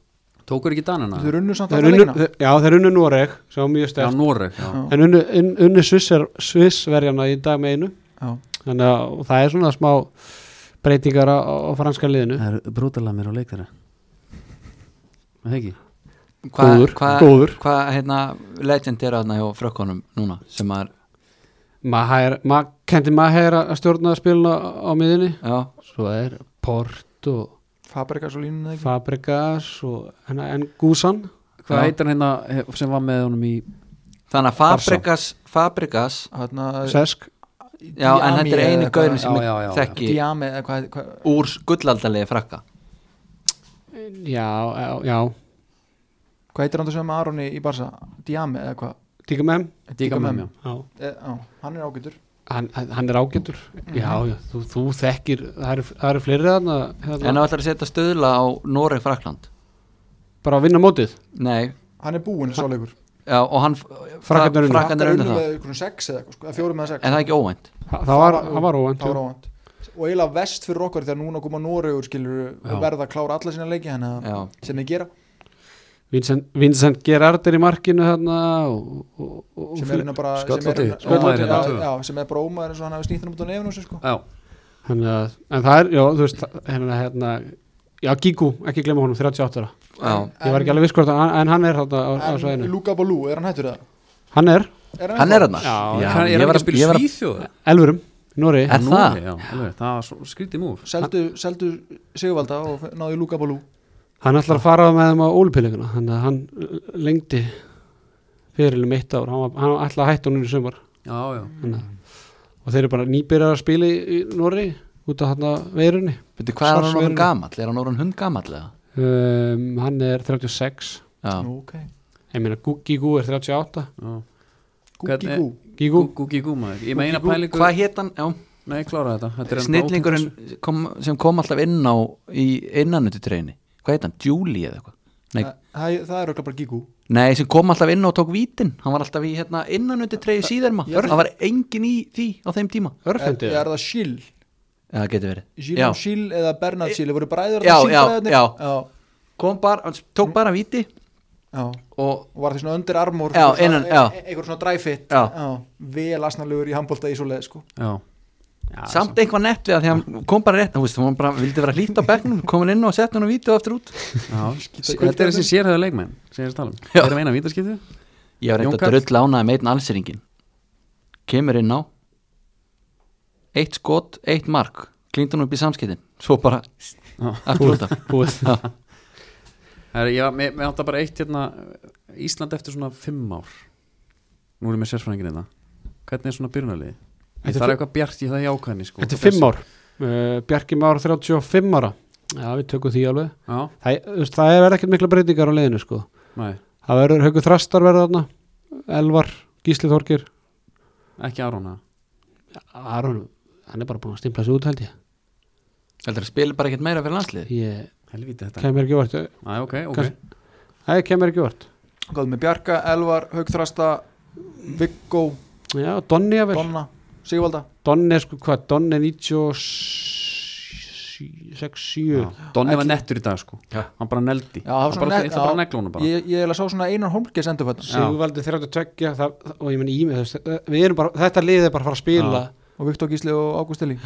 Tókur ekki danana?
þeir runnu samt
þeir
alltaf
unnu,
leikina
þeir, Já, þeir unnu Noreg sem var mjög
Já,
stert
Noreg já.
Já.
en unnu, un, unnu Svisser, Svissverjana í dag með einu
Já.
þannig að og það er svona smá breytingar á, á franska liðinu
Það er brútalega mér á leik þeirra Það ekki?
Góður,
hvað,
góður.
hvað, hérna, legend er aðna hjá frökkunum núna sem maður,
Maher, ma, kendi Maher að stjórna spiluna á, á miðinni
já,
svo er Port og
Fabregas og línuna ekki
Fabregas og, en, en Gusan
Hvað
Já.
heitir hann hérna sem var með honum í
þannig að Fabregas Fabregas,
Þarna,
Sesk
já, en þetta er eini gaurin sem ég
Já, já, já, já.
þekki
Diame eða hvað, hvað
úr gullaldalegi frakka
Já, já, já
hvað heitir hann það sem var með Aroni í Barsa Diame eða hvað
Tíka með
Digamem, já.
Já
Eh, já, hann er ágætur
hann, hann hann er ágættur já, já, þú, þú þekkir það eru, það eru fleiri þarna
en
hérna,
það ætlar að setja stöðla á Noreg Frakland
bara að vinna mótið
nei,
hann er búinn þessi áleikur
já, og hann
Frakkarnir unnu.
frakkan er
unnu
unnu það,
með einhvern sex eða eitthvað, sko, eða fjórum eða sex
en það er ekki óvænt
það, það var, það var óvænt
það var óvænt og eiginlega vest fyrir okkar þegar núna koma Noregur skilur
Já.
verða að klára alla sína leiki hana,
já,
sem þeir gera
Vincent, Vincent Gerard er í markinu þarna og, og, og, og
sem er hérna bara sem
Skotlandi,
er-
Skotlandi,
já,
hérna, tvö.
já, sem er bara ómaður eins og hann hafi snýtt hann út á nefnum sko.
Já,
hann, en það er, já, þú veist það- hérna, hérna, já, Gigu, ekki glemma honum 38 ára,
já,
ég var ekki alveg viss hvort að- en hann er þarna á, á
en
sveinu
Luka Balú, er hann hættur það?
hann er,
hann er hann
Já,
já hann,
ég
er hann
var
ekki að
að-
spila
ég var að-
Svíþjóð?
Elfurum, Nóri
Er það?
Já, alveg, það var svo skrítið múf
seldu, seldu Sigvalda og f- náðu í Luka Balú
hann ætlar að fara með þeim á ólpileguna þannig að hann lengdi fyrirlum eitt ár, hann, var- hann ætlar að hætta honum í sumar
Já, já,
og þeir eru bara nýbyrjar að spila í, í Norri út af hann veirunni
veitu hvað er hann
Svartsverður.
orðan gamall er hann orðan hund gamall eða
um, hann er 36
já,
Nú, ok.
ég meina Gú- Gígú er 38
já.
Gúki
Hvernig-
gú
Gígú,
Gú, gú, gú, maður Ég meina pælingu
hvað hétt hann, já
Nei, klára þetta, þetta er enda
snillingurinn
ótrúlega-
kom, sem kom alltaf inn á í innanututreini, hvað heit hann, Julie eða eitthvað nei,
Þa- það er- það er örugglega bara gígú
nei, sem kom alltaf inn og tók vítin hann var alltaf í hérna, innanututreini síðarma
Ég-
það var engin í því á þeim tíma
örfendi
er, er það Schill
já, það getur verið
Gilles og
já,
Schill eða Bernard Schill voru bræður
Já,
þarna,
já,
Schill-bræðurnir?
já.
já,
kom bara, hann tók bara víti
já
og
og var því svona undir armor
Já,
svona-
innan- já.
e- e- einhver svona dræfitt
Já.
vel asnalugur í handbólta í svo leið sko.
Já, já
samt eitthvað nett við að því að hann kom bara rétt, þú veist, hann bara vildi vera hlýtt á bekknum, kom hann inn og sett hann á víti og aftur út
já. Þetta er þessi sérhæða leikmenn sem ég er að tala um
Já.
Þeir eru meina vítaskiptu
ég var
Jón
reynda
Karl.
drull ánaði með einn allsýringin kemur inn á eitt skot, eitt mark klíndan upp í samskiptin, svo bara aftur út af
búið
Já.
Það er, já, mér, mér átta bara eitt hérna Ísland eftir svona fimm ár Nú erum við sérfræðingin hérna Hvernig er svona byrjunarliði?
Þetta
Ég
er
þarf
fi-
eitthvað bjart í það jákvæðni sko
Þetta er fimm ár uh, Bjarki Már 35 ára Já, við tökum því alveg
Já,
Það, þú veist, það er ekkert mikla breytingar á leiðinu sko.
nei,
Það verður Hauku Þrastar verða þarna Elvar, Gísli Þorgir
ekki Arona
Aron, hann er bara búin að stimpla sig út held ég
Heldur að spila bara ekkert meira fyrir landslið
Ég
Helvíti þetta
kemur ekki vart
Æ, ok, ok
Kannski- Það kemur ekki vart
Góð með Bjarka, Elvar, Haugþrasta Viggó,
Já, Donni að vel
Donna, Sigvalda
Donni er sko hvað, Donni er 96 7
Já. Donni var
Ætli-
nettur í dag sko
Já.
Hann bara neldi
Já, það var
Hann
svona
bara,
net-
Það bara
já.
neglunum bara
Ég, ég eiginlega sá svona Einar Holmgeis endurfætt
Sigvaldi 32 það, og ég meni ímið þess, við erum bara, þetta liðið er bara að fara að spila
Já.
og Viktor Gísli og Ágúst Eli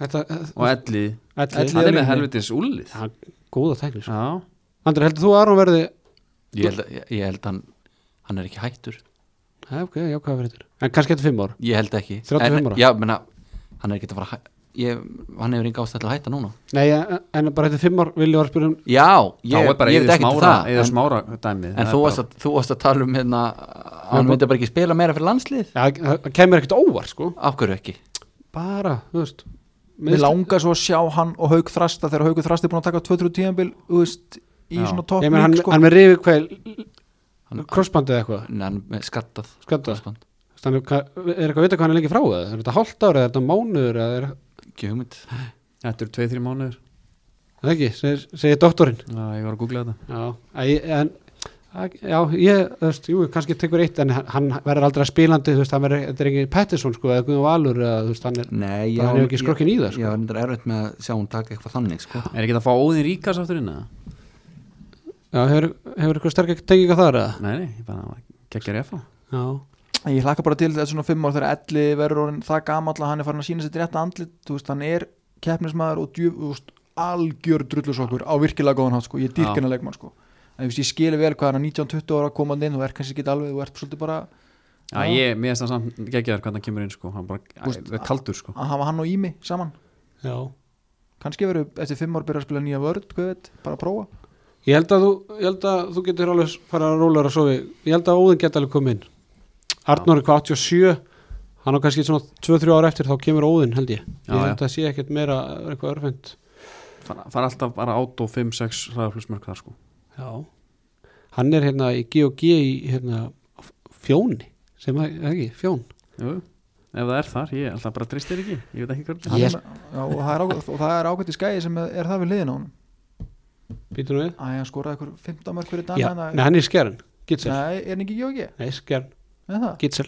þetta,
Og Elli
ætli,
Hann er
Elliði.
með helvitis úlið
hann, góða tækni sko.
Já
Andri, heldur þú að Aron verði
ég held, að- ég held að hann, hann er ekki hættur
Hei, ok, já, hvað verður þetta? En kannski eftir fimm ára
ég held ekki
35
En-
ára?
já, menna, hann er ekki að fara að hæ- ég, hann hefur enga ástæð til að hætta núna
Nei, en en bara eftir fimm ára vil ég var að spyrja um
já, ég,
Þá er bara
ég veit
eða
ekki
smára,
það
eða
en,
smára dæmið
en
Það
þú,
er
varst
bara-
að, þú varst að tala um hérna, að hann
bara-
myndi bara ekki spila meira fyrir landslið
Já, það það kemur ekkert óvar, sko
af hverju ekki
Bara, þú veist
Mér
meiðsli.
langar svo að sjá hann og Haug Þrasta þegar Haug Þrasta er búin að taka 2-3 tíðanbil veist, í
Já.
svona
Ég menn,
topp
hann,
sko.
hann með rifið hvað
Hann-
Krossbandið eða eitthvað
Nei, hann er með skattað
Skaddað.
Krossband.
Þú veist, hann Er hvað- er eitthvað að vita hvað hann er lengi frá það? Er þetta hálft ára eða er þetta mánuður eða er
ekki hugmynd
Þetta eru 2-3 mánuður
það ekki? Segir, segir doktorinn
Já, ég var að googla þetta
Já, æ, en að- Já, ég, þú veist, jú, kannski tekur eitt en hann- hann verður aldrei spilandi, þú veist, hann verður þetta er engin Pettersson, sko, eða Guðum Valur eða, þú veist, hann er,
Nei, ég,
hann er ekki skrokkin í það,
sko.
sko
ég var reyndar erfitt með að sjá hún taka eitthvað þannig sko.
Er ekki að fá óðin ríkas aftur inn eða?
Já, hefur, hefur eitthvað sterkar tenginga þar eða?
Nei, nei, ég bara kekkja refa
Já,
En Ég hlakka bara til þetta svona 5 ár þegar Elli verður orðin það gamall að hann er farin að sína sér rétt andlit þú veist, hann er keppnismæður og djöf, þú veist, algjör drullusokkur á virkilega góðan hátt sko. ég
Já.
dýrkina leikmann sko. en þú veist, ég skili vel hvað hann er 19-20 ára komandi inn þú er kannski ekki alveg, þú ert svolítið bara
Já,
Já.
ég, mér finnst það samt geggjaður hvernig hann kemur inn sko, hann bara,
Úst,
Úst, kaldur sko
að hafa hann og Ími saman
já
kannski verður eftir 5 ár byrja að spila nýja vörð hvað veit, bara að prófa
Ég held að þú, ég held að þú getur alveg fara að róla að sofi, ég held að Óðinn geta alveg komið inn Arnór er hvað 87 hann á kannski svona 2-3 ára eftir þá kemur Óðinn held ég ég
Já,
held að sé ekkert meira eh, eitthvað örfend
fara, fara alltaf bara át og 5-6 hraðaflusmörk þar sko
Já Hann er hérna í G&G í hérna f- fjóni sem að, eða ekki, fjón
Jú, ef það er þar, ég alltaf bara tristir ekki ég veit ekki hvernig
Hann
Ég-
er með- já, og það er ágætt- og það er ágætt í skæði sem er það við liðin á hann
Býtur við?
Æ, hann skoraði eitthvað 15 mörg fyrir
Já,
dana hérna
nei, hann er skjærin, Gitzel
Nei, er hann ekki Jóki?
Nei, skjærin,
Nei, það?
Gitzel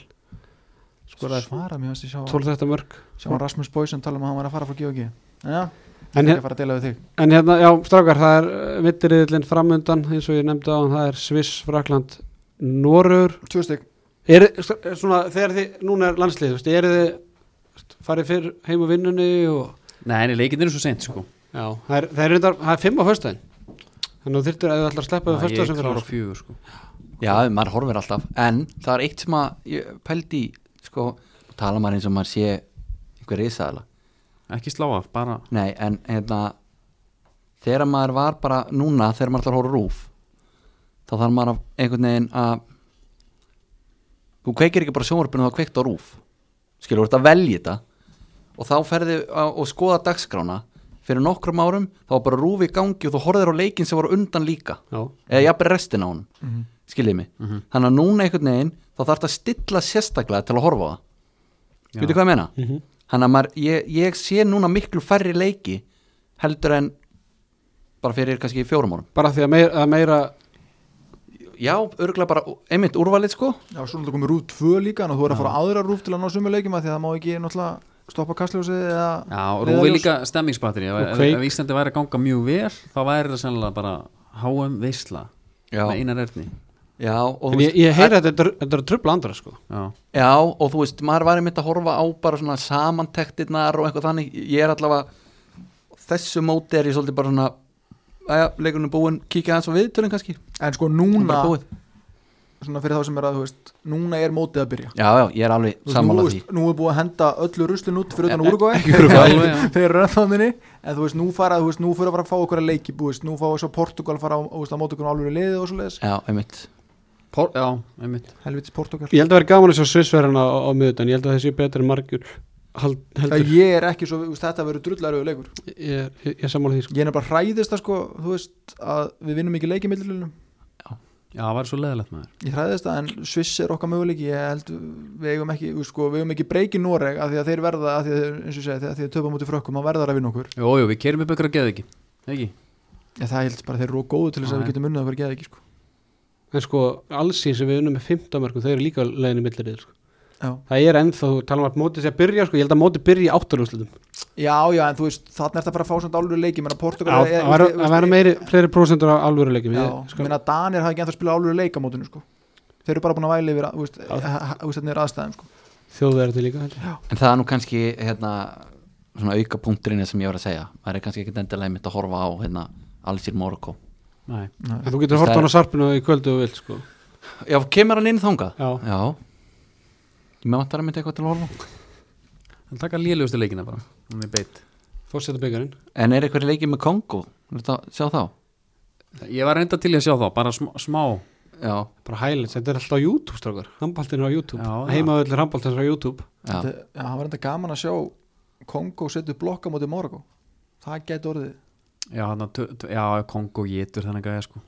Skoraði
Svara mér, veist ég sjá
12-13 mörg
Sjá hann Rasmus Boysen tala um að hann var að fara frá Georgi Já,
En
það er
hér,
ekki að fara að deila við þig
En hérna, já, strákar, það er eh, mittiriðlinn framundan, eins og ég nefndi á hann, það er Sviss, Frakland, Norur.
Tvö stygg
Er, eh, svona, þegar þið, núna er landslið, þú veist, eru þið þú veist, farið fyrr heim á vinnunni og,
Nei, nei, leikinn eru svo seint sko
já, það er, það er, reyndar, það er fimm á föstudaginn. Þannig að þú þyrtir að þið ætlar að sleppa
Já,
við
Ég
föstudaginn sem
klára
fyrir.
fjögur sko
Já, maður horfir alltaf En það er eitt sem að ég pældi í sko, tala maður eins og maður sé einhver risaðala
Ekki slá af, bara
Nei, en hérna þegar maður var bara núna þegar maður ætlar að horfa á rúf þá þarf maður að, einhvern veginn að þú kveikir ekki bara sjónvarpinu þá kveikt á rúf skilur þú ert að velja þetta og þá ferði og skoða dagskrána fyrir nokkrum árum þá var bara rúf í gangi og þú horfir á leikin sem var á undan líka
Já,
eða jafnir restin á honum mm
Mhm.
mig þannig að núna einhvern veginn þá þarf þetta að stilla sérstaklega til að horfa á það
Já.
veitu hvað ég meina?
Mhm.
þannig að maður, ég, ég sé núna miklu færri leiki heldur en bara fyrir kannski fjórum árum
bara því að meira, að meira
já, örgulega bara, einmitt úrvalið sko
Já, svo náttúrulega komið rúf tvö líka og þú er að fara á aðra rúf til að ná sumu leikima því að það má ekki náttúrulega stoppa kastljósið eða
Já,
eða
rúfi
ljós.
líka stemmingsbatteri ef,
Og
ef,
kveik.
ef Íslandi væri að ganga mjög vel þá væri það sennilega bara HM veisla
já,
með einar erðni
já, og, þú
en ég,
veist,
ég heyra að þetta, er- þetta er að trubla andra, sko.
Já,
já, og þú veist maður var einmitt að horfa á bara svona samantektirnar og eitthvað þannig, ég er allavega þessu móti er ég svolítið bara svona aðja, leikunum búin, kíkja aðeins á viðtölinn kannski
En sko
Hún
núna
bara búið.
svona fyrir þá sem er að, þú veist, núna er mótið að byrja
já, já, ég er alveg
Þú veist, nú,
sammála því
veist, nú er búið að henda öllu ruslin út fyrir utan
Ja,
úrugói
ekki Úrúgvæ.
Alveg, já.
þeir eru ennþáðinni en þú veist, nú fara, þú veist, nú fyrir að fara að fá okkur að leiki þú veist, nú fá svo Portugal fara á, þú veist, að móta okkur álur í liði og svo leiðis
já, einmitt
Por, já, einmitt
helvitis Portugal
Ég held að vera gaman að sjá Svissverðina á, á miðutan Ég held að þessi betur en margjur hald,
Já,
heldur,
ég er ekki svo, þú veist, þetta verður drullaröðu leikur
ég, ég, ég, ég sammála því sko.
ég er nefnilega hræðist að sko, þú veist að við vinnum ekki leiki millilunum
Já, það var svo leðilegt maður
ég hræðist að en Sviss er okkar möguleiki ég held við eigum ekki, þú veist, sko, við eigum ekki breyki Noreg af því að þeir verða, af því að þeir, eins og ég segi, af því að þeir töpa múti frökkum, að verða að vinna okkur
Jó, jú, við kerum upp ykkur að geða ekki Ekki?
Já, það held bara þeir eru of góðu til þess að
Nei.
við getum unnað okkur geða ekki sko.
En sko, allsýn sem við unum með 15 mörgum Þau eru líka leiðin í millirrið sko.
Já.
Það er ennþá, þú talar um að mótið sé að byrja sko. Ég held að mótið byrja í áttalúslutum
já, já, en þú veist, þarna er það bara að fá svona álur leiki, menna Portugal
Það
er-
að vera-
þú veist,
að vera meiri, fleiri prósentur á alvöruleikum
já,
Ég- sko,
menna Danir hafa ekki ennþá að spila álur leika mótinu sko. þeir eru bara búin að væli yfir að- þú veist,
Já.
ha- ha- þú veist, þetta er aðstæðum sko.
Þjóðverði líka held ég.
en það er nú kannski hérna, svona auka punkturinn sem ég var að segja maður er kannski ekkert endilega mitt að horfa á hérna, Alsir Morocco
Nei
Nei.
Þú getur hort á hana sarpinu í kvöldu og vilt sko.
já, kemur hann inn þangað?
Já.
já mér vantar að mynda eitthvað til að horfa á.
Það taka lélugustu leikina bara Hún er beitt
Fórseta byggarinn
en er eitthvað leikið með Kongo? Viltu að sjá þá?
Ég var reynda til í að sjá þá, bara sm smá
já,
Bara hælis, þetta er alltaf á YouTube strákar Handbaltinu á YouTube,
Já, já.
heimaðullir handbaltinu á YouTube
já.
Þetta- já, það var enda gaman að sjá Kongo setja upp blokka móti Morago það gæti orðið
Já, þarna, tö- tö- já Kongo getur þennan gæja sko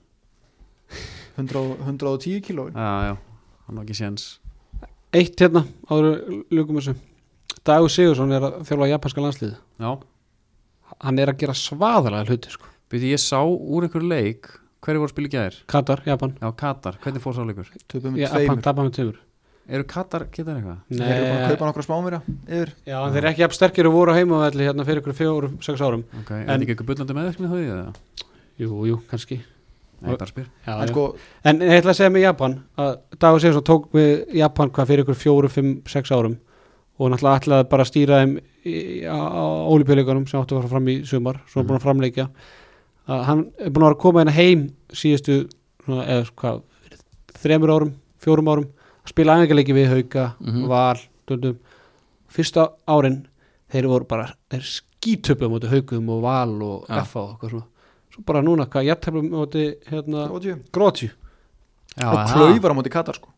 100, 110 kílóin
Já, já, hann var ekki séns
Eitt hérna, áður ljúkum þessu Dagur Sigursson er að þjálfa japanska landslið
Já,
Hann er að gera svaðalega hluti sko.
byrju ég sá úr einhverju leik Hverju voru að spila í gær?
Katar, Japan
Já, Katar, hvernig fór sá leikur?
töpum við
Japan
tveimur
tapa með tveimur
Eru Katar, geta þeir eitthvað?
þeir eru búin að
Nei,
kaupa nokkra smámyrja yfir
já, en þeir eru ekki jafn sterkir og voru á heimavelli hérna fyrir ykkur fjórum, sex árum
Ok, en, er
En-
þetta ekki eitthvað bullandi meðverkni þá í það?
Jú, jú, kannski
Nei, bara spyr
já,
en
já.
sko,
En ég ætla að segja með Japan að Dagur Sigursson tók við Japan hvað fyrir ykkur fjóru, fimm, sex árum og náttúrulega ætlaði bara að stýra þeim í- á ólipjöleikunum sem áttu að fara fram í sumar svo er búin að
Mhm.
framleikja að hann er búin að vera að koma hérna heim síðustu svona, eða, hvað, þremur árum, fjórum árum að spila aðeingarleiki við Hauka,
Mhm.
Val dundum. fyrsta árin þeir voru bara þeir skítöpum á móti Haukum og Val og
Já.
FA og eitthvað svona svo bara núna hvað jættæfum á móti hérna,
Króatíu.
grótju
Já,
og klaufar á móti Katar sko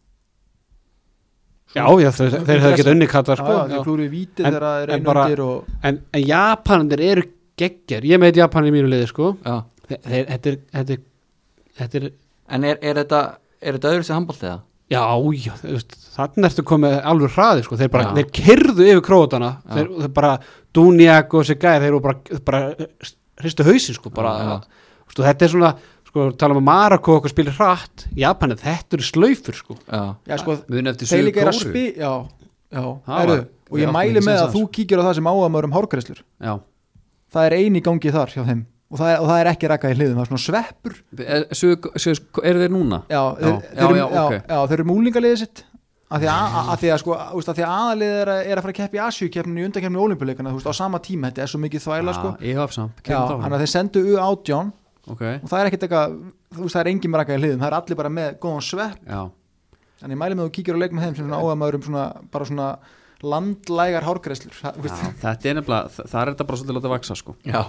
Já, já, þeir, þeir hefðu getað unni Katar sko,
Já, já, þeir
já.
klúru í víti
En-
þegar það er
en
einu
bara-
undir og
En, en Japanir eru geggjar Ég meit Japan í mínu liði sko
já.
Þe- þeir, þetta, er, þetta, er, þetta er
en er, er þetta er þetta öðru sem handbóltið það?
Já, já, þú veist, þannig ertu komið alveg hraði sko, þeir bara,
Já.
þeir kyrðu yfir krótana
Já.
þeir, þeir bara, Duniak og þessi gæði þeir eru bara, bara hristu hausin sko, bara,
Já, já.
Sko, þetta er svona, sko, tala um að Marako okkur spilir hratt, Japanir, þetta eru slaufur sko,
já,
já sko,
Mun eftir sögur
peiling er að
kóru
spi já, já,
Það
erðu
var-
og ég
við
mæli
áttum
með
ekki
að
sens
þú kíkir á það sem áamör um hárgreslur
Já,
það er eini gangi þar hjá þeim og það er, og það er ekki rakka í hliðum, það er svona sveppur
er, sögur, sögur, eru þeir núna?
já, þeir,
Já,
þeir,
já,
já, já,
ok.
já, þeir eru múlingaliðið sitt að því að, að, að, því að, sko, að, að, því að aðalið er að, er að fara að keppa í Asjúkeppninu í undarkeppninu ólimpíuleikana, þú veist, á sama tíma þetta er svo mikið þvæla, sko
Já, ég haf samt,
já,
kemur
þannig
þá
að þeir sendu U18
Ok,
og það er ekkert eitthvað, þú veist, það er engin rakka í hliðum, það er allir bara með góðan svepp
já
þannig ég mæli með að þú kíkir á leik með þeim sem svona áhæmaður um svona, bara svona landlægar hárgreislur það- þú
Já,
veist,
þetta er nefnilega, þa- það er þetta bara svolítið að láta vaksa sko
já.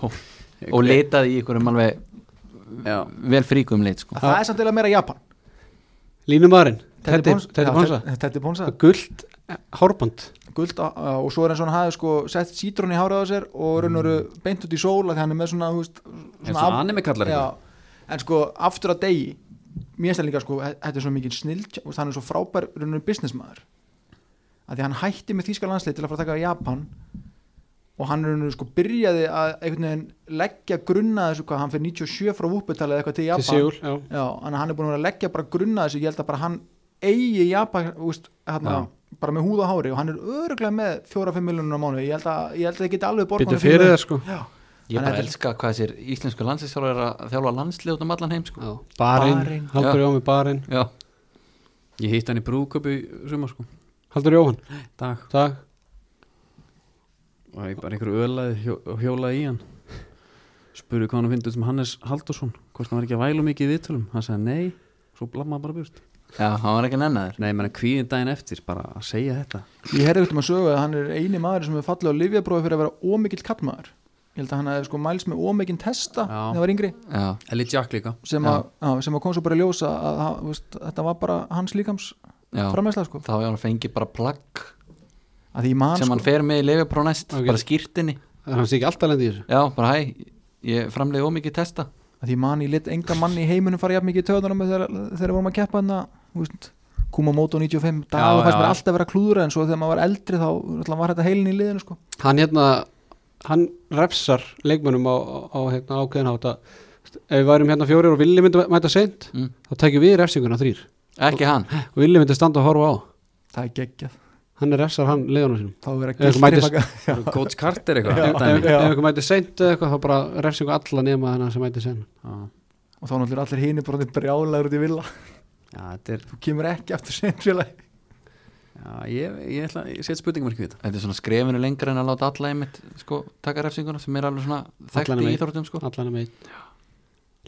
og leitaði í einhverjum alveg
Já,
vel fríkum lit sko.
að það er samt eða meira Japan
Línumarinn, þetta
Teddy Bons-
er
já,
bónsa
Ted- Teddy Bonsa
Gult eh, hárband
guld á, á, og svo er eins og hann hafi sko sett sítrón í hárað á sér og raun og veru beint út í sól að því hann er með svona, þú veist,
Mm. eins og anime kallar
já,
eitthvað
en sko aftur að degi mér finnst það líka sko, þe- þetta er svo mikið snill hann er svo frábær raun og businessmaður að því hann hætti með þýska landslið til að fara að taka á Japan og hann raun og veru sko byrjaði að einhvern veginn leggja grunna þessu hvað hann fyrir 97 frá Vúpetalið eitthvað til
til
Japan
Sigul, já
Já, en hann er búin að vera að leggja bara grunna þessu, ég held að bara hann eigi Japan, úst, hérna, bara með húð og hári og hann er öruglega með fjóra-fimm miljonur á mánu, ég held að, ég held að það geti alveg borgað
Býtu
honum
fyrir
fyrir
það sko
ég
Þannig
bara
að-
elska hvað þessir íslensku landslýstjálfur er að þjálfa landslið út um allan heim sko.
Barinn,
Barinn.
Haldur
Já.
Jómi Barinn
já.
Ég hitt hann í brúðköpu í sumar sko
Haldur Jóhann,
Dag
dag
Og ég bara einhverju ölaði hjó, hjólaði í hann Spurði um hvað hann finnst út sem Hannes Haldursson Hvort hann var ekki að vælu mikið í viðtölum Hann sagði nei, svo blammaði bara burt
já, hann var ekki nennaður
Nei, menn að kvíðin daginn eftir bara að segja þetta
Ég herði ekkert um að sögu að hann er eini maður sem er fallið á lifjabrófi fyrir að vera ómikill kallmaður Ég held að hann hefði sko mælst með ómikinn testa
Já.
þegar hann var yngri
já,
Ellie Jack líka
sem, að, á, sem að kom svo bara í ljós að, að, að veist, þetta var bara hans líkams
já,
framæsla sko.
þá hefur hann fengið bara plagg
að því mann
sem
sko,
hann fer með í leifipróf næst
Ok.
bara skýrtinni,
Það er hans ekki alltaf lendið í þessu
já, bara hæ ég framleiði ómikið testa
að því mann ég lit enga mann í heiminum fara jafn mikið í töðunum þegar, þegar við vorum að keppa hérna, hann Kuma Moto 95 dag
Já,
og fannst
já.
mér alltaf vera klúður en svo þegar maður var eldri þá náttúrulega var þetta heilin í liðinu sko.
Hann hérna, hann refsar leikmönnum á, á hérna, ákveðin átt að ef við værum hérna fjórir og Villi myndi mæta seint
Mm.
þá tekjum við refsinguna þrýr
ekki hann,
og Villi myndi standa og horfa á
það er geggjað
hann er refsar hann leiðanum sínum
þá er
Ef þú
að
mætir-
gildri
Coach Carter
ef
eitthvað
ef-
dæmi.
ef einhver mæti seint eða eitthvað þá bara refsingu alla nema þennan sem mæti seint
Já,
og þá náttúrulega allir hini bara brjálæður út í villa
Já, þetta er
þú kemur ekki aftur sent félagi
Já, ég, ég ætla ég set spurningum ekki við
þetta er svona skrefinu lengra en að láta alla einmitt sko, taka refsinguna sem er alveg svona þekkt
Allan er
í
meitt.
íþróttum sko.
allan er meitt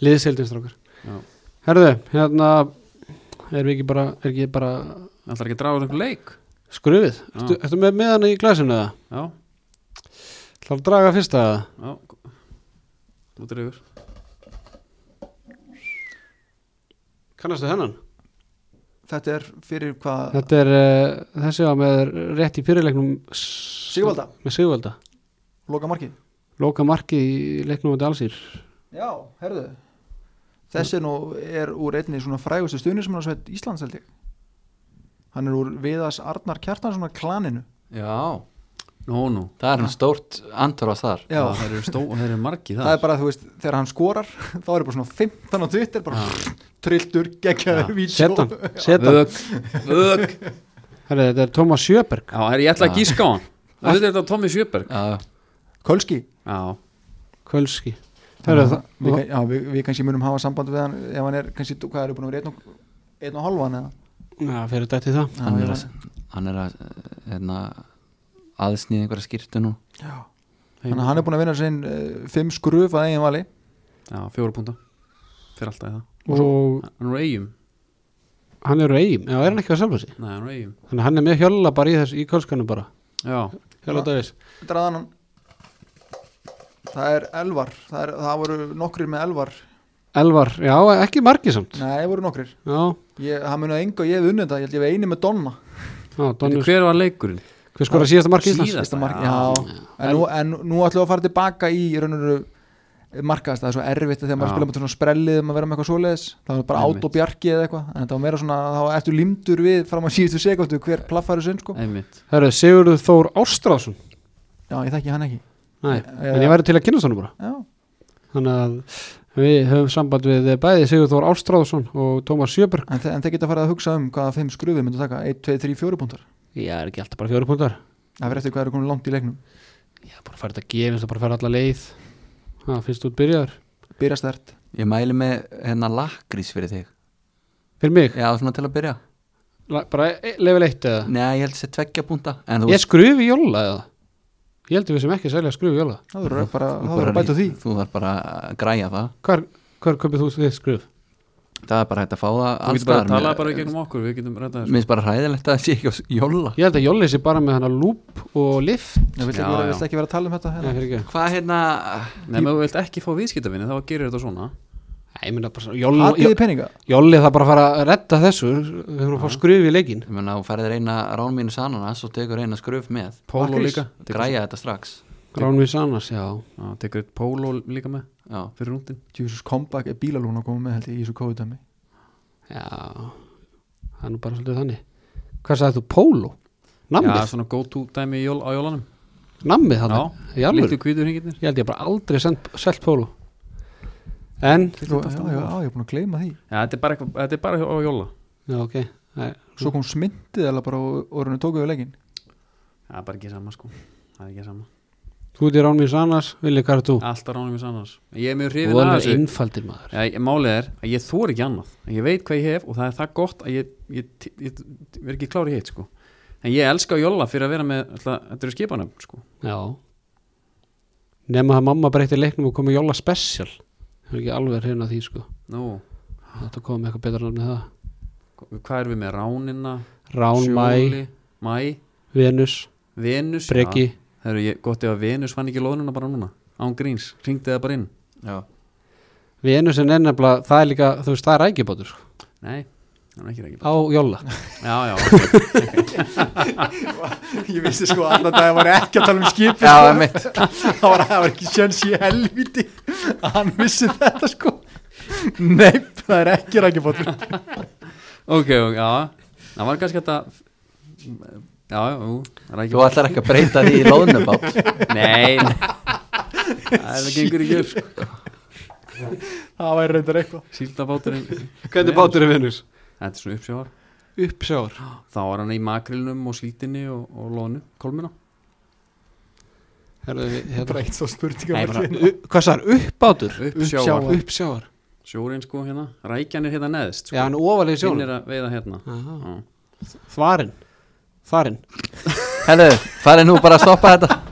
liðsildinstrákar
þetta
Herðu, hérna erum við ekki bara, er ekki bara
Það ætlar ekki að draga úr einhver leik
skrufið ertu, ertu með meðan í glæsinu eða?
Já,
Það að draga fyrsta eða?
já Þú drefur
Kannastu hennan?
þetta er fyrir hvað
Þetta er uh, þessi á með rétt í fyrirleiknum s-
Sigvalda,
með Sigvalda
loka markið
Lóka markið í leiknum á Dalsýr
Já, herðu Þessi nú er úr einni svona frægustu stuðnismannasveit Íslands held ég Hann er úr Viðars Arnar Kjartansson klaninu
já,
Nú, nú
það er hann stórt antorvast þar
Já,
Það eru stó, það eru margir
það
það
er bara þú veist, þegar hann skorar þá er bara svona 15 á Twitter bara
Ah.
trilltur, geggjaður, vítsjó
Setan, setan
Vög, vög
Herðu, Þetta er Tómas Sjöberg
Já, herri, ég ætla að gíska á hann Það er þetta Tommy Sjöberg
já,
Kölski
Já,
Kölski Herðu, það,
við, kann- já, við, við kannski munum hafa samband við hann ef hann er kannski, hvað eru búin að vera einn og, einn og halvan eða
Já, fyrir dætt í það
hann
Já,
er
ég
að, hann er að hérna, aðsnýða einhverja skýrtu nú
Þannig að hann er búin að vinna sinn 5 skruf að eigin vali
já fjóra púnta Fyrir alltaf í það
Og
Hann er úr eigum
hann er úr eigum Já, er hann ekki á sjálfur sig
Nei, hann er úr eigum
Þannig að hann er með hjóla bara í þess í kölskanum bara
Já,
Hjóla Davís
draðan hann það er elvar það, er, það voru nokkrir með elvar
Elvar, já, ekki margir samt
nei, það voru nokkrir
Já,
ég, það munið enga, ég hef unnið þetta, ég held ég hef eini með Donna
já,
Bíddu,
Donnur
hver var leikurinn?
Hver skora síðasta mark Íslands?
Fyrsta
Síðasta.
mark,
já.
já. En, nú, en nú ætlum við að fara tilbaka í rauninu markaðast, það er svo erfitt þegar maður
Já.
spila með svona sprellið um að vera með eitthvað svoleiðis það var bara
Einmitt.
át og bjarki eða eitthvað en það var meira svona, þá ertu limtur við fram að síðustu sekundu hver plaffari sinn sko
Einmitt
Herðu, Sigurður Þór Ástráðsson
já, ég þekki hann ekki
Nei,
Eh,
en ég væri til að kynast honum bara
já,
Þannig að við höfum samband við eh, bæði Sigur Þór Ástráðsson og Tómas Sjöberg
en, þe en þeir geta farið að hugsa um hvaða fimm skrufið myndu taka 1, 2, 3, 4 púntar
Já, er ekki alltaf bara fjóri púntar
það verður eftir hvað eru komin langt í leiknum
Já, bara færið að gefa, það bara færið alla leið Það finnst út byrjaður
byrja stert
ég mæli með hérna lakrís fyrir þig
Fyrir mig,
já, svona til að byrja
la- bara e- level 1 eða
Nei, ég held að sé tveggja púnta En þú
Ég skrufi jóla eða Ég heldur við sem ekki selja skrufi jóla
Það verður bara,
þú
það verður að bæta úr því
Þú þarf bara að græja það
Hvar, hvar köpið þú þitt skruf?
Það er bara hægt að fá það
Þú
alls
getur bara að
staðar.
tala
Mér-
bara í gegnum okkur Við getum rætta
Mér finnst bara hræðilegt að það sé ekki á s- jóla
Ég held að jóli sé bara með hana lúp og lift
Ég vill ekki,
Já,
vera-
já.
vill ekki vera að tala um þetta
Nei,
hérna.
fyrir ekki
Hvað hérna
þessu Nei, ef þú vilt ekki fá viðskiptavinni þá gerir þetta svona
Nei, ég mynda bara
Hatið
jóli,
þið peninga?
jóli það bara að fara að redda þessu Við höfum að fá skrufi í leikin
Ég meina, þú færðir eina rán mínu sanana Svo tekur eina skröf með
Pólo
Lakrís.
líka Tekur-
Græja þetta strax
Gránvís annars, já
Já, tekur eitt pólo líka með
Já,
fyrir rúndin
Jesus comeback er bílalúna að koma með held ég í þessu COVID-dæmi
Já, það er nú bara svolítið þannig Hvað sagði þú, Pólo? Nammið,
Já, svona go to dæmi í jól, á jólanum
nammið
Já,
þannig Já,
lítið hvítur hengirnir
Ég held ég bara aldrei sent, selt Pólo En,
Svo, já, já, já, ég er búin að gleyma því
Já, þetta er bara, eitthvað- þetta er bara á jóla
já ok Nei,
Svo kom smyndið eða bara og orðinu tókuðu leggin
Það er bara ekki sama sko Það er ekki sama
Þú ert í Ránvís annars, Vili, hvað er þú?
Alltaf ránum í sannars Ég er mjög
Þú
hrifin
er
að
alveg
þessu
innfaldir maður
Já, ég- Málið er að ég þor ekki annað Ég veit hvað ég hef og það er það gott að ég, ég, ég, ég, ég er ekki klár í hitt sko En ég elska jóla fyrir að vera með alltaf, Þetta eru skipanöfn sko
Já Nefna að mamma breytti leiknum og komið jóla special Það er ekki alveg hrifin að því, sko
Nú,
Þetta komið með eitthvað betra nafni það
hvað erum við með ránina
Rán, Mæ,
Sjóli, mæ,
Venus,
Venus
Breki
Það eru ég- gott ef að Venus fann ekki lóðnuna bara núna án gríns, ringdi það bara inn
já.
Venus er nefnilega, það er líka, þú veist, það er rækjubátur sko,
Nei, það er ekki ekki
á jóla
Já, já, ok.
Ég vissi sko að annan dag að var ekki að tala um skipið
Já,
sko.
einmitt.
það, var, það var ekki sjans í helviti að hann vissi þetta sko Nei, það er ekki rækjubóttur
ok, ok, já Það var kannski þetta Já, já, ú, það er ekki
Þú ætlar ekki að breyta því í loðnubát
Nei, nei. það gengur ekki upp sko.
Það væri reyndar eitthvað
Síldabáturinn
Hvernig bátur er Venus?
Þetta er svona uppsjávar
Uppsjór
Þá var hann í makrilnum og síldinni og, og lóðnu, kolmuna
Herðu, við-
Bara
hérna.
eitt svo
Nei,
spurningar
bara-
U- Hvað það er uppbátur?
Uppsjávar,
Uppsjór
Sjórinn sko hérna Rækjan er hérna neðst sko.
Já, hann er ofalega
Hinn
sjón
er að veiða hérna Já.
Þvarinn Þvarinn
Herðu, farið nú bara að stoppa þetta